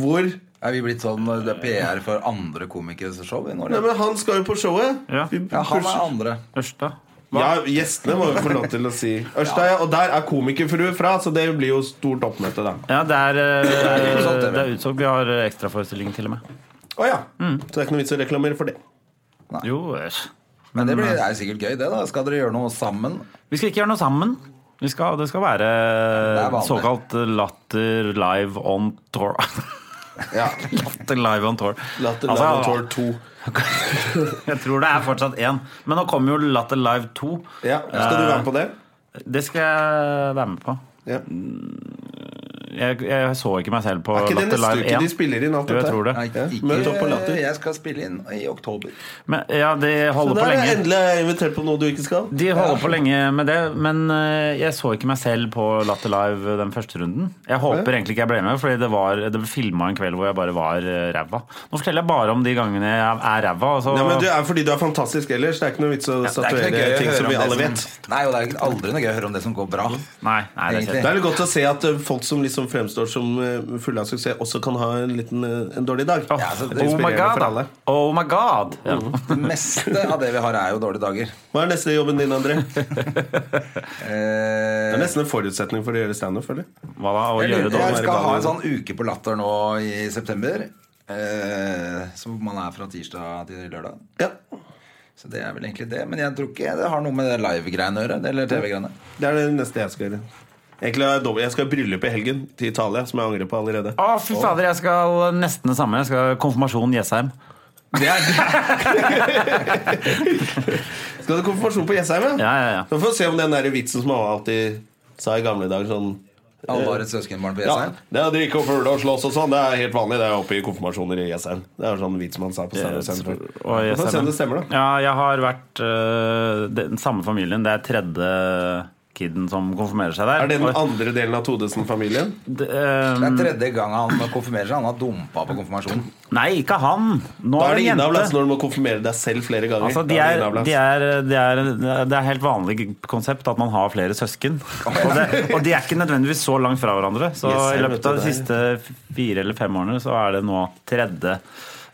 Speaker 1: Hvor Nei,
Speaker 2: Er vi blitt sånn eh, det er PR for andre komikeres show i Norge?
Speaker 1: men han skal jo på showet!
Speaker 3: Ja.
Speaker 1: Vi-
Speaker 2: Ja, han er andre.
Speaker 3: Ørsta.
Speaker 1: Ja, gjestene må jo få lov til å si Ørsta, ja. Og der er komikerfrue fra, så det blir jo stort oppmøte, da.
Speaker 3: Ja, det er, eh,
Speaker 2: utsolgt, det,
Speaker 3: det er utsolgt. Vi har eh, ekstraforestilling til og med.
Speaker 1: Å ja. Så det er ikke noe vits å reklamere for det.
Speaker 3: Jo, æsj.
Speaker 2: Men
Speaker 3: Mm.
Speaker 2: det, blir, det er jo sikkert gøy, det. da Skal dere gjøre noe sammen?
Speaker 3: Vi skal ikke gjøre noe sammen. Vi skal, det skal være
Speaker 2: er vanlig.
Speaker 3: såkalt latter live on tour. latter live on tour.
Speaker 1: Latter
Speaker 3: Altså,
Speaker 1: Lab Tour 2.
Speaker 3: Jeg tror det er fortsatt én. Men nå kommer jo Latter Live 2.
Speaker 1: Ja. Skal du være med på det?
Speaker 3: Det skal jeg være med på.
Speaker 1: Ja.
Speaker 3: Jeg, jeg så ikke meg selv på
Speaker 1: Er ikke det
Speaker 3: Eh, Latter
Speaker 1: neste
Speaker 3: Live
Speaker 1: uke
Speaker 3: 1.
Speaker 1: de spiller inn alt
Speaker 3: Jo, jeg
Speaker 1: dette?
Speaker 3: tror det.
Speaker 2: Nei,
Speaker 1: Ja, møt opp på
Speaker 2: ikke
Speaker 1: Latter.
Speaker 2: Jeg skal spille inn i oktober.
Speaker 3: Men, ja, de
Speaker 1: Så
Speaker 3: holder på
Speaker 1: der er
Speaker 3: lenge.
Speaker 1: endelig jeg invitert på noe du ikke skal.
Speaker 3: De holder på lenge med det, men eh, jeg så ikke meg selv på Latter Live eh, den første runden. Jeg håper egentlig ikke jeg ble med, Fordi det, var- det ble filma en kveld hvor jeg bare var eh, ræva. Nå forteller jeg bare om de gangene jeg er ræva. Og så,
Speaker 1: Nei, men du er fordi du er fantastisk ellers. Det er ikke noe vits å
Speaker 2: Det er ikke noe
Speaker 1: statuere
Speaker 2: gøy å
Speaker 1: ting
Speaker 2: høre
Speaker 1: som
Speaker 2: om
Speaker 1: vi
Speaker 2: det
Speaker 1: alle
Speaker 2: som-
Speaker 1: vet.
Speaker 2: Nei, og det er aldri noe gøy å høre om det som går bra.
Speaker 3: nei, nei, det er
Speaker 2: Egentlig.
Speaker 3: kjedelig.
Speaker 1: Det er litt godt å se at eh, folk som liksom fremstår som eh, fulle av suksess, også kan ha en liten eh, en dårlig dag.
Speaker 3: Åh,
Speaker 1: Det er
Speaker 3: oh my
Speaker 1: inspirerende for
Speaker 3: god!
Speaker 1: alle. Mm.
Speaker 3: Oh my god! Ja.
Speaker 2: Det meste av det vi har, er jo dårlige dager.
Speaker 1: Hva er neste jobben din, André? Det
Speaker 2: Eh,
Speaker 1: er nesten en forutsetning for å gjøre standup, føler jeg.
Speaker 3: Hva da? Å
Speaker 2: jeg
Speaker 3: gjøre
Speaker 2: lurer-
Speaker 3: dårlig
Speaker 2: jeg skal
Speaker 1: dårlig.
Speaker 2: ha en sånn uke på Latter nå i september. Eh, Eh, som man er fra tirsdag til lørdag.
Speaker 1: Ja.
Speaker 2: Så det er vel egentlig det. Men jeg tror ikke det har noe med det live-greiene å gjøre. Eller TV-greiene.
Speaker 1: Det er det neste jeg skal gjøre. Egentlig har jeg dobbelt- Jeg skal i bryllup i helgen til Italia, som jeg angrer på allerede.
Speaker 3: Å, fy fader, jeg skal nesten det samme. Jeg skal Konfirmasjon Jessheim.
Speaker 2: Det er
Speaker 1: Skal du ha konfirmasjon på Jessheim?
Speaker 3: Ja, ja, ja.
Speaker 1: Da får vi se om den der vitsen som mamma alltid sa i gamle dager sånn
Speaker 2: alle har et søskenbarn på
Speaker 1: ja,
Speaker 2: Jessheim.
Speaker 1: Det å drikke og føle og slåss og sånn, det er helt vanlig. Det er oppe i konfirmasjoner i Jessheim. Det er sånn vits man sa på Steinar Sentrum.
Speaker 3: Og
Speaker 1: Vi får se om det stemmer, da.
Speaker 3: Ja, jeg har vært øh, den samme familien. Det er tredje kiden som konfirmerer seg der.
Speaker 1: Er det den
Speaker 3: Og,
Speaker 1: andre delen av Todesen-familien?
Speaker 3: d- øh,
Speaker 2: Det er tredje gang han konfirmerer seg. Han har dumpa på konfirmasjonen.
Speaker 3: nei, ikke han! Nå
Speaker 1: Da er det
Speaker 3: en jente.
Speaker 1: innavlas når du må konfirmere deg selv flere ganger.
Speaker 3: Altså, de
Speaker 1: Da
Speaker 3: er,
Speaker 1: innavlas.
Speaker 3: de er, de er, det er helt vanlig konsept at man har flere søsken. Og, det, og de er ikke nødvendigvis så langt fra hverandre. Så
Speaker 1: Yes, jeg
Speaker 3: i
Speaker 1: vet
Speaker 3: løpet av de
Speaker 1: det.
Speaker 3: siste fire eller fem årene så er det nå tredje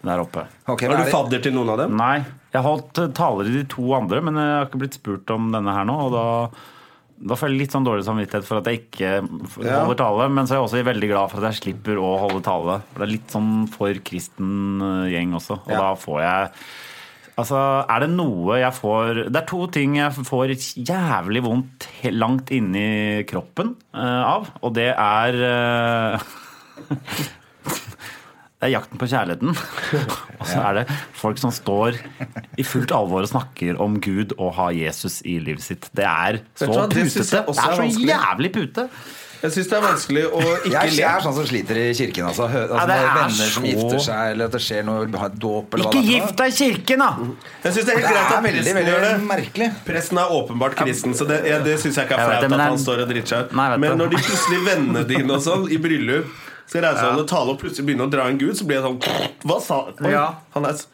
Speaker 3: der oppe.
Speaker 2: Ok, men
Speaker 1: Er
Speaker 2: er
Speaker 1: du
Speaker 2: det-
Speaker 1: fadder til noen av dem?
Speaker 3: Nei, jeg holdt eh, taler i de to andre, men jeg har ikke blitt spurt om denne her nå. Og da, da føler jeg litt sånn dårlig samvittighet for at jeg ikke f-
Speaker 1: Ja.
Speaker 3: holder tale. Men så er jeg også veldig glad for at jeg slipper å holde tale. For det er litt sånn for kristen eh, gjeng også. Og da
Speaker 2: Ja.
Speaker 3: får jeg Altså, er det noe jeg får Det er to ting jeg får jævlig vondt he- langt inni kroppen eh, av, og det er eh, Det er jakten på kjærligheten. og så er det folk som står i fullt alvor og snakker om Gud og har Jesus i livet sitt. Det er så
Speaker 1: Vet du hva, det
Speaker 3: putete.
Speaker 1: synes jeg også
Speaker 3: Det er
Speaker 1: er
Speaker 3: så
Speaker 1: vanskelig.
Speaker 3: jævlig pute.
Speaker 1: Jeg syns det er vanskelig å ikke
Speaker 2: Jeg, er- jeg
Speaker 1: le.
Speaker 2: er sånn som sliter i kirken. Altså, Hø- altså
Speaker 3: Ja, det
Speaker 2: når
Speaker 3: er
Speaker 2: Venner som
Speaker 3: så-
Speaker 2: gifter seg, eller at det skjer noe ha et dåp eller hva det
Speaker 3: Ikke
Speaker 2: er for noe.
Speaker 3: gift deg i kirken, da!
Speaker 1: Jeg synes det er helt greit at
Speaker 2: Det er veldig,
Speaker 1: presten gjør
Speaker 2: veldig
Speaker 1: det.
Speaker 2: merkelig.
Speaker 1: Presten er åpenbart kristen, så det, ja, det syns jeg ikke er
Speaker 3: Jeg vet
Speaker 1: flaut.
Speaker 3: det,
Speaker 1: At
Speaker 3: men det er-
Speaker 1: han står og driter seg ut.
Speaker 3: Nei, jeg vet
Speaker 1: Men
Speaker 3: det.
Speaker 1: når de plutselig vennene dine og sånn i bryllup skal reise seg og tale og plutselig begynne å dra en gud, så blir jeg sånn Hva sa Oi,
Speaker 3: Ja.
Speaker 1: han? Er, s-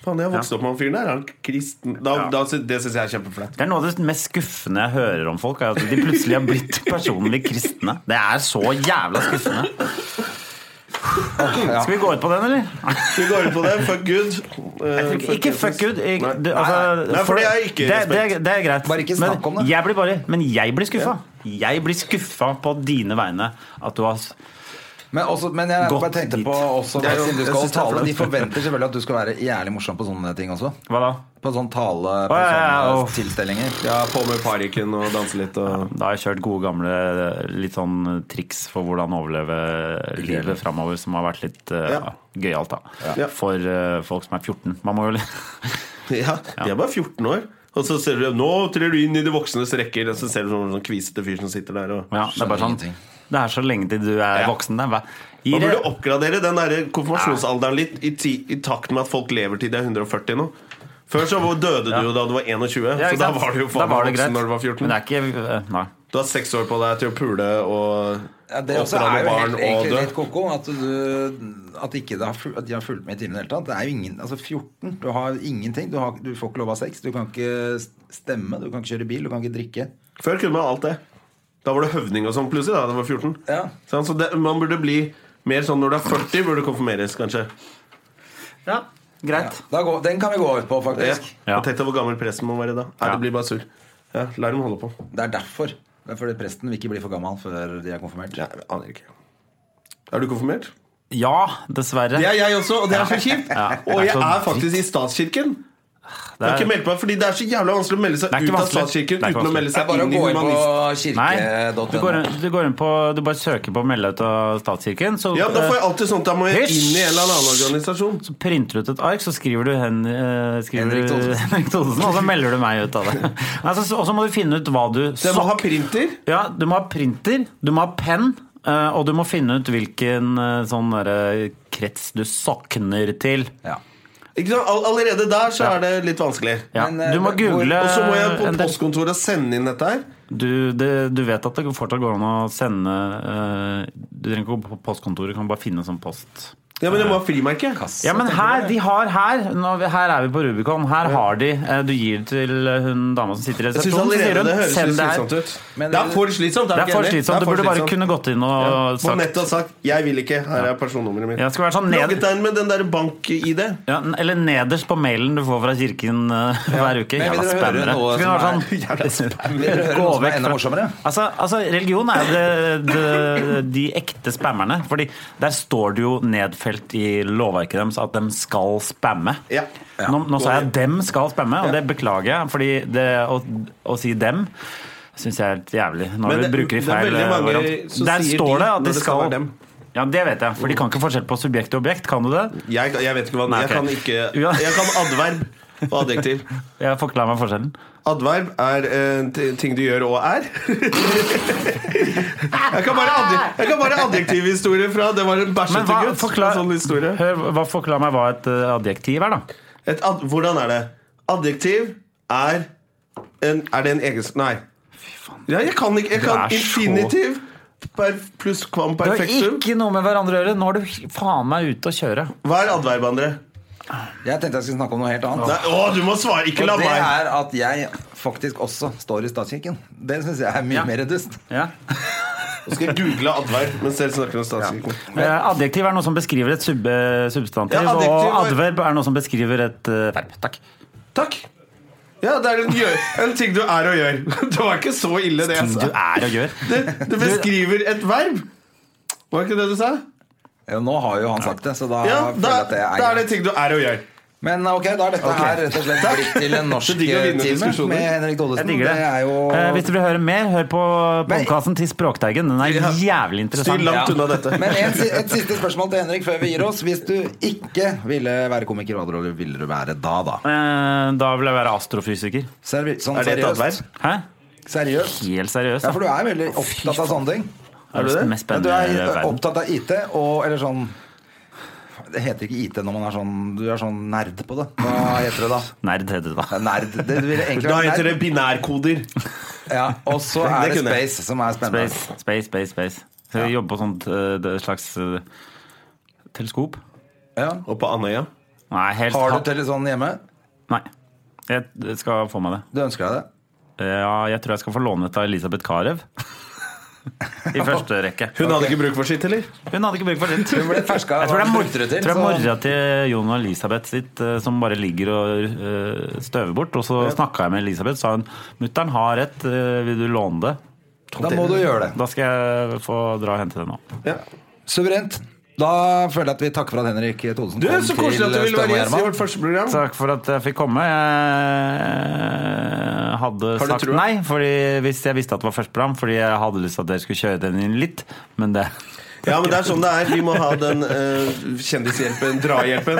Speaker 1: Faen, jeg har vokst opp med han fyren der. Er han kristen? Da,
Speaker 3: Ja.
Speaker 1: da, sy- det syns jeg er kjempeflaut.
Speaker 3: Det er noe av det mest skuffende jeg hører om folk. Er at de plutselig har blitt personlig kristne. Det er så jævla skuffende.
Speaker 2: Ja.
Speaker 3: Skal vi gå ut på den, eller?
Speaker 1: Vi går inn på det. Fuck Gud. Eh,
Speaker 3: Ikke ikke
Speaker 1: Jesus.
Speaker 3: fuck good. Ik-
Speaker 1: Nei.
Speaker 3: du, altså,
Speaker 1: Nei, for det er ikke
Speaker 3: det, det,
Speaker 1: respekt.
Speaker 3: er- det er greit.
Speaker 2: Bare ikke snakk om
Speaker 3: men,
Speaker 2: det.
Speaker 3: jeg blir bare, men jeg blir skuffa. Jeg blir skuffa på dine vegne. At du har s-
Speaker 2: Men, også, men jeg
Speaker 3: Godt
Speaker 2: bare tenkte på
Speaker 3: dit.
Speaker 2: også,
Speaker 1: Det er jo-
Speaker 2: siden du
Speaker 1: jeg
Speaker 2: skal
Speaker 1: synes det er
Speaker 2: tale
Speaker 1: flaut.
Speaker 2: De forventer selvfølgelig at du skal være jævlig morsom på sånne ting også.
Speaker 3: Hva da?
Speaker 2: På sånn tale på
Speaker 3: Å, ja, ja,
Speaker 2: sånne
Speaker 3: og-
Speaker 2: tilstelninger.
Speaker 1: Ja, på med parykken og danse litt og
Speaker 3: Da har jeg kjørt gode gamle litt sånn triks for hvordan overleve livet framover, som har vært litt uh,
Speaker 1: Ja.
Speaker 3: gøyalt, da.
Speaker 1: Ja.
Speaker 3: For eh, folk som er 14. Man må jo li-
Speaker 1: Ja, de er bare 14 år. Og så ser du Nå trer du inn i de voksnes rekker, og så ser du sånn, sånn kvisete fyr som sitter der og
Speaker 3: ja, Det er bare sånn
Speaker 2: ingenting.
Speaker 3: Det er så lenge til du er voksen. Det er bare- Gi
Speaker 1: Man
Speaker 3: det-
Speaker 1: burde oppgradere den der konfirmasjonsalderen litt i, ti, i takt med at folk lever til de er 140 nå. Før så var- døde du jo da du var 21,
Speaker 3: Ja,
Speaker 1: så
Speaker 3: ikke
Speaker 1: da
Speaker 3: sant?
Speaker 1: var du jo
Speaker 3: Da
Speaker 1: faen meg
Speaker 3: var det greit.
Speaker 1: voksen når du var 14.
Speaker 3: Men det er ikke eh, Nei.
Speaker 1: Du har seks år på deg til å pule og
Speaker 2: Ja, det også
Speaker 1: oppdra
Speaker 2: er
Speaker 1: noen
Speaker 2: jo
Speaker 1: barn
Speaker 2: helt,
Speaker 1: og
Speaker 2: egentlig
Speaker 1: dø.
Speaker 2: litt koko at, du, at, ikke det har, fu- at de har fulgt med i timen i det hele tatt. Det er jo ingen, altså 14, du har ingenting. Du, har, du får ikke lov av sex. Du kan ikke stemme, du kan ikke kjøre bil, du kan ikke drikke.
Speaker 1: Før kunne man alt det. Da var det høvding og sånn plutselig da da du var 14.
Speaker 2: Ja.
Speaker 1: Sånn, så det, man burde bli mer sånn når du er 40, burde du konfirmeres, kanskje.
Speaker 3: Ja, greit.
Speaker 2: Da går, den kan vi gå ut på,
Speaker 1: Ja.
Speaker 2: faktisk.
Speaker 3: Ja.
Speaker 1: Og Tenk deg hvor gammel presten må være da. Nei,
Speaker 3: Ja.
Speaker 1: det blir bare surr. Ja, la dem holde på.
Speaker 2: Det er derfor. Det er fordi presten vil ikke bli for gammel før de er konfirmert.
Speaker 1: Ja, jeg aner ikke. Er du konfirmert?
Speaker 3: Ja, dessverre.
Speaker 1: Det er jeg også, og det er så kjipt.
Speaker 3: Ja, det er sånn
Speaker 1: Og jeg
Speaker 3: så
Speaker 1: er
Speaker 3: dritt.
Speaker 1: faktisk i statskirken. Jeg har
Speaker 3: Det er-
Speaker 1: ikke meldt meg, fordi Det er så jævla vanskelig å melde seg
Speaker 3: Det er
Speaker 1: ut
Speaker 3: ikke
Speaker 1: av
Speaker 3: vanskelig.
Speaker 1: statskirken
Speaker 3: Det er ikke
Speaker 1: uten å
Speaker 3: vanskelig.
Speaker 2: Det
Speaker 1: melde
Speaker 2: er
Speaker 1: seg
Speaker 2: bare å
Speaker 1: inn i
Speaker 2: gå inn på
Speaker 1: humanist. Eh,
Speaker 3: Nei,
Speaker 2: kirke.no.
Speaker 3: du går, inn, du går inn på Du bare søker på 'meld deg ut av statskirken', så,
Speaker 1: Ja, men Da får jeg alltid sånt, da må jeg
Speaker 3: Hysj!
Speaker 1: inn i en eller annen organisasjon.
Speaker 3: så printer du ut et ark, så skriver du, hen, eh, skriver
Speaker 2: Henrik
Speaker 3: du
Speaker 2: Thodesen.
Speaker 3: Henrik Thodesen, og så melder du meg ut av det. Nei, så, og så må du finne ut hva du
Speaker 1: Så jeg må
Speaker 3: sokk-
Speaker 1: ha printer.
Speaker 3: Ja, du må ha printer, du må ha penn, eh, og du må finne ut hvilken eh, sånn derre krets du sokner til.
Speaker 2: Ja.
Speaker 1: Ikke sant? All, allerede der så er det litt vanskelig.
Speaker 3: Ja,
Speaker 2: Men, eh,
Speaker 3: du må
Speaker 2: hvor-
Speaker 3: google eh,
Speaker 1: Og så må jeg på
Speaker 3: en del-
Speaker 1: postkontoret sende inn dette her.
Speaker 3: Du, det, du vet at det fortsatt går an å sende eh, Du trenger ikke gå på postkontoret, du kan bare finne sånn post.
Speaker 1: Ja, Men jeg må ha frimerke.
Speaker 3: Ja, men her, de har her nå, Her er vi på Rubicon. Her har de eh, Du gir det til eh, hun dama som sitter i
Speaker 1: Jeg synes
Speaker 3: resepsjonen. så sier
Speaker 1: allerede
Speaker 3: hun,
Speaker 1: Det høres
Speaker 3: "Send
Speaker 1: litt
Speaker 3: det her."
Speaker 1: slitsomt ut.
Speaker 2: Men-
Speaker 1: Det er for slitsomt.
Speaker 3: Det
Speaker 1: jeg
Speaker 3: er
Speaker 1: ikke
Speaker 3: for
Speaker 1: enig i. Det
Speaker 3: slitsomt. Du
Speaker 1: er for
Speaker 3: burde bare
Speaker 1: slitsomt.
Speaker 3: kunne gått inn og
Speaker 1: Ja, Må
Speaker 3: sagt
Speaker 1: nettopp sagt 'jeg vil ikke', her er personnummeret mitt.
Speaker 3: Ja, det skal være sånn ned-
Speaker 1: Logget deg inn med den der bank-ID.
Speaker 3: ja, n- Eller nederst på mailen du får fra kirken eh, hver uke.
Speaker 2: Men vil
Speaker 3: Jævla
Speaker 2: dere høre
Speaker 3: spammere.
Speaker 2: noe
Speaker 3: Så kunne
Speaker 2: som
Speaker 3: det vært sånn-
Speaker 2: Vil dere høre noe som
Speaker 3: vekk
Speaker 2: er enda
Speaker 3: fra-
Speaker 2: morsommere?
Speaker 3: Altså, altså, religion er jo det, det, de ekte spammerne. Fordi der står det jo nedfelt felt i lovverket deres at de skal spamme.
Speaker 2: Ja. Ja.
Speaker 3: Nå, nå sa jeg at dem skal spamme, og det beklager jeg, fordi det, å, å si dem syns jeg er helt jævlig. Når
Speaker 1: Men
Speaker 3: du
Speaker 1: det-
Speaker 3: bruker i
Speaker 1: det er
Speaker 3: feil
Speaker 1: veldig
Speaker 3: eh,
Speaker 1: mange
Speaker 3: variant.
Speaker 1: som
Speaker 3: Der
Speaker 1: sier
Speaker 3: står
Speaker 1: de
Speaker 3: det
Speaker 1: når
Speaker 3: at de
Speaker 1: det skal
Speaker 3: skal
Speaker 1: være dem.
Speaker 3: Ja, det vet jeg, for de kan ikke forskjell på subjekt og objekt. Kan du det?
Speaker 1: Jeg, jeg vet ikke hva
Speaker 3: Nei,
Speaker 1: Jeg
Speaker 3: ok.
Speaker 1: kan ikke
Speaker 3: Ja.
Speaker 1: Jeg kan adverb og adjektiv.
Speaker 3: Jeg forklarer meg forskjellen.
Speaker 1: Adverb er eh, t- ting du gjør og er. jeg kan bare, adje- jeg kan bare adjektivhistorie fra Det var en
Speaker 3: Men hva,
Speaker 1: bæsjete gutt.
Speaker 3: forklar,
Speaker 1: en sånn historie.
Speaker 3: hør, hva, forklar meg hva et eh, adjektiv er, da.
Speaker 1: Et ad, hvordan er det? Adjektiv er en, Er det en egenskap Nei. Ja, jeg kan ikke jeg
Speaker 3: Du
Speaker 1: kan
Speaker 3: er så-
Speaker 1: Infinitiv per, pluss kvam
Speaker 3: Det har
Speaker 1: perfektum.
Speaker 3: ikke noe med hverandre å gjøre. Nå er du faen meg ute å kjøre.
Speaker 1: Hva er adverb, André?
Speaker 2: Jeg tenkte jeg skulle snakke om noe helt annet.
Speaker 1: Nei, Å, du må svare! Ikke la
Speaker 2: Og det
Speaker 1: meg!
Speaker 2: er at jeg faktisk også står i statskirken. Det syns jeg er mye
Speaker 3: Ja.
Speaker 2: mer dust.
Speaker 3: Ja.
Speaker 1: Nå skal jeg google adverb mens dere snakker om statskirken.
Speaker 3: Eh, Adjektiv er noe som beskriver et sub eh, substantiv,
Speaker 1: Ja, adjektiv
Speaker 3: og
Speaker 1: var-
Speaker 3: adverb er noe som beskriver et eh, verb. Takk.
Speaker 1: Takk. Ja, det er en, gjør, en ting du er og gjør. Det var ikke så ille, det altså. jeg
Speaker 3: Ting du
Speaker 1: sa.
Speaker 3: er og gjør.
Speaker 1: Det, det beskriver et verb. Var ikke det du sa?
Speaker 2: Ja, Nå har jo han sagt det, så da
Speaker 1: Ja,
Speaker 2: føler
Speaker 1: da,
Speaker 2: jeg at det
Speaker 1: da
Speaker 2: er
Speaker 1: er det
Speaker 2: greit.
Speaker 1: ting du er og gjør.
Speaker 2: Men ok, da er dette her rett og slett blitt til en norsk eh,
Speaker 1: Det digger å vinne
Speaker 2: time
Speaker 1: diskusjoner.
Speaker 2: med Henrik
Speaker 3: Jeg
Speaker 2: Thodesen.
Speaker 3: digger det.
Speaker 2: er jo
Speaker 3: Eh, Hvis du vil høre mer, hør på
Speaker 2: Men-
Speaker 3: podkasten til Språkteigen. Den
Speaker 1: Ja.
Speaker 3: er
Speaker 1: Styr
Speaker 3: jævlig interessant.
Speaker 1: langt unna dette.
Speaker 2: Men en, si- et siste spørsmål til Henrik før vi gir oss. Hvis du ikke ville være komiker, hva hadde du- ville du være da, da?
Speaker 3: Eh, Da vil jeg være astrofysiker.
Speaker 2: Servi- sånn
Speaker 1: Er det et
Speaker 2: seriøst.
Speaker 1: adverb?
Speaker 3: Hæ?
Speaker 2: seriøst.
Speaker 3: Helt seriøst.
Speaker 2: Ja,
Speaker 3: da.
Speaker 2: for du er veldig opptatt av sånne ting.
Speaker 3: er det
Speaker 1: det?
Speaker 3: mest
Speaker 2: Men du
Speaker 3: spennende
Speaker 2: er
Speaker 3: i
Speaker 2: eh,
Speaker 3: verden.
Speaker 2: opptatt av IT, og eller sånn Det heter ikke IT når man er sånn Du er sånn nerd på det. Hva heter det da?
Speaker 3: Nerd heter det, da.
Speaker 2: Nerd. Det ville egentlig
Speaker 1: Da
Speaker 2: vært
Speaker 1: heter det
Speaker 2: nerd.
Speaker 1: binærkoder.
Speaker 2: Ja, og så
Speaker 1: Det
Speaker 2: er det
Speaker 1: kunne jeg.
Speaker 2: space som er spennende.
Speaker 3: Space, space, space. space. Så jeg jobber på sånt eh, det slags eh, teleskop.
Speaker 2: Ja.
Speaker 1: Og på Andøya.
Speaker 3: Nei, helst
Speaker 2: Har
Speaker 3: ha-
Speaker 2: du telesånn hjemme?
Speaker 3: Nei. Jeg skal få meg det.
Speaker 2: Du ønsker deg det?
Speaker 3: Ja, jeg tror jeg skal få låne et av Elisabeth Carew. I første rekke.
Speaker 1: Hun hadde ikke bruk for sitt, eller?
Speaker 3: Hun hadde ikke bruk for sitt.
Speaker 2: Hun ble ferska
Speaker 3: Jeg tror det er, mor
Speaker 2: brukte det til,
Speaker 3: tror det er
Speaker 2: så-
Speaker 3: mora til Jon og Elisabeth sitt eh, som bare ligger og eh, støver bort. Og så snakka jeg med Elisabeth, sa hun mutter'n har et, eh, vil du låne det?
Speaker 2: Da må du gjøre det.
Speaker 3: Da skal jeg få dra og hente det nå.
Speaker 1: Ja.
Speaker 2: Suverent. Da føler jeg at vi takker for at Henrik Thodesen
Speaker 1: Du, Så koselig at du
Speaker 2: Støm
Speaker 1: ville
Speaker 2: og
Speaker 1: være gjest i
Speaker 2: Gjerman.
Speaker 1: vårt første program.
Speaker 3: Takk for at jeg fikk komme. Jeg hadde
Speaker 1: Har du
Speaker 3: sagt
Speaker 1: trua?
Speaker 3: nei fordi hvis jeg visste at det var første program, fordi jeg hadde lyst til at dere skulle kjøre den inn litt. Men det
Speaker 1: Ja, men det er sånn det er. Vi må ha den eh, kjendishjelpen, drahjelpen.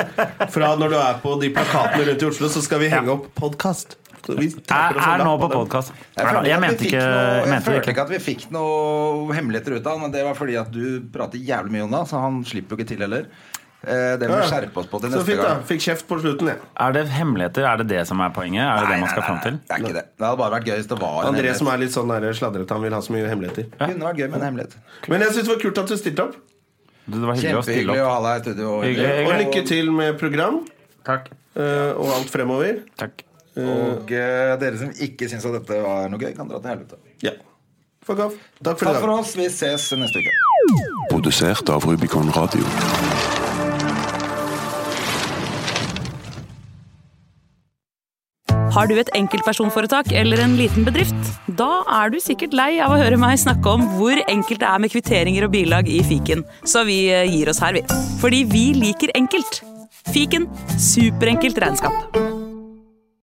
Speaker 1: Fra når du er på de plakatene rundt i Oslo, så skal vi henge opp podkast.
Speaker 3: jeg er nå på
Speaker 1: podkast
Speaker 3: podkast.
Speaker 2: Jeg følte,
Speaker 3: Jeg
Speaker 2: ikke at
Speaker 3: mente
Speaker 2: vi fikk noe, jeg følte
Speaker 3: ikke mente det ikke.
Speaker 2: ikke at vi fikk noe hemmeligheter ut av han, men det var fordi at du prater jævlig mye om det, så han slipper jo ikke til heller. Eh, Det må vi skjerpe oss på til
Speaker 1: Så
Speaker 2: neste
Speaker 1: fint, da.
Speaker 2: gang.
Speaker 1: Fikk kjeft på slutten, jeg.
Speaker 3: Er det hemmeligheter? Er det det som er poenget? Er det det man skal fram til?
Speaker 2: Det er ikke det. Det hadde bare vært gøy hvis det var en
Speaker 1: André
Speaker 2: hemmelighet.
Speaker 1: som er litt sånn der sladrete, han vil ha så mye hemmeligheter.
Speaker 2: Det kunne vært gøy med en hemmelighet.
Speaker 1: Men jeg syns det var kult at du stilte opp.
Speaker 3: Du, Det var hyggelig å stille
Speaker 2: Kjempehyggelig å
Speaker 3: opp.
Speaker 2: ha deg i studio.
Speaker 3: Hyggelig,
Speaker 1: Og lykke til med program
Speaker 3: Takk.
Speaker 1: eh, og alt fremover.
Speaker 3: Takk.
Speaker 2: Og eh, dere som ikke syns at dette var noe gøy, kan dra til helvete.
Speaker 1: Ja. Fuck off. Takk for i
Speaker 2: Takk for
Speaker 1: dag.
Speaker 2: oss. Vi ses neste uke.
Speaker 4: Produsert av Rubicon Radio.
Speaker 5: Har du et enkeltpersonforetak eller en liten bedrift? Da er du sikkert lei av å høre meg snakke om hvor enkelt det er med kvitteringer og bilag i fiken, så vi eh, gir oss her, vi. Fordi vi liker enkelt. Fiken superenkelt regnskap.